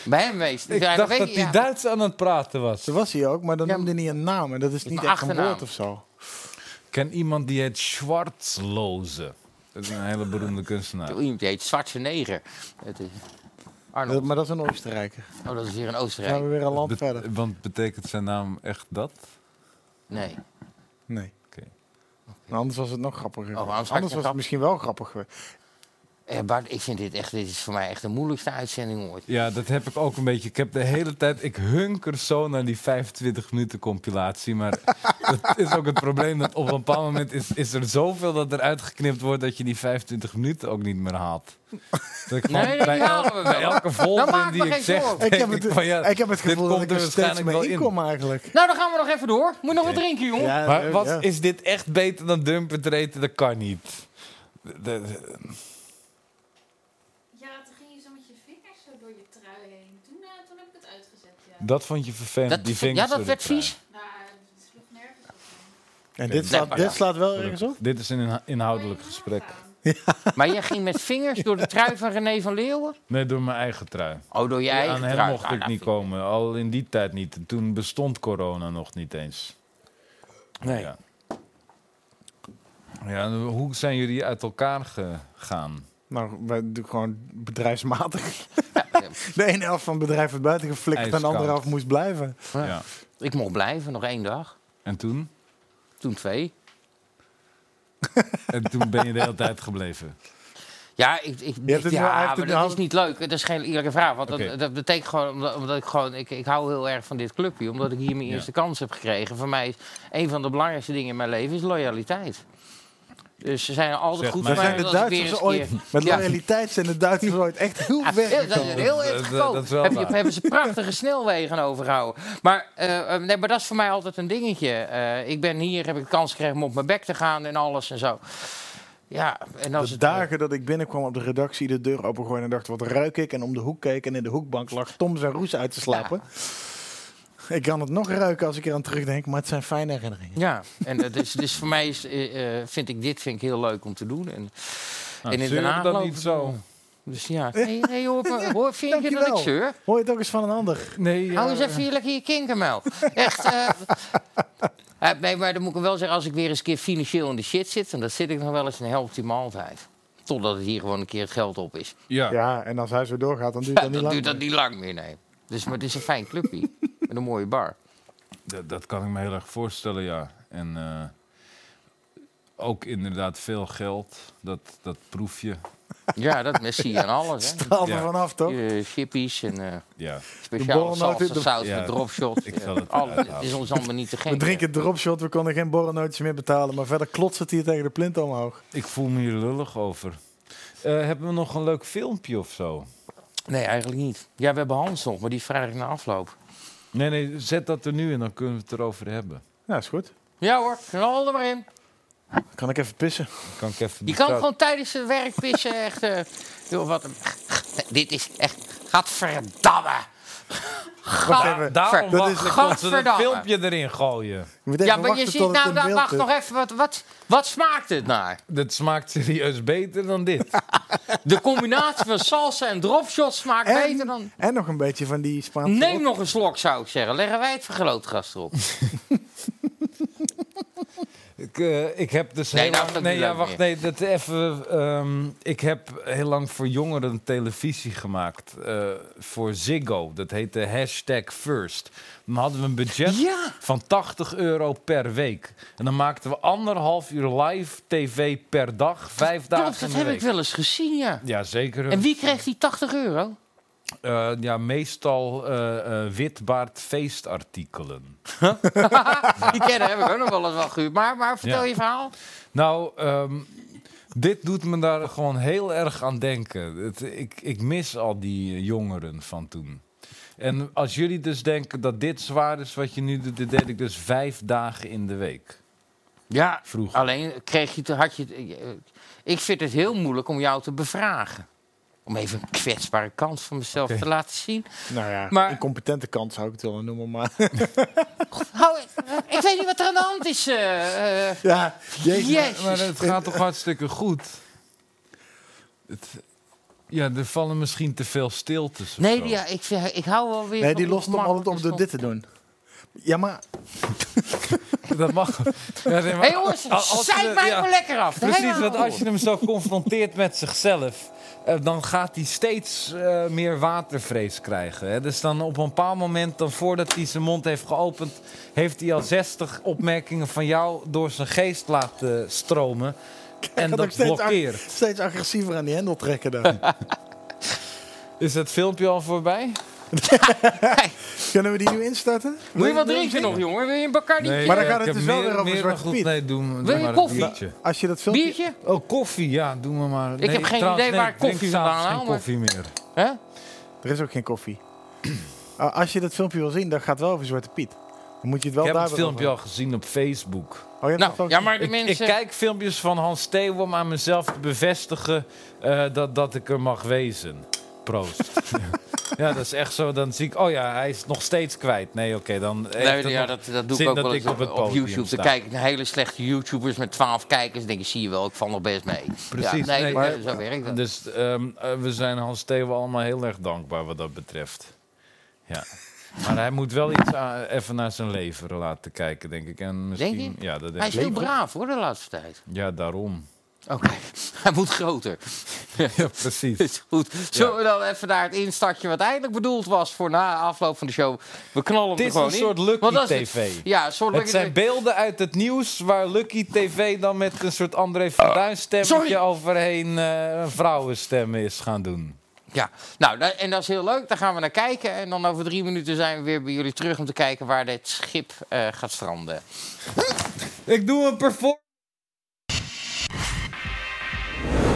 Bij hem wees. Ik Ja, dacht weet dat eh, ik, die ja. Duits aan het praten was. Zo was hij ook, maar dan Ja, noemde hij niet een naam. En dat is niet mijn echt achternaam. een woord of zo. Ik ken iemand die heet Schwarzloze. Dat is een hele beroemde kunstenaar. Iemand die heet Zwartse Neger. Het is... Dat- Arnold. maar dat is een Oostenrijker. Oh, dat is hier in Dan gaan we Oostenrijk. weer een land Bet- verder. want betekent zijn naam echt dat? Nee. Nee. Oké. Nou, anders was het nog grappiger. Oh, anders had ik anders een was het grap. misschien wel grappig geweest. Eh, Bart, ik vind dit echt, dit is voor mij echt de moeilijkste uitzending ooit. Ja, dat heb ik ook een beetje. Ik heb de hele tijd, ik hunker zo naar die 25 minuten compilatie. Maar dat is ook het probleem dat op een bepaald moment is, is er zoveel dat er uitgeknipt wordt dat je die 25 minuten ook niet meer haalt. Dat ik gewoon Nee, dat bij, halen we bij wel. elke Dan maak volgende me die ik geen zeg, zorgen. Ik denk heb het, ik van ja, ik heb het dit gevoel dat komt ik er er steeds waarschijnlijk wel mee in. inkom eigenlijk. Nou, dan gaan we nog even door. Moet nog wat drinken, jongen. Ja, Maar eh, wat ja. is dit echt beter dan dumper treten? Dat kan niet. De- de- Ja, toen ging je zo met je vingers zo door je trui heen. Toen, eh, toen heb ik het uitgezet, ja. dat vond je vervelend, Dat, die vingers. ja, dat door werd de trui. vies. Maar het sloeg nergens op. man. En dit slaat, maar dit ja. slaat wel ergens op. Dit is een inha- Kon je inhoudelijk nagaan. gesprek. Maar jij ging met vingers door de trui van René van Leeuwen? Nee, door mijn eigen trui. Oh, door je eigen Aan hem trui. mocht Ah, ik nou, niet vind komen, al in die tijd niet. Toen bestond corona nog niet eens. Nee. Ja, ja en hoe zijn jullie uit elkaar gegaan? Nou, wij doen gewoon bedrijfsmatig. Ja, De ene helft van het bedrijf werd buiten geflikkerd en de andere Ijskoud. helft moest blijven. Ja. Ja. Ik mocht blijven, nog één dag. En toen? Toen twee. En toen ben je de hele tijd gebleven. Nou, Ja, ik, ik, hebt het ja, nu- hij heeft het maar nu dat al- is niet leuk. Dat is geen eerlijke vraag. Want Oké. dat, dat betekent gewoon, omdat, omdat ik gewoon... Ik, ik hou heel erg van dit clubje. Omdat ik hier mijn Ja. eerste kans heb gekregen. Voor mij is een van de belangrijkste dingen in mijn leven is loyaliteit. Dus ze zijn altijd Zeg, goed maar voor Daar mij. zijn de omdat ik weer Duitsers eens een keer- ooit, met Ja. loyaliteit zijn de Duitsers ooit echt heel Ja, ver heel- dat is gekomen. heel erg Dat- dat- goedkoop. dat is wel Heb je- waar. Hebben ze prachtige snelwegen aan overgehouden. Maar, eh, eh, nee, maar dat is voor mij altijd een dingetje. Eh, ik ben hier, heb ik de kans gekregen om op mijn bek te gaan en alles en zo. Ja, en als De het... dagen dat ik binnenkwam op de redactie, de deur opengooien en dacht, wat ruik ik? En om de hoek keek en in de hoekbank lag Tom zijn roes uit te slapen. Ik kan het nog ruiken als ik eraan terugdenk, maar het zijn fijne herinneringen. Ja, en eh, dus, dus voor mij is, eh, eh, vind ik dit vind ik heel leuk om te doen. En, Nou, en in zeur Den Haag dan lopen niet ze zo. Dus ja, hey, hey, hoor, maar- hoor, vind je dat ik Dankjewel. zeur? Hoor je het ook eens van een ander? Nee, Hou eens even je lekker je kinkermel. Echt. eh, eh, nee, maar dan moet ik wel zeggen, als ik weer eens een keer financieel in de shit zit... en dat zit ik nog wel eens, dan helpt die me altijd. Totdat het hier gewoon een keer het geld op is. Ja. Ja, en als hij zo doorgaat, dan duurt Ja, dat niet dan duurt lang. dat niet lang meer, nee. Dus, maar het is een fijn clubje. Met een mooie bar. Dat, dat kan ik me heel erg voorstellen, ja. En eh, ook inderdaad veel geld, dat, dat proef je. Ja, dat Messi en alles, hè. Haal er Ja. vanaf, toch? Eh, chippies en eh Ja. speciale De borrelnoten, salsa saus de- met Ja, dropshot. ik zal Eh, het al- eruit Het is ons allemaal niet te gek. We drinken dropshot, we konden geen borrelnootjes meer betalen. Maar verder klotst het hier tegen de plint omhoog. Ik voel me hier lullig over. Eh, hebben we nog een leuk filmpje of zo? Nee, eigenlijk niet. Ja, we hebben Hans nog, maar die vraag ik na afloop. Nee, nee, zet dat er nu in, dan kunnen we het erover hebben. Ja, is goed. Ja hoor, knal er maar in. Kan ik even pissen? Dan kan ik even Je die kan straat- gewoon tijdens het werk pissen, echt. eh, joh, wat een... Dit is echt... Gadverdamme! Ah, even, Daarom Dat wacht is- ik tot ze dat Gadverdamme. filmpje erin gooien. Ik moet even Ja, maar je wachten ziet tot het nou... in dan- beeld wacht is. nog even, wat, wat, wat smaakt het naar? Dat smaakt serieus beter dan dit. De combinatie van salsa en dropshots smaakt En- beter dan... En nog een beetje van die Spaanse... Neem nog een slok, zou ik zeggen. Leggen wij het vergrootglas erop. Ik, eh, ik heb dus Nee, heel nou, lang... dat Nee, niet ja, leuk wacht, meer. nee, dat even... ehm, ik heb heel lang voor jongeren televisie gemaakt. eh, voor Ziggo. Dat heette hashtag first. Dan hadden we een budget Ja. van 80 euro per week. En dan maakten we anderhalf uur live tv per dag. Vijf Klopt, dagen dat in de heb ik week. wel eens gezien, ja. Ja, zeker. En wie kreeg die 80 euro? Eh, ja, meestal eh, eh, witbaard feestartikelen. Die kennen heb ik ook nog wel eens wel gehuurd. Maar, maar vertel Ja. je verhaal. Nou, ehm, dit doet me daar gewoon heel erg aan denken. Het, ik, ik mis al die eh, jongeren van toen. En als jullie dus denken dat dit zwaar is wat je nu doet, dit deed ik dus vijf dagen in de week. Ja, Vroeger. alleen kreeg je, te- had je... te- Ik vind het heel moeilijk om jou te bevragen. Om even een kwetsbare kant van mezelf te laten zien. Nou ja, Maar- incompetente kant zou ik het willen noemen, maar... Hou, Oh, ik weet niet wat er aan de hand is. eh, eh. ja, jezus. Jezus. Maar het gaat toch hartstikke goed? Het, ja, er vallen misschien te veel stiltes. of Nee, zo. die, ja, ik, vind- ik hou wel weer... Nee, van die lost hem altijd op ongemakkelijke door dit te doen. Ja, maar... dat mag. Ja, nee, maar Hé jongens, als- als zij we- mij ja. maar lekker af. Daar Precies, hebben we want al. als je hem zo confronteert met zichzelf, eh, dan gaat hij steeds eh, meer watervrees krijgen. Hè? Dus dan op een bepaald moment, dan voordat hij zijn mond heeft geopend, heeft hij al 60 opmerkingen van jou door zijn geest laten stromen. En gaat ook dat steeds, ag- blokkeert. steeds agressiever aan die hendel trekken dan. Is het filmpje al voorbij? Kunnen we die nu instarten? Moet je wat drinken nog, jongen? Wil je een Bacardi? Maar dan eh, gaat ik het heb dus wel meer- weer over meer Zwarte dan goed. Piet. Nee, doen we- doe, Wil je maar een koffie? biertje. Nou, Als je dat filmpje... Biertje? Oh, koffie, ja, doen we maar. heb geen idee waar ik drink koffie s'avonds vandaan haal, geen maar- koffie meer. Hè? Er is ook geen koffie. Ah, als je dat filmpje wil zien, dan gaat wel over Zwarte Piet. Dan moet je het wel Ik heb daar het weer filmpje al over. gezien op Facebook. Oh, je hebt het Nou, filmpje- ja, maar de Ik, ik mensen... kijk filmpjes van Hans Theo om aan mezelf te bevestigen eh, dat, dat ik er mag wezen. Proost. ja, dat is echt zo. Dan zie ik, oh ja, hij is nog steeds kwijt. Nee, oké, dan. heeft Nee, het ja, nog- dat, dat doe ik zin ook dat wel ik eens op op, het op podium YouTube. sta. Dan kijk ik naar hele slechte YouTubers met 12 kijkers. Dan denk ik, zie je wel, ik val nog best mee. Ja, Precies, nee, nee, dat- maar- zo werkt dat. Dus ehm, eh, we zijn Hans Theo allemaal heel erg dankbaar wat dat betreft. Ja. Maar hij moet wel iets aan- even naar zijn leven laten kijken, denk ik. En misschien, Denk je? Ja, dat denk Hij is ik. heel braaf hoor, de laatste tijd. Ja, daarom. Oké, hij moet groter. Ja, precies. Is goed. Zullen we dan even naar het instartje wat eigenlijk bedoeld was voor na afloop van de show? We knallen hem Het er is gewoon een in. soort Lucky Want dat is- TV. Ja, een soort Het Lucky zijn TV. beelden uit het nieuws waar Lucky TV dan met een soort André van Duin sorry. stemmetje overheen eh, een vrouwenstem is gaan doen. Ja, nou, da- en dat is heel leuk. Daar gaan we naar kijken. En dan over drie minuten zijn we weer bij jullie terug om te kijken waar dit schip eh, gaat stranden. Ik doe een performance.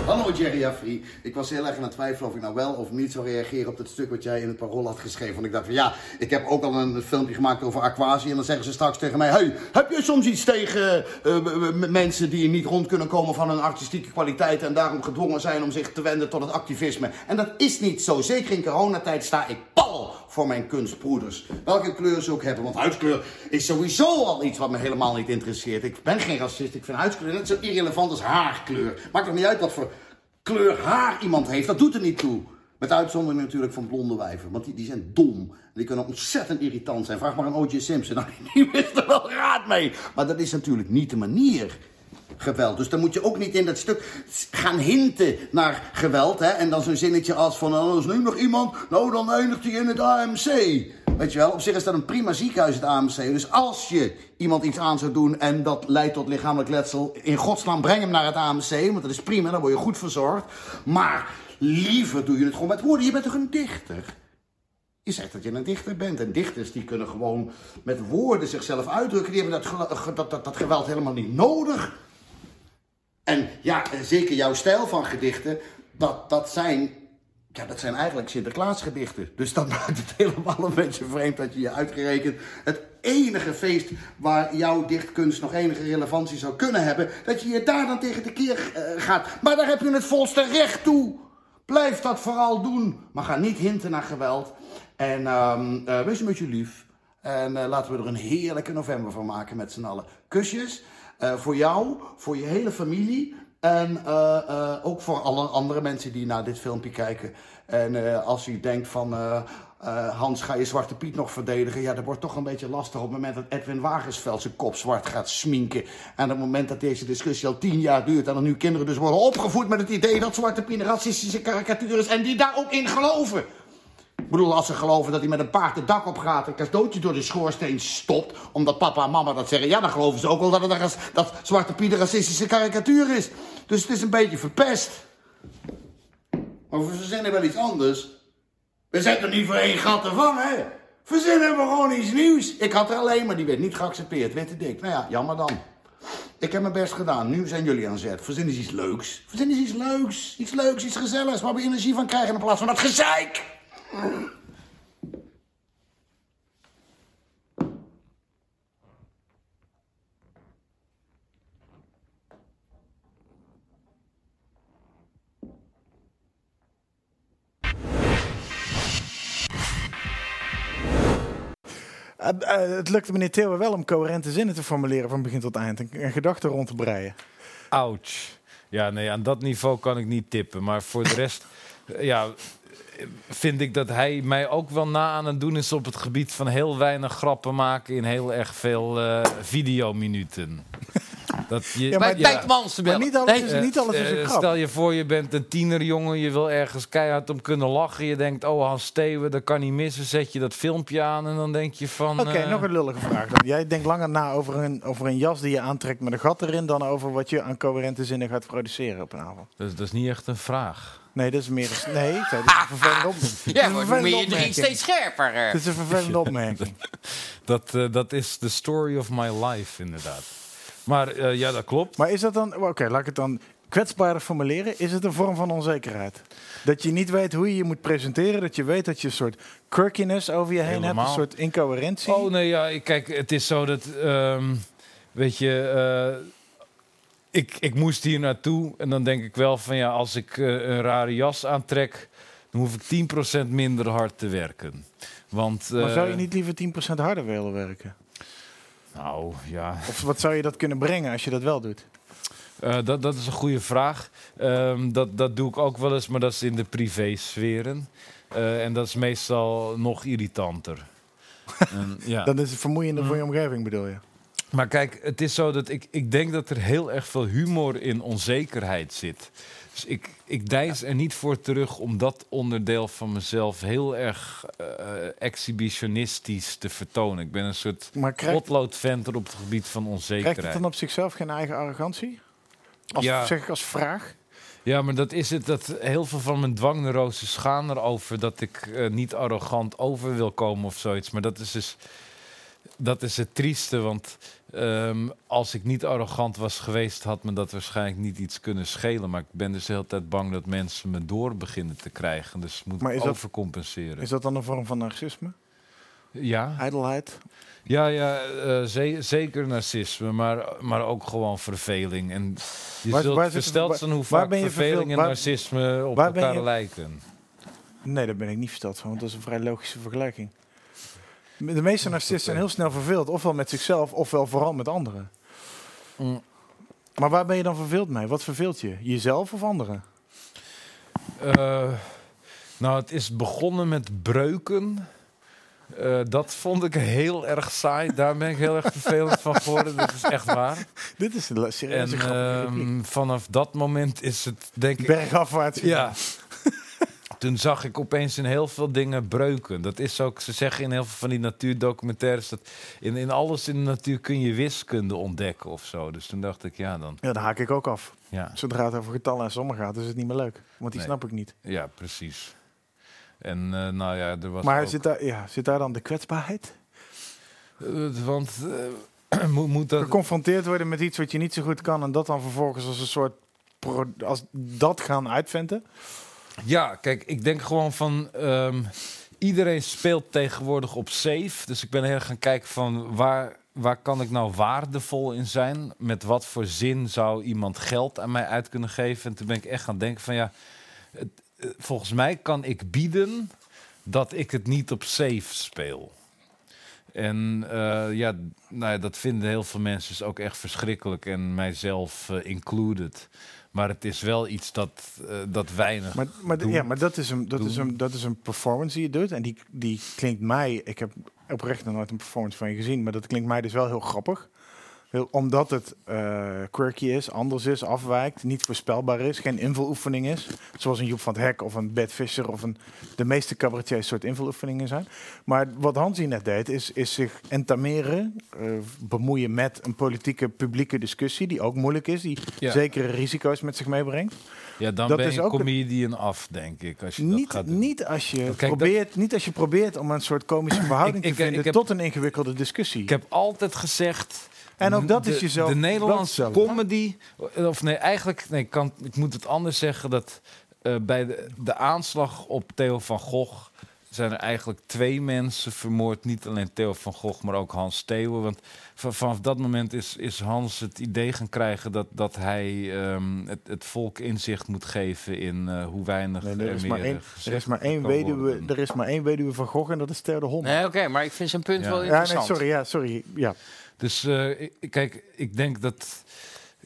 Hallo Jerry Afri. Ik was heel erg aan het twijfelen of ik nou wel of niet zou reageren op dat stuk wat jij in het parool had geschreven. Want ik dacht van ja, ik heb ook al een filmpje gemaakt over aquatie. En dan zeggen ze straks tegen mij: Hey, heb je soms iets tegen eh, m- m- mensen die niet rond kunnen komen van hun artistieke kwaliteit. en daarom gedwongen zijn om zich te wenden tot het activisme? En dat is niet zo. Zeker in coronatijd sta ik pal voor voor mijn kunstbroeders. Welke kleur ze ook hebben, want huidskleur is sowieso al iets wat me helemaal niet interesseert. Ik ben geen racist, ik vind huidskleur net zo irrelevant als haarkleur. Maakt er niet uit wat voor kleur haar iemand heeft, dat doet er niet toe. Met uitzondering natuurlijk van blonde wijven, want die, die zijn dom. Die kunnen ontzettend irritant zijn. Vraag maar aan O.J. Simpson, nou, die wist er wel raad mee. Maar dat is natuurlijk niet de manier geweld. Dus dan moet je ook niet in dat stuk s- gaan hinten naar geweld. Hè? En dan zo'n zinnetje als van, oh, is nu nog iemand? Nou, dan eindigt hij in het AMC. Weet je wel, op zich is dat een prima ziekenhuis, het AMC. Dus als je iemand iets aan zou doen en dat leidt tot lichamelijk letsel... in godsnaam breng hem naar het AMC, want dat is prima, dan word je goed verzorgd. Maar liever doe je het gewoon met woorden. Je bent toch een dichter? Je zegt dat je een dichter bent. En dichters die kunnen gewoon met woorden zichzelf uitdrukken. Die hebben dat, gel- ge- dat, dat, dat geweld helemaal niet nodig. En ja, eh, zeker jouw stijl van gedichten, dat, dat zijn. Ja, dat zijn eigenlijk Sinterklaasgedichten. Dus dan maakt het helemaal een beetje vreemd dat je je uitgerekend het enige feest waar jouw dichtkunst nog enige relevantie zou kunnen hebben, dat je je daar dan tegen de keer eh, gaat. Maar daar heb je het volste recht toe. Blijf dat vooral doen, maar ga niet hinten naar geweld. En ehm, eh, wees een beetje lief. En eh, laten we er een heerlijke november van maken met z'n allen. Kusjes eh, voor jou, voor je hele familie. En eh, eh, ook voor alle andere mensen die naar dit filmpje kijken. En eh, als u denkt van... eh, eh, Hans, ga je Zwarte Piet nog verdedigen? Ja, dat wordt toch een beetje lastig op het moment dat Edwin Wagensveld zijn kop zwart gaat sminken. En op het moment dat deze discussie al tien jaar duurt en dan nu kinderen dus worden opgevoed met het idee dat Zwarte Piet een racistische karikatuur is en die daar ook in geloven. Ik bedoel, als ze geloven dat hij met een paard het dak op gaat en cadeautje door de schoorsteen stopt, omdat papa en mama dat zeggen, ja, dan geloven ze ook wel dat, het een ras- dat Zwarte Piet een racistische karikatuur is. Dus het is een beetje verpest. Maar we verzinnen wel iets anders. We zijn er niet voor één gat te vangen. Verzinnen we gewoon iets nieuws. Ik had er alleen, maar die werd niet geaccepteerd. Witte dik. Nou ja, jammer dan. Ik heb mijn best gedaan. Nu zijn jullie aan zet. Verzin eens iets leuks. Verzin eens iets leuks. Iets leuks, iets gezelligs. Waar we energie van krijgen in plaats van dat gezeik. Eh, eh, het lukte meneer Theeuwen wel om coherente zinnen te formuleren van begin tot eind. En, en gedachten rond te breien. Ouch. Ja, nee, aan dat niveau kan ik niet tippen. Maar voor de rest, eh, ja, eh, vind ik dat hij mij ook wel na aan het doen is op het gebied van heel weinig grappen maken in heel erg veel eh, videominuten. Dat je, Bij Tijdt Mans te bellen. Maar niet alles is, Eh, niet alles is eh, een grap. Stel je voor, je bent een tienerjongen, je wil ergens keihard om kunnen lachen. Je denkt, oh Hans Steeuwen, dat kan niet missen. Zet je dat filmpje aan en dan denk je van... Oké, eh, nog een lullige vraag dan. Jij denkt langer na over een, over een jas die je aantrekt met een gat erin... dan over wat je aan coherente zinnen gaat produceren op een avond. dat, is- dat is niet echt een vraag. Nee, dat is meer een... Nee, ik zei, dat is een vervelende Ah, Ja, opmerking. Dat is een wordt vervelende nummer drie opmerking. steeds scherper. eh. Dat is een vervelende opmerking. Dat, eh, dat is the story of my life, inderdaad. Maar eh, ja, dat klopt. Maar is dat dan... Oké, laat ik het dan kwetsbaarder formuleren. Is het een vorm van onzekerheid? Dat je niet weet hoe je je moet presenteren. Dat je weet dat je een soort quirkiness over je heen hebt. Helemaal. Een soort incoherentie. Oh nee, ja, ik- kijk, het is zo dat. ehm, weet je. eh, ik, ik moest hier naartoe en dan denk ik wel van ja, als ik eh, een rare jas aantrek, dan hoef ik 10% minder hard te werken. Want. maar eh, zou je niet liever 10% harder willen werken? Nou ja, Of wat zou je dat kunnen brengen als je dat wel doet? eh, dat, dat is een goede vraag. Ehm, dat, dat doe ik ook wel eens, maar dat is in de privésferen. Eh en dat is meestal nog irritanter. En, ja. Dan is het vermoeiender Mm. voor je omgeving, bedoel je? Maar kijk, het is zo dat ik, ik denk dat er heel erg veel humor in onzekerheid zit. Dus ik, ik deins er niet voor terug om dat onderdeel van mezelf heel erg eh, exhibitionistisch te vertonen. Ik ben een soort Maar krijgt, potloodventer op het gebied van krijgt het onzekerheid. dan op zichzelf geen eigen arrogantie? Als, Ja. Zeg ik als vraag? Ja, maar dat is het. Dat heel veel van mijn dwangneuroses gaan erover dat ik eh, niet arrogant over wil komen of zoiets. Maar dat is dus. Dat is het trieste, want ehm, als ik niet arrogant was geweest, had me dat waarschijnlijk niet iets kunnen schelen. Maar ik ben dus de hele tijd bang dat mensen me door beginnen te krijgen. Dus moet Maar is ik dat- overcompenseren. Is dat dan een vorm van narcisme? Ja, Ijdelheid? ja, ja eh, ze- zeker narcisme, maar, maar ook gewoon verveling. En je Waar- zult waar zit- versteld waar- zijn hoe waar vaak ben je verveling verveeld? en Waar- narcisme op waar ben elkaar je- lijken. Nee, daar ben ik niet versteld van, want dat is een vrij logische vergelijking. De meeste narcisten zijn heel snel verveeld, ofwel met zichzelf, ofwel vooral met anderen. Mm. Maar waar ben je dan verveeld mee? Wat verveelt je? Jezelf of anderen? Eh, nou, het is begonnen met breuken. Eh, dat vond ik heel erg saai. Daar ben ik heel erg vervelend van geworden. Dat is echt waar. Dit is een En serieuze grappige ehm, repliek. vanaf dat moment is het, denk ik. Bergafwaarts. Ja. Toen zag ik opeens in heel veel dingen breuken. Dat is ook, ze zeggen in heel veel van die natuurdocumentaires... dat in, in alles in de natuur kun je wiskunde ontdekken of zo. Dus toen dacht ik, ja dan... Ja, daar haak ik ook af. Ja, Zodra het over getallen en sommen gaat, is het niet meer leuk. Want die Nee. snap ik niet. ja precies. En eh, nou ja, er was Maar ook- zit daar, ja, zit daar dan de kwetsbaarheid? Eh, want eh, moet, moet dat... Geconfronteerd worden met iets wat je niet zo goed kan... en dat dan vervolgens als een soort... pro- als dat gaan uitventen? Ja, kijk, ik denk gewoon van... ehm, iedereen speelt tegenwoordig op safe. Dus ik ben heel erg gaan kijken van waar, waar kan ik nou waardevol in zijn? Met wat voor zin zou iemand geld aan mij uit kunnen geven? En toen ben ik echt gaan denken van ja... het, eh, volgens mij kan ik bieden dat ik het niet op safe speel. En eh, ja, nou ja, dat vinden heel veel mensen dus ook echt verschrikkelijk. En mijzelf eh, included. Maar het is wel iets dat, eh, dat weinig Maar, maar, d- Doen. ja, maar dat, is een, dat, is Doen. een, dat is een performance die je doet. En die, die klinkt mij... Ik heb oprecht nog nooit een performance van je gezien. Maar dat klinkt mij dus wel heel grappig. Heel, omdat het eh, quirky is, anders is, afwijkt, niet voorspelbaar is, geen invuloefening is. Zoals een Joep van het Hek of een Bert Visser of een, de meeste cabaretiers soort invuloefeningen zijn. Maar wat Hans hier net deed, is, is zich entameren, eh, bemoeien met een politieke publieke discussie die ook moeilijk is, die Ja. zekere risico's met zich meebrengt. Ja, dan Dat ben is je ook een- comedian af, denk ik, als je dat Niet, gaat doen. niet, als je Kijk, dat- probeert, niet als je probeert om een soort komische verhouding Ik- ik- te vinden ik heb- tot een ingewikkelde discussie. Ik heb altijd gezegd... En ook dat de, is jezelf De Nederlandse blootstellen. comedy... Of nee, eigenlijk... Nee, ik kan, ik moet het anders zeggen. Dat eh, bij de, de aanslag op Theo van Gogh... zijn er eigenlijk twee mensen vermoord. Niet alleen Theo van Gogh, maar ook Hans Theeuwen. Want v- vanaf dat moment is, is Hans het idee gaan krijgen... dat, dat hij ehm, het, het volk inzicht moet geven in eh, hoe weinig Nee, er, er is maar meer één, er, gezegd is maar één kan eh, worden. weduwe, er is maar één weduwe van Gogh en dat is Theo de Hond. Nee, oké, maar ik vind zijn punt Ja. wel Ja, ja, interessant. nee, sorry, ja, sorry. Ja. Dus eh, ik- kijk, ik denk dat.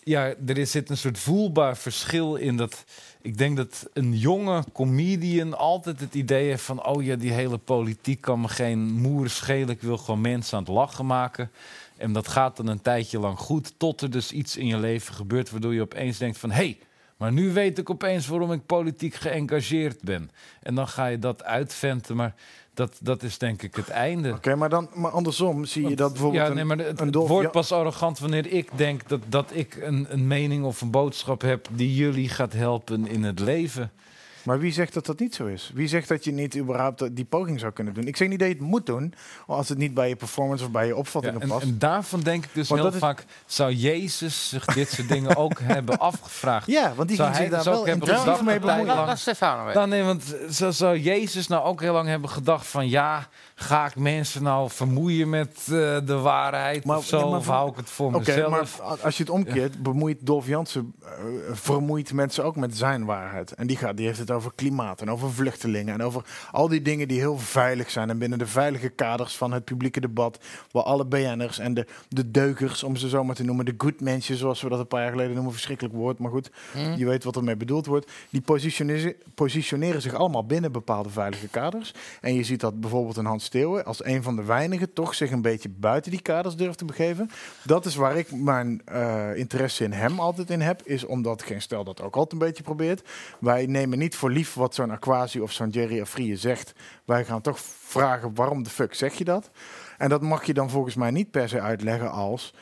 Ja, er is- zit een soort voelbaar verschil in dat. Ik denk dat een jonge comedian altijd het idee heeft van: oh ja, die hele politiek kan me geen moer schelen. Ik wil gewoon mensen aan het lachen maken. En dat gaat dan een tijdje lang goed, tot er dus iets in je leven gebeurt waardoor je opeens denkt van: hé, hey, maar nu weet ik opeens waarom ik politiek geëngageerd ben. En dan ga je dat uitventen, maar dat, dat is denk ik het einde. Oké, maar, dan, maar andersom zie je dat bijvoorbeeld Ja, nee, maar het, een het dolf- wordt ja. pas arrogant wanneer ik denk dat, dat ik een, een mening of een boodschap heb die jullie gaat helpen in het leven. een... Maar wie zegt dat dat niet zo is? Wie zegt dat je niet überhaupt eh, die poging zou kunnen doen? Ik zeg niet dat je het moet doen, als het niet bij je performance of bij je Ja, opvattingen en, past. en daarvan denk ik dus Want heel dat is- vaak, zou Jezus zich dit soort dingen ook hebben afgevraagd? ja, want die Zou hij ging zich daar dus ook wel hebben intensief gedacht mee dat hij bemoeien. lang- Laat Stefano weten. Nou, nee, want zo zou Jezus nou ook heel lang hebben gedacht van... ja, ga ik mensen nou vermoeien met eh, de waarheid Maar- of zo? ja, maar- of hou ik het voor Oké, mezelf? maar a- als je het omkeert, bemoeit Dolf Jansen, eh, vermoeit mensen ook met zijn waarheid. En die, gaat, die heeft het over klimaat en over vluchtelingen en over al die dingen die heel veilig zijn. En binnen de veilige kaders van het publieke debat, waar alle BN'ers en de, de deukers, om ze zo maar te noemen, de good mensen, zoals we dat een paar jaar geleden noemen, verschrikkelijk woord, maar goed, je weet wat ermee bedoeld wordt. Die positioneren, positioneren zich allemaal binnen bepaalde veilige kaders. En je ziet dat bijvoorbeeld een Hans Steeuwen als een van de weinigen toch zich een beetje buiten die kaders durft te begeven. Dat is waar ik mijn eh, interesse in hem altijd in heb, is omdat geen stel dat ook altijd een beetje probeert. Wij nemen niet voor lief wat zo'n Aquasi of zo'n Jerry Afrië zegt. Wij gaan toch vragen waarom de fuck zeg je dat? En dat mag je dan volgens mij niet per se uitleggen als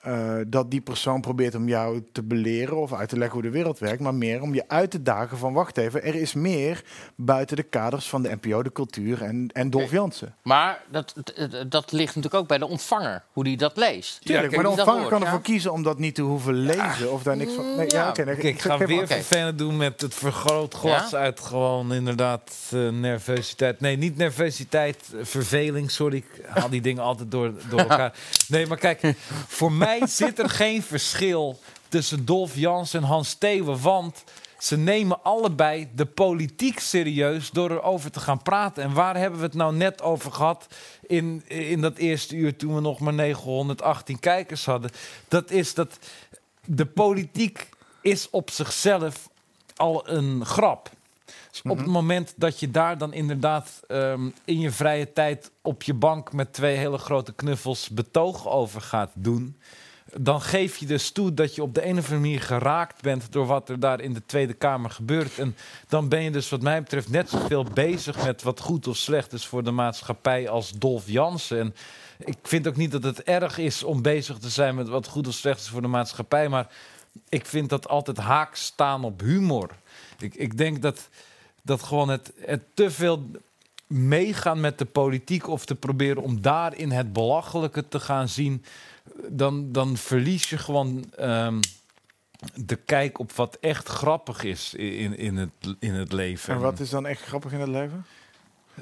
eh, dat die persoon probeert om jou te beleren of uit te leggen hoe de wereld werkt, maar meer om je uit te dagen van wacht even, er is meer buiten de kaders van de NPO, de cultuur en, en Dolf Oké. Jansen. Maar dat, dat- dat ligt natuurlijk ook bij de ontvanger, hoe die dat leest. Tuurlijk, kijk, hoe maar de die dat ontvanger hoort, kan ja. ervoor kiezen om dat niet te hoeven lezen of daar niks van... Nee, ja, ja. oké, nee, Kijk, ik ik- ga geef weer maar- Oké. vervelend doen met het vergrootglas Ja? uit gewoon inderdaad eh, nervositeit. Nee, niet nervositeit, eh, verveling, sorry. Ik haal die dingen altijd door, door elkaar. Nee, maar kijk, voor mij zit er geen verschil tussen Dolf Jans en Hans Theeuwen, want... Ze nemen allebei de politiek serieus door erover te gaan praten. En waar hebben we het nou net over gehad in, in dat eerste uur toen we nog maar 918 kijkers hadden? Dat is dat de politiek is op zichzelf al een grap. Dus op het moment dat je daar dan inderdaad ehm, in je vrije tijd op je bank met twee hele grote knuffels betoog over gaat doen, dan geef je dus toe dat je op de een of andere manier geraakt bent door wat er daar in de Tweede Kamer gebeurt. En dan ben je dus wat mij betreft net zoveel bezig met wat goed of slecht is voor de maatschappij als Dolf Jansen. En ik vind ook niet dat het erg is om bezig te zijn met wat goed of slecht is voor de maatschappij, maar ik vind dat altijd haak staan op humor. Ik, ik denk dat, dat gewoon het, het te veel meegaan met de politiek of te proberen om daarin het belachelijke te gaan zien, dan, dan verlies je gewoon ehm, de kijk op wat echt grappig is i- in, in, het, in het leven. En wat is dan echt grappig in het leven?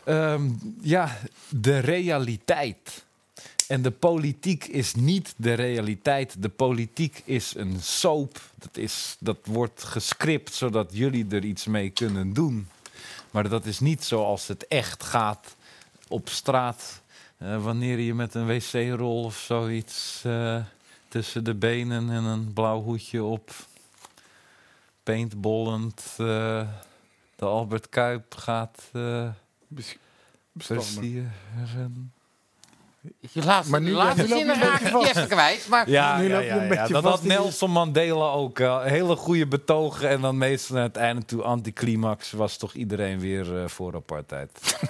Ehm, ja, de realiteit. En de politiek is niet de realiteit. De politiek is een soap. Dat, is, dat wordt gescript zodat jullie er iets mee kunnen doen. Maar dat is niet zoals het echt gaat op straat. eh, wanneer je met een wc-rol of zoiets eh, tussen de benen en een blauw hoedje op. paintballend eh, de Albert Kuip gaat. eh, Bes- bestormen. Versieren. Je laatste, Maar nu- de laatste nu loop je zin een beetje raak ik vast. die even kwijt. Maar Ja, Nu ja, loop je ja, een ja. beetje dat vast had in die- Nelson Mandela ook. eh, hele goede betogen en dan meestal aan het einde toe anticlimax was toch iedereen weer eh, voor apartheid.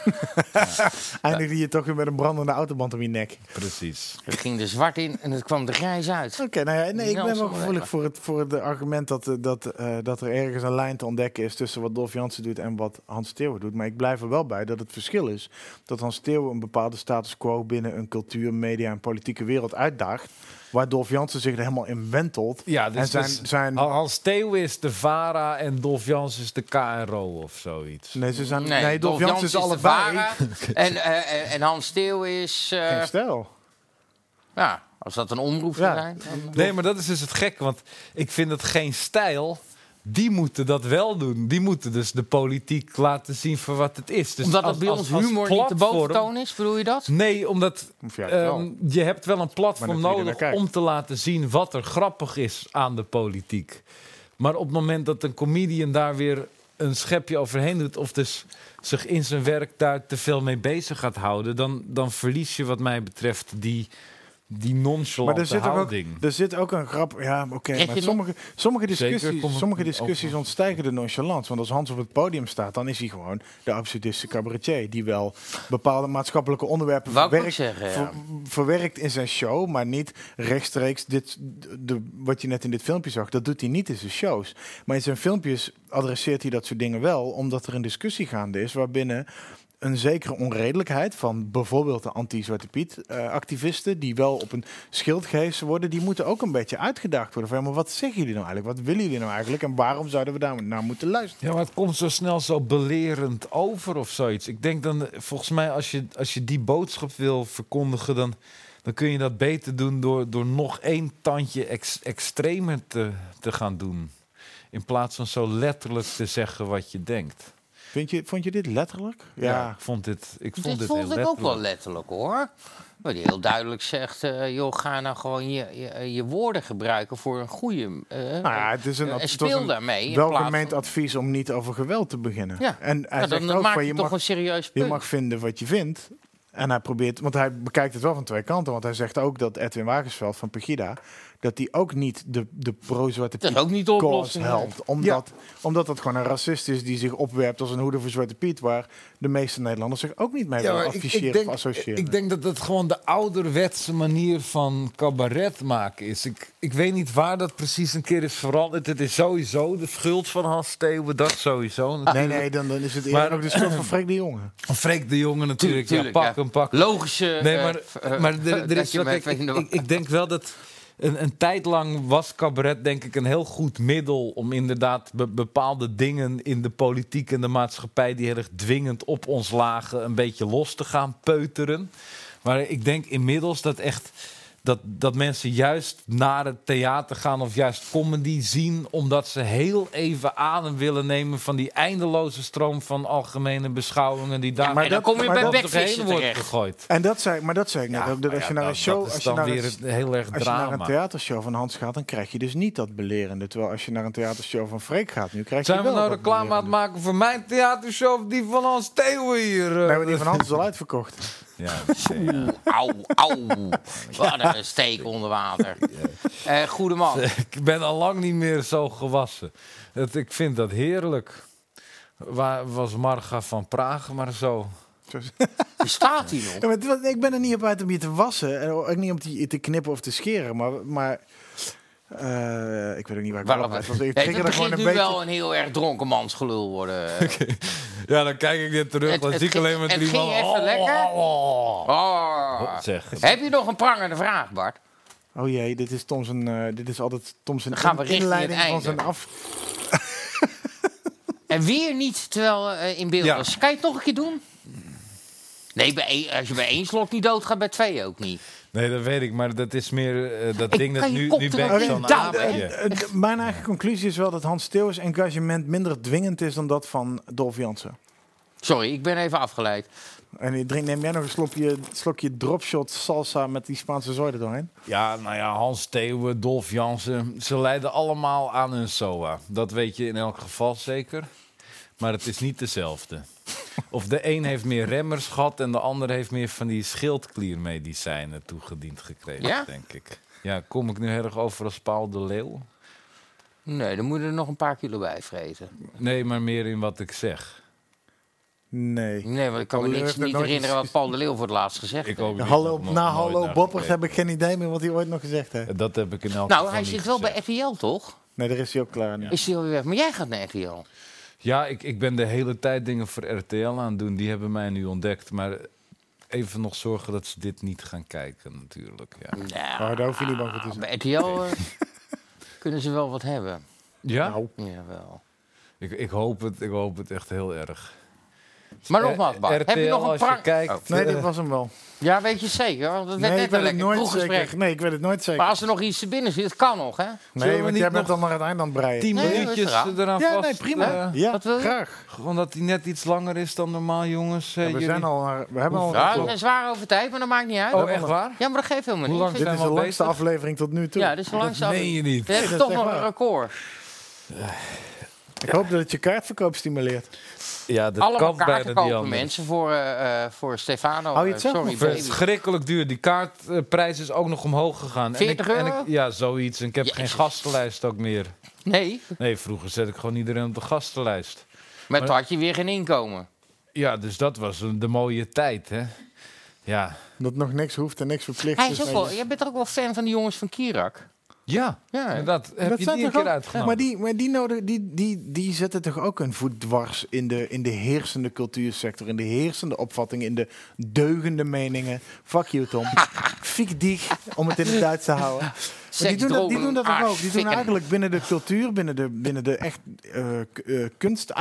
Eindigde je toch weer met een brandende autoband om je nek. Precies. het ging de zwart in en het kwam de grijs uit. Oké, nou ja, nee, ik ben Nelson wel Mandela. gevoelig voor het, voor het argument dat, eh, dat, eh, dat er ergens een lijn te ontdekken is tussen wat Dolf Jansen doet en wat Hans Theeuwen doet. Maar ik blijf er wel bij dat het verschil is dat Hans Theeuwen een bepaalde status quo binnen een cultuur, media en politieke wereld uitdaagt. Waar Dolf Jansen zich er helemaal in wentelt. Ja, dus, en zijn, dus zijn, Al- Hans Theo is de VARA en Dolf Jans is de KRO of zoiets. nee, ze zijn, nee, Nee, Dolf Jansen is de allebei. Vara en, eh, eh, en Hans Teeuw is... eh, Geen stel. ja, als dat een omroep zou Ja. zijn. dan- eh. Nee, maar dat is dus het gekke, want ik vind dat geen stijl. Die moeten dat wel doen. Die moeten dus de politiek laten zien voor wat het is. Dus Omdat als- dat bij als- ons als humor niet de platform- boventoon is, bedoel je dat? Nee, omdat Of juist ehm, wel. je hebt wel een Maar platform dat iedereen nodig kijkt. om te laten zien wat er grappig is aan de politiek. Maar op het moment dat een comedian daar weer een schepje overheen doet, of dus zich in zijn werk daar te veel mee bezig gaat houden, dan, dan verlies je, wat mij betreft, die, die Maar nonchalante er zit, toch ook, houding. er zit ook een grap. Ja, oké. Krijg maar je sommige, sommige Zeker, discussies, kom op- sommige discussies ontstijgen de nonchalance. Want als Hans op het podium staat, dan is hij gewoon de absurdistische cabaretier. Die wel bepaalde maatschappelijke onderwerpen Wou ik ook verwerkt, zeggen, ja. ver- verwerkt in zijn show. Maar niet rechtstreeks dit, de, wat je net in dit filmpje zag. Dat doet hij niet in zijn shows. Maar in zijn filmpjes adresseert hij dat soort dingen wel. Omdat er een discussie gaande is waarbinnen een zekere onredelijkheid van bijvoorbeeld de anti-Zwarte Piet-activisten, die wel op een schild gehezen worden, die moeten ook een beetje uitgedaagd worden. Van, ja, maar wat zeggen jullie nou eigenlijk? Wat willen jullie nou eigenlijk? En waarom zouden we daar nou naar moeten luisteren? Ja, maar het komt zo snel zo belerend over of zoiets. Ik denk dan, eh, volgens mij, als je, als je die boodschap wil verkondigen, dan, dan kun je dat beter doen door, door nog één tandje ex- extremer te, te gaan doen. In plaats van zo letterlijk te zeggen wat je denkt. Vind je, vond je dit letterlijk? Ja. ik vond dit, ik vond dit, Dit heel vond ik letterlijk. ook wel letterlijk hoor. Waar die heel duidelijk zegt, eh, joh, ga nou gewoon je, je, je woorden gebruiken voor een goede... eh, Nou ja, het is een, eh, en het was speel een daarmee. in plaats van- welgemeend advies om niet over geweld te beginnen. Ja. En hij Ja, zegt dan ook maak van, je je toch mag een serieus Je punt. mag vinden wat je vindt. En hij probeert, want hij bekijkt het wel van twee kanten. Want hij zegt ook dat Edwin Wagensveld van Pegida. dat die ook niet de, de pro-zwarte Dat is Piet ook niet de cause oplossing, nee. helpt. Omdat, omdat dat gewoon een racist is die zich opwerpt als een hoede voor Zwarte Piet. waar de meeste Nederlanders zich ook niet mee willen maar afficheren of associëren. Ik denk dat dat gewoon de ouderwetse manier van cabaret maken is. Ik, ik weet niet waar dat precies een keer is veranderd. Het is sowieso de schuld van Hans Theeuwen, dat sowieso. nee, nee, dan, dan is het eerder Maar- ook de schuld van Freek de Jonge. Freek de Jonge natuurlijk. Tuurlijk, ja, ja. pak hem, pak hem. Logische... Nee, eh, maar, eh, maar er, er dat is je wel, hem kijk, even in ik, de ik, ik denk wel dat een, een tijd lang was cabaret denk ik een heel goed middel om inderdaad be- bepaalde dingen in de politiek en de maatschappij die heel erg dwingend op ons lagen een beetje los te gaan peuteren. Maar ik denk inmiddels dat echt dat, dat mensen juist naar het theater gaan of juist comedy zien, omdat ze heel even adem willen nemen van die eindeloze stroom van algemene beschouwingen die daar maar En dan dat- kom je maar bij dat- zich heen backfishen wordt terecht. gegooid. En dat zei, maar dat zei ik net ook. Dat maar als je ja, naar Nou, een Nou, dat- show, dat is als je dan naar weer een, het heel erg als je naar een drama. theatershow van Hans gaat, dan krijg je dus niet dat belerende. Terwijl als je naar een theatershow van Freek gaat, nu krijg Zijn je we wel nou dat reclame aan het belerende. maken voor mijn theatershow of die van ons Theo hier? eh? Nee, maar die van Hans is al uitverkocht. Ja, dat is- ja. Auw, auw. Wat een steek onder water. Eh goede man. ik ben al lang niet meer zo gewassen. Het, ik vind dat heerlijk. Waar was Marga van Praag maar zo? Wie staat hier nog? Ja, maar het was- ik ben er niet op uit om je te wassen. En ook niet om die te knippen of te scheren. Maar, maar eh, ik weet ook niet waar ik wel Waarom? op uit was. Ik Nee, trigger het er gewoon begint een nu beetje... wel een heel erg dronkenmansgelul worden. Ja, dan kijk ik weer terug. Het- Dan het zie ik ging- alleen maar het drie ging man. even Oh, lekker. oh, oh. Oh. Zeg. Heb je nog een prangende vraag, Bart? Oh jee, dit is Tom zijn, eh, dit is altijd Tom zijn Dan gaan we in- richting het inleiding van zijn einde. af. En weer niet, terwijl eh, in beeld Ja. was. Kan je het nog een keer doen? Nee, bij één- als je bij één slot niet doodgaat, bij twee ook niet. Nee, dat weet ik, maar dat is meer eh, dat Ik ding dat kan je nu, kop nu er ben ook ik in zo'n douwen, hè? aapje. Eh, d- Mijn eigen conclusie is wel dat Hans Theeuw's engagement minder dwingend is dan dat van Dolf Jansen. Sorry, ik ben even afgeleid. En je drinkt, neem jij nog een slokje, slokje dropshot salsa met die Spaanse zooi er doorheen? Ja, nou ja, Hans Theeuwen, Dolf Jansen. Ze lijden allemaal aan hun SOA. Dat weet je in elk geval zeker. Maar het is niet dezelfde. Of de een heeft meer remmers gehad en de ander heeft meer van die schildkliermedicijnen toegediend gekregen, Ja? denk ik. Ja, kom ik nu erg over als Paul de Leeuw? Nee, dan moet je er nog een paar kilo bij vreten. Nee, maar meer in wat ik zeg. Nee. Nee, want ik kan me Oh, Paul de Leeuw niks, heeft dat niet nooit herinneren eens- wat Paul de Leeuw voor het laatst gezegd Ik heeft. ook niet, hallo, nog- nog na nooit Hallo naar Boppert gekeken. heb ik geen idee meer wat hij ooit nog gezegd heeft. Dat heb ik in elk Nou, geval hij niet zit wel gezegd. bij RTL, toch? Nee, daar is hij ook klaar. nu. Is hij alweer weg? Maar jij gaat naar RTL. Ja, ik, ik ben de hele tijd dingen voor RTL aan het doen. Die hebben mij nu ontdekt. Maar even nog zorgen dat ze dit niet gaan kijken, natuurlijk. Ja, Nou, daar hoef je niet bang voor te zijn. Bij RTL eh, kunnen ze wel wat hebben. ja? Nou. Jawel. Ik, ik, hoop het, ik hoop het echt heel erg. Eh, Maar nogmaals, Bart, heb je RTL, nog een als je prang... kijkt, Oh. Nee, eh, dit was hem wel. Ja, weet je het zeker? Want het werd Nee, ik net weet een het lekker nooit kroeggesprek. zeker. Nee, ik weet het nooit Maar zeker. als er nog iets te binnen zit, het kan nog, hè? Zullen Nee, we want niet jij bent nog- dan maar het eind aan het breien. tien Nee, dat is minuutjes raar. eraan Ja, vast. nee, prima. eh, Ja, Wat wil je? graag. gewoon dat die net iets langer is dan normaal, jongens. eh, Ja, we, jullie- zijn al, eh, we hebben al Ja, een we zijn zwaar over tijd, maar dat maakt niet uit. Oh, echt waar? Ja, maar dat geeft helemaal Hoe niet. lang Dit zijn is we de al langste bezig? aflevering tot nu toe. Ja, dus- dit is langzaam. meen je niet. We hebben Nee, dat toch is nog echt een waar. record. Ik hoop dat het je kaartverkoop stimuleert. Ja, dat Allemaal kan bijna kaarten niet kopen anders. mensen voor, eh, eh, voor Stefano. Hou je het eh, zelf Sorry, nog baby. Verschrikkelijk duur. Die kaartprijs is ook nog omhoog gegaan. 40 en ik, En euro? ik, ja, zoiets. En ik heb geen Jezus. gastenlijst ook meer. Nee, Nee, vroeger zet ik gewoon iedereen op de gastenlijst. maar toen had je weer geen inkomen. Ja, dus dat was een- de mooie tijd, hè? Ja. Dat nog niks hoeft en niks verplicht Hij is ook wel, Nee, jij bent ook wel fan van die jongens van Kirak. Ja, Ja, inderdaad. Heb dat je zijn die een toch keer ook- uitgenomen? Maar, die, maar die, nodig, die, die, die zetten toch ook een voet dwars in de, in de heersende cultuursector, in de heersende opvattingen, in de deugende meningen. Fuck you, Tom. Fiek dich, om het in het Duits te houden. Maar die, Seks, doen dat, die drogen, doen dat Ah, toch ook. Die doen aardfikken. eigenlijk binnen de cultuur, binnen de, binnen de echt eh, k- eh,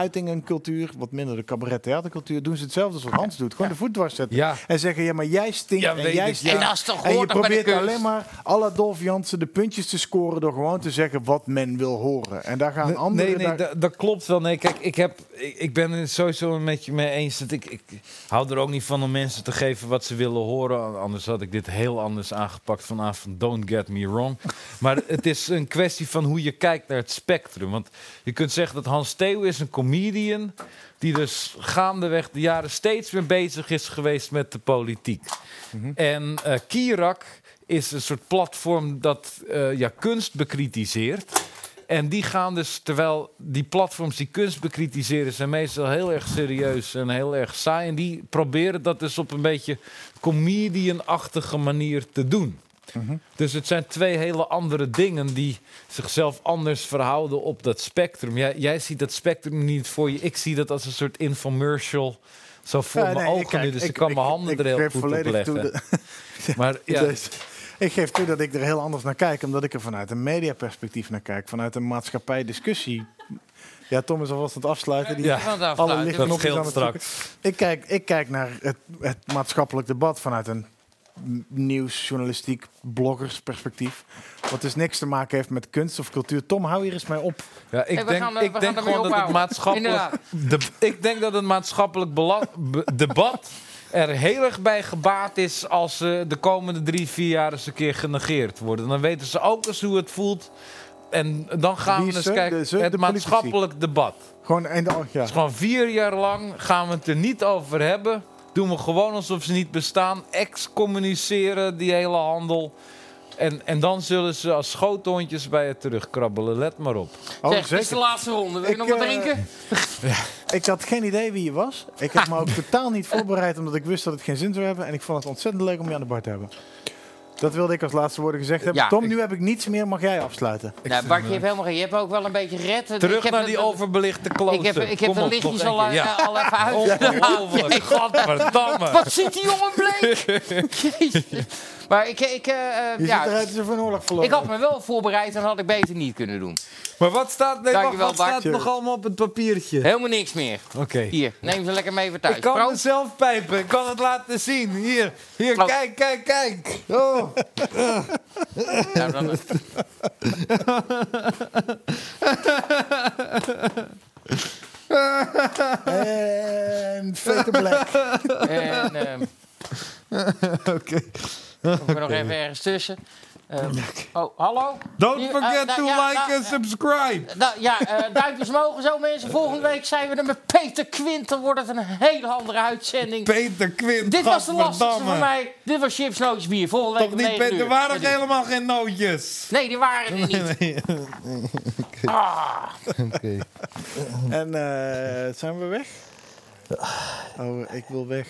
kunstuitingencultuur, wat minder de cabaret-theatercultuur, doen ze hetzelfde als wat Hans doet. Gewoon de voet dwars zetten. Ja. En zeggen, ja, maar jij stinkt Ja, en weet jij ik. stinkt. En dat is toch- en je hoort toch bij de probeert kunst? alleen maar maar alle Dolf Jansen de puntjes te scoren door gewoon te zeggen wat men wil horen. En daar gaan Nee, anderen... nee, nee, daar- dat, dat klopt wel. Nee, kijk, ik, heb, ik, ik ben het sowieso een beetje mee eens. Dat ik, ik hou er ook niet van om mensen te geven wat ze willen horen. Anders had ik dit heel anders aangepakt vanavond. Don't get me wrong. Maar het is een kwestie van hoe je kijkt naar het spectrum. Want je kunt zeggen dat Hans Theo is een comedian... die dus gaandeweg de jaren steeds meer bezig is geweest met de politiek. Mhm. En eh Kirak is een soort platform dat eh, ja, kunst bekritiseert... En die gaan dus, terwijl die platforms die kunst bekritiseren, zijn meestal heel erg serieus en heel erg saai. En die proberen dat dus op een beetje comedian-achtige manier te doen. Dus het zijn twee hele andere dingen die zichzelf anders verhouden op dat spectrum. Jij, jij ziet dat spectrum niet voor je. Ik zie dat als een soort infomercial. Zo voor Ja, mijn nee, ogen kijk, nu, dus ik, kan mijn handen er heel geef goed op leggen. toe dat- Maar ja, Dus, ik geef toe dat ik er heel anders naar kijk, omdat ik er vanuit een mediaperspectief naar kijk. Vanuit een maatschappij-discussie. Ja, Tom is alvast aan het afsluiten. Die Ja, Ik wil daar alle vanuit. lichtknopjes dat aan scheelt het straks. Ik kijk, ik kijk naar het, het maatschappelijk debat vanuit een nieuwsjournalistiek, bloggersperspectief. Wat dus niks te maken heeft met kunst of cultuur. Tom, hou hier eens mee op. Ja, ik Hey, we denk, gaan, eh, we ik gaan denk ermee gewoon dat het ophouden. maatschappelijk, de- ik denk dat het maatschappelijk bela- be- debat er heel erg bij gebaat is als ze de komende drie, vier jaar eens een keer genegeerd worden. Dan weten ze ook eens hoe het voelt. En dan gaan Wie we eens ze? kijken, De- ze? het De politici? maatschappelijk debat. Gewoon en de, oh, ja. Dus gewoon vier jaar lang gaan we het er niet over hebben. Doen we gewoon alsof ze niet bestaan. Excommuniceren die hele handel. En, en dan zullen ze als schoothondjes bij je terugkrabbelen. Let maar op. Oh, zeg, dit is de laatste ronde. Wil je Ik, nog wat eh, drinken? Ik had geen idee wie je was. Ik heb me ook totaal niet voorbereid, omdat ik wist dat het geen zin zou hebben. En ik vond het ontzettend leuk om je aan de bar te hebben. Dat wilde ik als laatste woorden gezegd hebben. Ja, Tom, nu heb ik niets meer. Mag jij afsluiten? Nou, Bart, je hebt helemaal geen. Je hebt ook wel een beetje red. Terug naar die overbelichte Ik heb, ik heb Kom de op, lichtjes nog al, één keer. eh, Ja. Oh, al even uit. Ongelooflijk, godverdamme. Wat zit die jongen bleek? Jezus. maar ik, ik, eh, eh, Je ja, ziet eruit als een van oorlog verloren. ik had me wel voorbereid en had ik beter niet kunnen doen. Maar wat staat, nee, Dankjewel, wacht, wat Bart. staat nog allemaal op het papiertje? Helemaal niks meer. Oké. Hier, neem ze lekker mee voor thuis. Ik kan Proost. mezelf pijpen. Ik kan het laten zien. Hier, hier Proost. kijk, kijk, kijk. Oh. Nou, dan, eh, En Fate Black. en, ehm, Oké. Kom er nog even ergens tussen. Eh, oh, hallo? Don't Hier, forget eh, to nou, ja, like nou, and subscribe. nou, ja, eh, duimpjes mogen zo, mensen. Volgende week zijn we er met Peter Quint. Dan wordt het een hele andere uitzending. Peter Quint, Dit was de lastigste godverdamme. voor mij. Dit was chips, nootjes, bier. Volgende week Toch om niet, negen Peter, uur. er waren helemaal geen nootjes. Nee, die waren er niet. Ah. Ah. En eh, zijn we weg? Oh, ik wil weg.